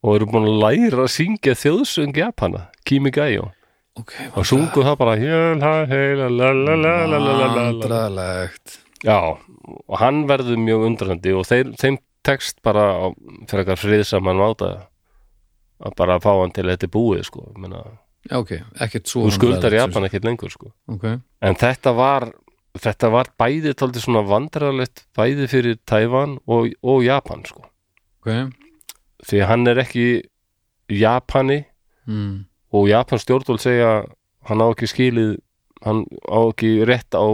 Speaker 1: og eru búin að læra að syngja þjóðsöng Japana, Kimi Gaio
Speaker 2: Ok,
Speaker 1: og sungu það bara hjöla, heila, la, la, la, la, la, la, la, la.
Speaker 2: vandralegt.
Speaker 1: Já, og hann verður mjög undrandi og þeir, þeim tekst bara á fyrir eitthvað friðsaman máta að bara fá hann til að þetta er búið sko, Ég meina,
Speaker 2: Já, ok, ekkert svo.
Speaker 1: þú skuldar
Speaker 2: vandræðalegt, sem
Speaker 1: Japan ekkert lengur sko.
Speaker 2: sagt. Ok.
Speaker 1: en þetta var þetta var bæði tóldi svona vandrarlegt bæði fyrir Tævan og, og Japan sko.
Speaker 2: Ok,
Speaker 1: því að hann er ekki Japani
Speaker 2: mm.
Speaker 1: og Japan stjórnvöld segja hann á ekki skilið hann á ekki rétt á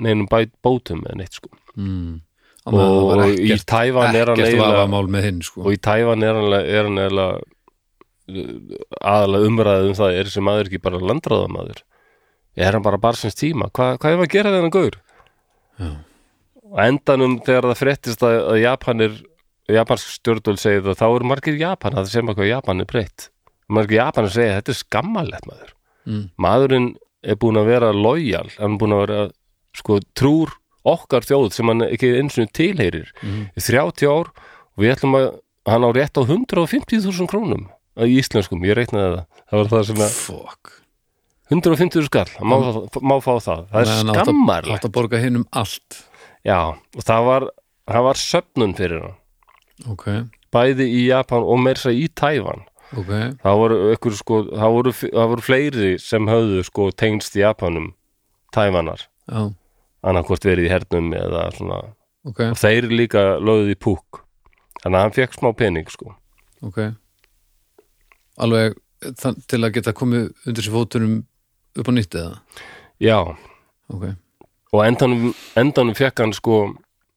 Speaker 1: neinum bæ, bótum eða neitt sko
Speaker 2: Mm. Á meðan það
Speaker 1: og,
Speaker 2: var
Speaker 1: og í
Speaker 2: ekkert,
Speaker 1: Tævan er hann
Speaker 2: ekkert
Speaker 1: eiginlega
Speaker 2: vafamál með hinn sko.
Speaker 1: og í Tævan er hann er hann eiginlega aðalega umræðið um það er þessi maður ekki bara landráðamaður er hann bara barsins tíma Hva, hvað er að gera þennan gaur
Speaker 2: Já.
Speaker 1: og endanum þegar það fréttist að, að Japanir japansk stjórnvöld segir það þá eru margir Japan að það sem hvað Japan er breytt margir Japan segja þetta er skammalegt maður
Speaker 2: mm.
Speaker 1: maðurinn er búin að vera lojal, hann er búin að vera sko trúr okkar þjóð sem hann ekki eins og tilheyrir í 30 ár og við ætlum að hann á rétt á 150.000 krónum í íslenskum, ég reiknaði það það var það sem að,
Speaker 2: Fuck
Speaker 1: 150 skall, hann má, fá- má fá það það er
Speaker 2: Meðan átt að-
Speaker 1: skammarlegt
Speaker 2: átt að borga hinn um allt
Speaker 1: já, og það var, það var söfnun fyrir hann
Speaker 2: ok,
Speaker 1: bæði í Japan og meirsa í Tævan
Speaker 2: ok,
Speaker 1: það voru, ykkur, sko, það, voru, það voru fleiri sem höfðu sko, tengst Japanum Tævanar,
Speaker 2: já,
Speaker 1: annarkvort verið í hernum eða svona,
Speaker 2: ok
Speaker 1: og þeir líka lögðu í púk þannig að hann fekk smá pening sko
Speaker 2: ok alveg þann, til að geta komið undir sér fótunum upp á nýtt eða
Speaker 1: já,
Speaker 2: ok,
Speaker 1: og endanum, endanum fekk hann sko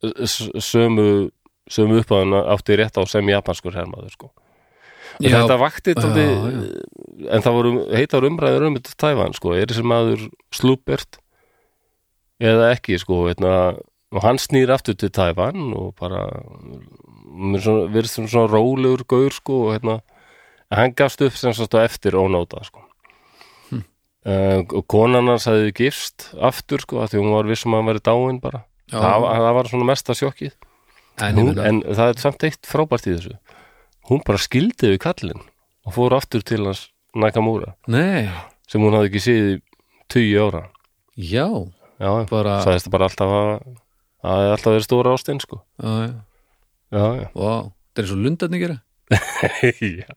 Speaker 1: s- sömu, sömu uppáðan átti rétt á sem japanskur hermaður sko En
Speaker 2: Já,
Speaker 1: þetta vakti tóti,
Speaker 2: já,
Speaker 1: en það voru heitar umræður um þetta tæfan sko, er þessi maður slúbert eða ekki sko veitna, og hann snýr aftur til tæfan og bara mér er svona- virðist svona, svona rólegur gaur sko og hérna, en hann gafst upp sem sagt á eftir ónóta sko
Speaker 2: Hm.
Speaker 1: Uh, og konan hans hefði gifst aftur sko, af því hún var vissum að hann væri dáin bara,
Speaker 2: Já.
Speaker 1: það, það var svona mesta sjokkið
Speaker 2: en,
Speaker 1: hún,
Speaker 2: en,
Speaker 1: en það er samt eitt frábært í þessu hún bara skildi við kallinn og fór aftur til hans Nakamura
Speaker 2: nei,
Speaker 1: sem hún hafði ekki séð í 20 ára
Speaker 2: já
Speaker 1: já, bara,
Speaker 2: Bara-
Speaker 1: sagðist það bara alltaf að það er alltaf verið stóra ástinn sko
Speaker 2: já, já,
Speaker 1: já, já,
Speaker 2: vá, þetta er svo lundarni gera
Speaker 1: já.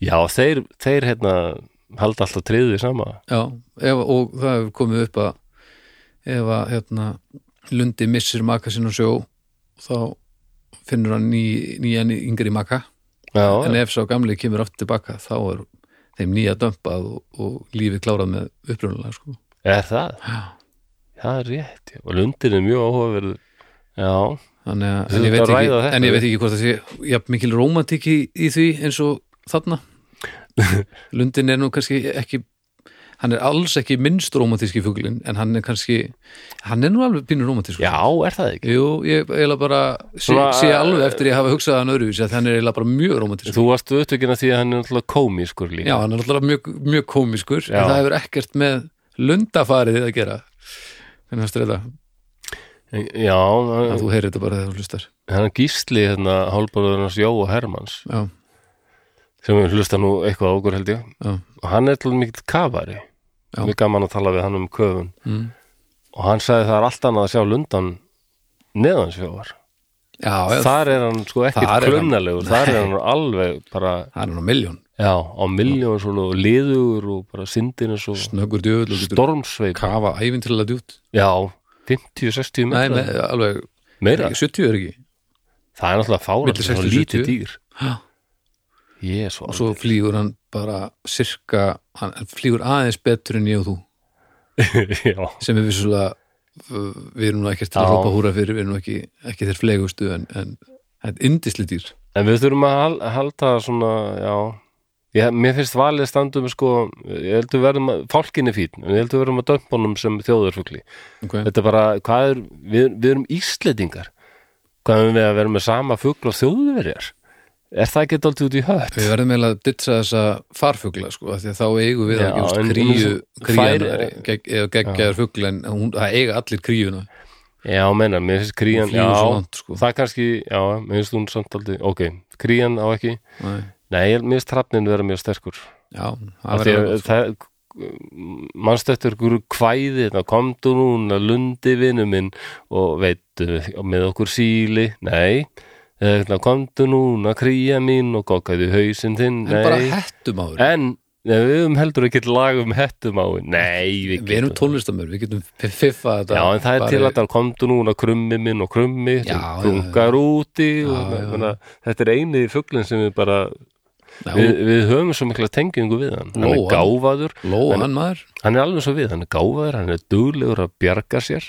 Speaker 1: já þeir, þeir hérna halda alltaf triðið sama
Speaker 2: já, ef, og það hefur komið upp að ef að hérna lundi missir maka sinn á sjó þá finnur hann ný, nýjan yngri maka
Speaker 1: já,
Speaker 2: en
Speaker 1: já,
Speaker 2: ef sá gamli kemur aftur tilbaka þá er þeim nýja dömpað og, og lífið klárað með upprunalega sko.
Speaker 1: er það?
Speaker 2: Já.
Speaker 1: það er rétt, já. og lundin er mjög áhugaverð já,
Speaker 2: Þannig að,
Speaker 1: Þú
Speaker 2: en, ég
Speaker 1: ert
Speaker 2: veit ekki,
Speaker 1: að ræða þetta
Speaker 2: en ég
Speaker 1: við-
Speaker 2: veit ekki hvort það sé jafn mikil rómantík í, í því eins og þarna Lundin er nú kannski ekki hann er alls ekki minnst rómantíski fuglin en hann er kannski hann er nú alveg pínur rómantísk
Speaker 1: já, er það ekki?
Speaker 2: Jú, ég eiginlega bara sé,
Speaker 1: Svona, eh,
Speaker 2: sé alveg eftir ég hafa hugsað hann öðruvísi að hann er eiginlega bara mjög rómantískur
Speaker 1: þú varst upptökin af því að hann er náttúrulega komískur líka
Speaker 2: Já, hann er alltaf mjög, mjög komiskur en
Speaker 1: Já.
Speaker 2: það hefur ekkert með lundafarið að gera Hvernig fannst þér þetta?
Speaker 1: já
Speaker 2: Að þú heyrir þetta bara þegar þú hlustar
Speaker 1: hann gísli hérna hálfbróður hans Jó og Hermanns
Speaker 2: Já,
Speaker 1: sem við hlusta nú eitthvað á okkur held ég
Speaker 2: já,
Speaker 1: og hann er til mikill kafari
Speaker 2: Já.
Speaker 1: mjög gaman að tala við hann um köfun
Speaker 2: Mm.
Speaker 1: og hann sagði það er allt annað að sjá lundan neðansjóvar
Speaker 2: já, já
Speaker 1: þar er hann sko
Speaker 2: Þar
Speaker 1: ekkert
Speaker 2: er hann-
Speaker 1: klunnalegur þar er hann alveg bara
Speaker 2: hann er nú miljón
Speaker 1: já, á miljón svona og liður og bara syndin er svo
Speaker 2: Snöggur djöfull og getur
Speaker 1: stormsveip
Speaker 2: kafa æfintilega djútt
Speaker 1: já, 50-60
Speaker 2: Nei,
Speaker 1: metra
Speaker 2: með, alveg
Speaker 1: meira,
Speaker 2: 70 er ekki
Speaker 1: það er náttúrulega fára
Speaker 2: Milli
Speaker 1: það er
Speaker 2: 60, 70.
Speaker 1: lítið dýr
Speaker 2: Ha.
Speaker 1: ég er svo
Speaker 2: og svo flýgur hann bara sirka, hann hann flýgur aðeins betur en ég og þú
Speaker 1: já,
Speaker 2: sem er vissulega uh, við erum nú ekkert til
Speaker 1: Já.
Speaker 2: að hrópa húra fyrir við erum nú ekki, ekki þeir flegustu en, en, en indisli dýr
Speaker 1: En við þurfum að hal- halda svona, já ég, Mér finnst valið standum sko, ég heldur verðum að, fálkin er fín en ég heldur verðum að dömpunum sem þjóðarfugli
Speaker 2: okay.
Speaker 1: Þetta er bara, hvað er við, við erum Íslendingar Hvað erum við að vera með sama fugl og þjóðverjar? Er það ekki alltaf út í hött?
Speaker 2: við verðum eiginlega að ditsa þessa farfugla sko, af því að þá eigum við
Speaker 1: Já,
Speaker 2: að gefast
Speaker 1: en-
Speaker 2: kríu
Speaker 1: Fær-
Speaker 2: kríunar gegg, eða geggjaðar fugla en hún, það eiga allir kríuna
Speaker 1: Já, meina, mér finnst krían,
Speaker 2: Hún
Speaker 1: já
Speaker 2: flýgur svo langt, sko.
Speaker 1: Það kannski, já, mér finnst hún samt alltaf Ok, krían á ekki
Speaker 2: Nei.
Speaker 1: Nei, ég- mér finnst hrafnin vera mjög sterkur
Speaker 2: já, það
Speaker 1: Af því
Speaker 2: verður sko.
Speaker 1: að það mannstöttur hverju kvæði það komdu núna lundi vinnu minn og veitu með okkur síli, nei það komdu núna kríja mín og kokkaði hausinn þinn,
Speaker 2: en bara
Speaker 1: nei
Speaker 2: hettum áður
Speaker 1: en nei, við höfum heldur ekki lag um hettum á nei, við
Speaker 2: Við erum
Speaker 1: getum
Speaker 2: tónlistamör, við getum fiffa þetta
Speaker 1: Já, en það er
Speaker 2: bara-
Speaker 1: til að það komdu núna krummi minn og krummi
Speaker 2: Já,
Speaker 1: sem
Speaker 2: já,
Speaker 1: krungar úti og,
Speaker 2: Já, já.
Speaker 1: Þannig, að þetta er eini fuglinn sem við bara
Speaker 2: Já,
Speaker 1: við, við höfum svo mikla tengingu við hann hann er
Speaker 2: Lóan.
Speaker 1: gáfaður
Speaker 2: Lóa
Speaker 1: en-
Speaker 2: hann maður
Speaker 1: hann er alveg svo við, hann er gáfaður, hann er duglegur að bjarga sér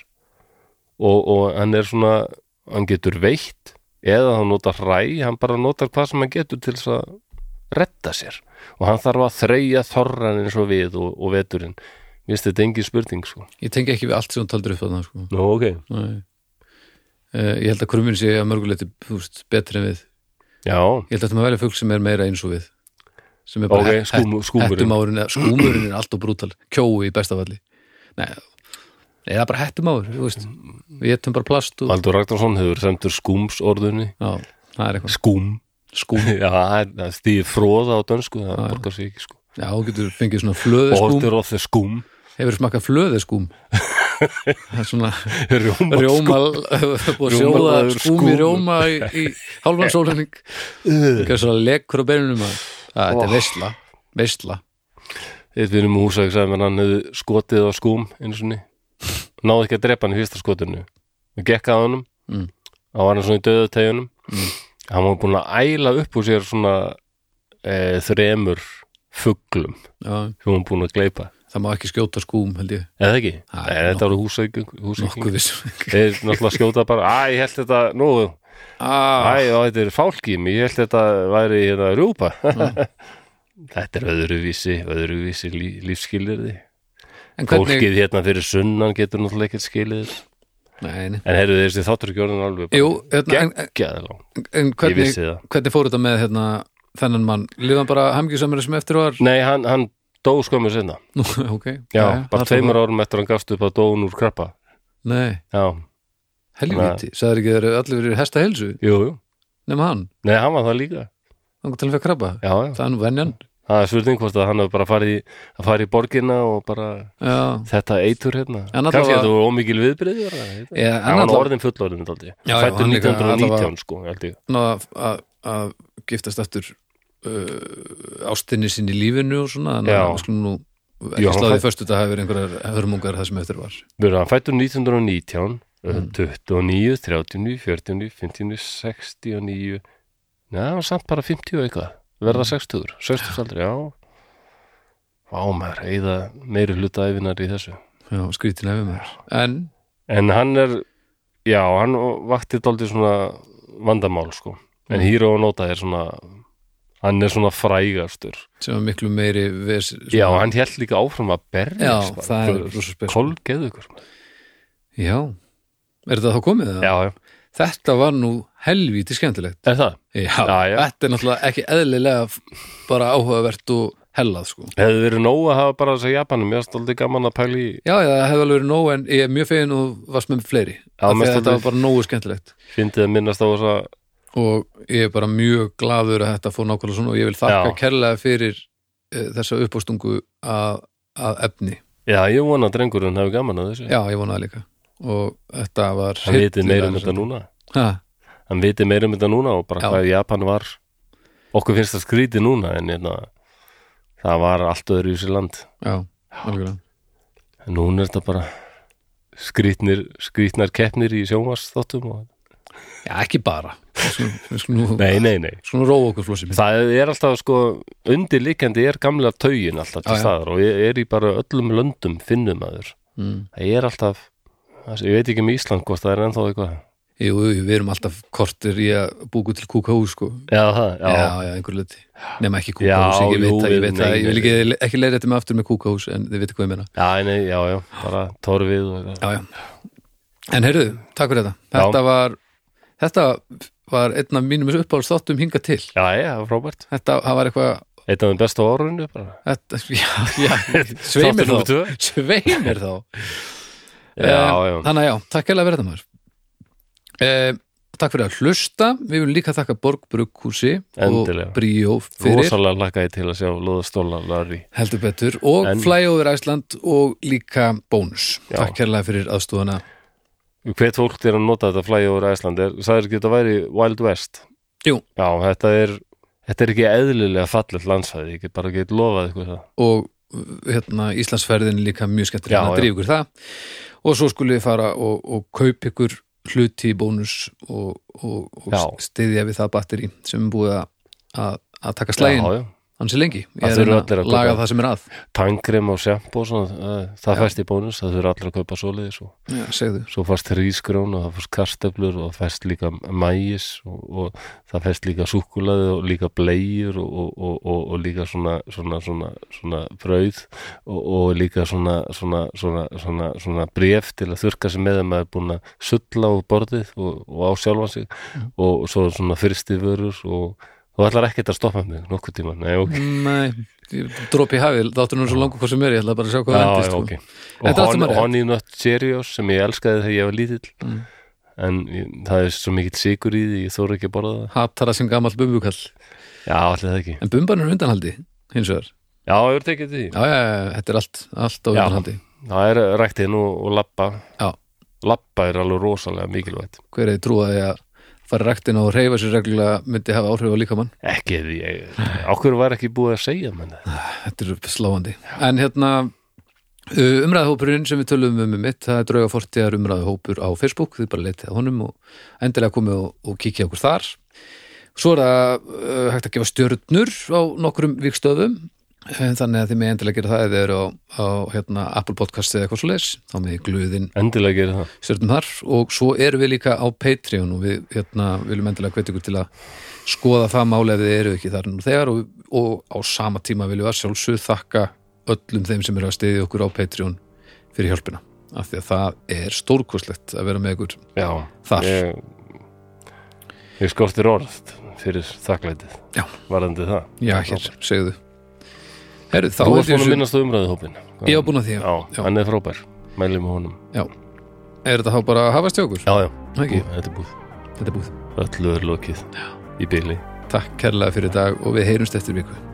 Speaker 1: og, og hann er svona, hann getur veitt eða hann notar hræ, hann bara notar hvað sem hann getur til þess að retta sér og hann þarf að þreyja þorran eins og við og, og veturinn Mér finnst þetta engin spurning sko
Speaker 2: Ég tengi ekki við allt sem hún taldur upp þarna sko.
Speaker 1: Nú, ok
Speaker 2: Nei. Eh, Ég held að krummin sé að mörguleiti veist, betri en við
Speaker 1: Já,
Speaker 2: Ég held að þetta maður velja fugg sem er meira eins og við sem er bara
Speaker 1: Ok,
Speaker 2: he-
Speaker 1: skúmu- skúmurinn.
Speaker 2: hettumárin eða- skúmurinn er alltof brútal kjói í bestafalli Nei, nei, það er bara hettumáur þú veist. Við getum bara plast og,
Speaker 1: Valdur Ragnarsson hefur semtur skúms orðunni
Speaker 2: Já, það er eitthvað
Speaker 1: Skúm
Speaker 2: skúm
Speaker 1: Já, það er- það er stíði fróða á dönsku, það
Speaker 2: já.
Speaker 1: borgar sig ekki sko
Speaker 2: Já, þú getur fengið svona flöðeskúm
Speaker 1: Order of the Skum
Speaker 2: Hefur smakkað flöðeskúm Það er svona
Speaker 1: Rjóma,
Speaker 2: rjóma Búið að sjóða
Speaker 1: sko- Rjómaður
Speaker 2: skúm í
Speaker 1: skúm.
Speaker 2: rjóma í, í hálfan sólenning Hvað svo lekur á Oh. beinunum að að Þetta er veistla Veistla
Speaker 1: Eitt við erum húsæk sagði mér að hann hefði skotið á skúm einu sinni Náði ekki að drepa hann í fyrsta skotinu Við gekk að honum
Speaker 2: Mm.
Speaker 1: Á var hann svona í döðu tegjunum Hann var búin að æla upp úr sér svona e, þremur fuglum
Speaker 2: Já,
Speaker 1: sem hann búin að gleypa
Speaker 2: það má ekki skjóta skúm held ég
Speaker 1: Eða ekki?
Speaker 2: Æ,
Speaker 1: Nei, þetta voru húsæk
Speaker 2: Nokkuð vissum
Speaker 1: Þeir náttúrulega skjóta bara Æ, ég held þetta, nú,
Speaker 2: ah,
Speaker 1: æ, þá þetta er fálkím Ég held þetta væri hérna rjúpa
Speaker 2: Ah.
Speaker 1: Þetta er öðruvísi öðruvísi lí, lífskilirði
Speaker 2: En hvernig
Speaker 1: Fólkið hérna fyrir sunnan getur náttúrulega ekkert skilið þessu.
Speaker 2: Nei, nei.
Speaker 1: En heyrðu þessi þáttur ekki orðin alveg bara
Speaker 2: Jú, hérna, en,
Speaker 1: geggjaður langt.
Speaker 2: en, en
Speaker 1: Ég
Speaker 2: hvernig,
Speaker 1: vissi það.
Speaker 2: hvernig fór þetta með hérna, þennan mann? Lifan bara hamgjusamur sem eftir var?
Speaker 1: Nei, hann, hann dó skömmu sinna
Speaker 2: Nú, ok.
Speaker 1: Já, bara tveimur árum eftir hann gafst upp að dóun úr krabba
Speaker 2: Nei,
Speaker 1: Já,
Speaker 2: helviti. Sæður ekki þeir eru allir verið hesta helsu,
Speaker 1: jú, jú
Speaker 2: nema hann.
Speaker 1: Nei, hann var það líka
Speaker 2: Þannig til að fyrir krabba.
Speaker 1: Já, já,
Speaker 2: Það er nú venjan.
Speaker 1: það er svörning hvort að hann hefur bara farið í, að farið í borginna og bara
Speaker 2: Já.
Speaker 1: þetta eitur hérna
Speaker 2: En allavega-
Speaker 1: Kannski þetta voru ómikil viðbyrðið
Speaker 2: Já, en
Speaker 1: Hann var
Speaker 2: allavega-
Speaker 1: orðin fullorðin daldi
Speaker 2: já,
Speaker 1: Fættur
Speaker 2: hann líka,
Speaker 1: 1919
Speaker 2: allavega-
Speaker 1: sko, held ég
Speaker 2: Ná að- að- að giftast eftir uh, ástinni sín í lífinu og svona. Þannig
Speaker 1: Já.
Speaker 2: að við skulum nú
Speaker 1: Jú,
Speaker 2: ekki
Speaker 1: hann
Speaker 2: sláðið
Speaker 1: fæ-
Speaker 2: föstu þetta hefur einhverjar hörmungar það sem eftir var.
Speaker 1: Verður hann fættur 1919 mm. 29, 39, 49, 59, 69 Nei, hann var samt bara 50 og eitthvað
Speaker 2: Mm.
Speaker 1: Verða 60, 60 aldrei, já Vá maður, eigða meiri hluta æfinar í þessu
Speaker 2: Já, skrítin efum þér. En,
Speaker 1: En hann er, já, hann vakti dálítið svona vandamál sko En
Speaker 2: Mm.
Speaker 1: Hero og Nota er svona Hann er svona frægastur
Speaker 2: sem er miklu meiri vers,
Speaker 1: Já, hann held líka áfram að berja
Speaker 2: Já, það er rosa spes.
Speaker 1: Kolgeðu ykkur
Speaker 2: Já, er þetta þá komið það?
Speaker 1: Já, já,
Speaker 2: Þetta var nú helvíti skemmtilegt.
Speaker 1: er það?
Speaker 2: Já,
Speaker 1: Já, já.
Speaker 2: þetta er náttúrulega ekki eðlilega f- bara áhugavert og hellað sko.
Speaker 1: Hefði verið nóg að hafa bara þess að Japanum, ég stóð aldrei gaman að pæla í
Speaker 2: Já, já, það hefði alveg verið nóg en ég er mjög fegin og varst með fleiri.
Speaker 1: Já,
Speaker 2: Já,
Speaker 1: mest
Speaker 2: þetta
Speaker 1: alveg.
Speaker 2: var bara nógu skemmtilegt
Speaker 1: fyndið að minnast á þess að
Speaker 2: og ég er bara mjög gladur að þetta fór nákvæmlega svona og ég vil þakka
Speaker 1: Já.
Speaker 2: kærlega fyrir uh, þessa uppástungu að, að efni.
Speaker 1: Já, ég vona að drengurinn hefur gaman að þessu
Speaker 2: Já, ég vonaði líka og þetta var
Speaker 1: Hann viti meira um
Speaker 2: hryllilega
Speaker 1: þetta
Speaker 2: interessant.
Speaker 1: núna
Speaker 2: Ha,
Speaker 1: Hann viti meira um þetta núna og bara
Speaker 2: Já.
Speaker 1: hvað Japan var Okkur finnst það skríti núna en hérna, það var allt öðru í sér land
Speaker 2: Já, algjörlega.
Speaker 1: En núna er þetta bara skrítnir, skrítnar keppnir í sjónvarsþáttum og...
Speaker 2: Já, ekki bara. Við skulum- Við skulum nú-
Speaker 1: Nei, nei, nei
Speaker 2: skulum nú róa okkur flósið.
Speaker 1: Það er alltaf sko, undirlikandi er gamla taugin alltaf til
Speaker 2: Já, já.
Speaker 1: staðar og ég er í bara öllum löndum finnum aður.
Speaker 2: Mm.
Speaker 1: Það er alltaf, það sé- ég veit ekki um Ísland hvort það er ennþá eitthvað.
Speaker 2: Jú, jú, við erum alltaf kortir í að búku til kúkáhú, sko.
Speaker 1: Já, það, já.
Speaker 2: Já, já, einhver liti. Nema ekki
Speaker 1: Já,
Speaker 2: kúkáhús, ég veit
Speaker 1: jú,
Speaker 2: það, ég veit
Speaker 1: nei,
Speaker 2: það. Ég vil
Speaker 1: nei.
Speaker 2: ekki, ekki leira þetta með aftur með kúkáhús, en þið veitir hvað ég meina.
Speaker 1: Já, nei, já, já, bara torfið og eitthvað.
Speaker 2: Já, já. En heyrðu, takk fyrir þetta. Þetta var, þetta var einn af mínum uppáhalds þáttum hinga til.
Speaker 1: Já, já, frábært.
Speaker 2: Þetta, það var eitthvað,
Speaker 1: Eitt af þeim bestu á árunni bara.
Speaker 2: þetta, já, já, sveimir þá.
Speaker 1: Þáttur númer tvö.
Speaker 2: Sveimir þá. Eh,
Speaker 1: Já, já.
Speaker 2: Þannig að já, takk hérlega fyrir þetta maður. Eh, Takk fyrir að hlusta, við viljum líka þakka Borgbrukkúsi og
Speaker 1: Endilega.
Speaker 2: Bríó fyrir
Speaker 1: Rosalega lakkaði til að sjá Lóðastóla Larry.
Speaker 2: heldur betur og
Speaker 1: En-
Speaker 2: en... Flyover Iceland og líka bónus.
Speaker 1: Já.
Speaker 2: Takk kærlega fyrir aðstúðana
Speaker 1: Hvert fólk er að nota þetta flæja úr Æsland? Er, sagðir ekki að þetta væri Wild West?
Speaker 2: Jú.
Speaker 1: Já, þetta er, þetta er ekki eðlilega fallet landsfæði, ég get bara get lofað ykkur það.
Speaker 2: og uh, hérna, Íslandsferðin líka mjög skemmtilega
Speaker 1: Já,
Speaker 2: að
Speaker 1: já.
Speaker 2: drýfa ykkur það og svo skulle við fara og, og kaup ykkur hluti í bónus og, og,
Speaker 1: Já.
Speaker 2: og stiðja við það batteri sem er búið að- að að taka slægin
Speaker 1: Já, já.
Speaker 2: hans er lengi. Ég
Speaker 1: Það
Speaker 2: er að
Speaker 1: þurfa
Speaker 2: reyna
Speaker 1: allir að
Speaker 2: að laga
Speaker 1: kaupa.
Speaker 2: það sem er að.
Speaker 1: tangrem og sjampo og svona, það, það fæst í bónus, það þurfa allir að kaupa svoleiðis og
Speaker 2: Já, segðu.
Speaker 1: svo fæst rísgrón og það fæst karsteflur og það fæst líka mægis og, og það fæst líka súkulaði og líka bleiur og, og, og, og, og líka svona, svona, svona, svona brauð og, og líka svona, svona, svona, svona, svona bref til að þurka sig með að maður er búin að sulla á borðið og, og á sjálfan sig og svo svona fyrstiförur og þú ætlar ekkert að stoppa mig nokkuð tíma, nei ok
Speaker 2: Nei, dropi hafið, þáttur nú svo langur hvað sem er, ég ætla bara að sjá hvað það
Speaker 1: Já,
Speaker 2: endist.
Speaker 1: já,
Speaker 2: sko.
Speaker 1: ok
Speaker 2: Þetta er allt
Speaker 1: Og
Speaker 2: saman
Speaker 1: Hon-
Speaker 2: rétt. Mm.
Speaker 1: Honey Nut Cheerios sem ég elskaði þegar ég var lítill en ég, það er svo mikill sigur í því ég þóra ekki að borða það
Speaker 2: Hatar það sem gamall bumbukall.
Speaker 1: Já, allir það ekki
Speaker 2: En bumban er á undanhaldi, hins vegar.
Speaker 1: Já, ég voru tekið því
Speaker 2: já, já, já, þetta er allt, allt á
Speaker 1: Já.
Speaker 2: viðhaldi
Speaker 1: Það er ræktin og, og labba
Speaker 2: Já,
Speaker 1: Labba er alveg rosalega mikilvægt
Speaker 2: hver er þið trúaði að fara í ræktina og reyfa sér reglulega myndi hafa áhrif á líkamann
Speaker 1: Ekki því Ákveður var ekki búið að segja menn
Speaker 2: Þetta er sláandi En hérna umræðhópurinn sem við töluðum um um mitt það er drauga fortíðar umræðhópur á Facebook þið bara leitið að honum og endilega komið og, og kikið okkur þar Svo er það uh, hægt að gefa stjörnur á nokkrum vikstöðum þannig að þið með endilega gera það eða þið eru á, á hérna, Apple Podcast eða eitthvað svo leis þá með glöðin
Speaker 1: Endilega gera það
Speaker 2: stjórnum þar og svo erum við líka á Patreon og við hérna, viljum endilega hvetja ykkur til að skoða það máli ef þið eru ekki þar nú þegar og, og á sama tíma viljum við að sjálfsög þakka öllum þeim sem eru að stiðja okkur á Patreon fyrir hjálpina af því að það er stórkostlegt að vera með ykkur
Speaker 1: Já
Speaker 2: þar
Speaker 1: Ég, ég skortir orð fyrir þakklætið
Speaker 2: Já.
Speaker 1: Varðandi það
Speaker 2: Já, hér, segðu Herru, þá
Speaker 1: Þú
Speaker 2: held
Speaker 1: varst
Speaker 2: ég
Speaker 1: búin að
Speaker 2: þessu-
Speaker 1: minnast á umræðuhópin
Speaker 2: Ég var búin að því, já.
Speaker 1: Já,
Speaker 2: Já.
Speaker 1: hann er frábær Mælum við honum
Speaker 2: Já. Er þetta þá bara að hafast hjá okkur?
Speaker 1: Já, já
Speaker 2: Ekki,
Speaker 1: Þetta er búið
Speaker 2: þetta er búið
Speaker 1: Öllu er lokið Já Í byli
Speaker 2: Takk kærlega fyrir í dag og við heyrumst eftir viku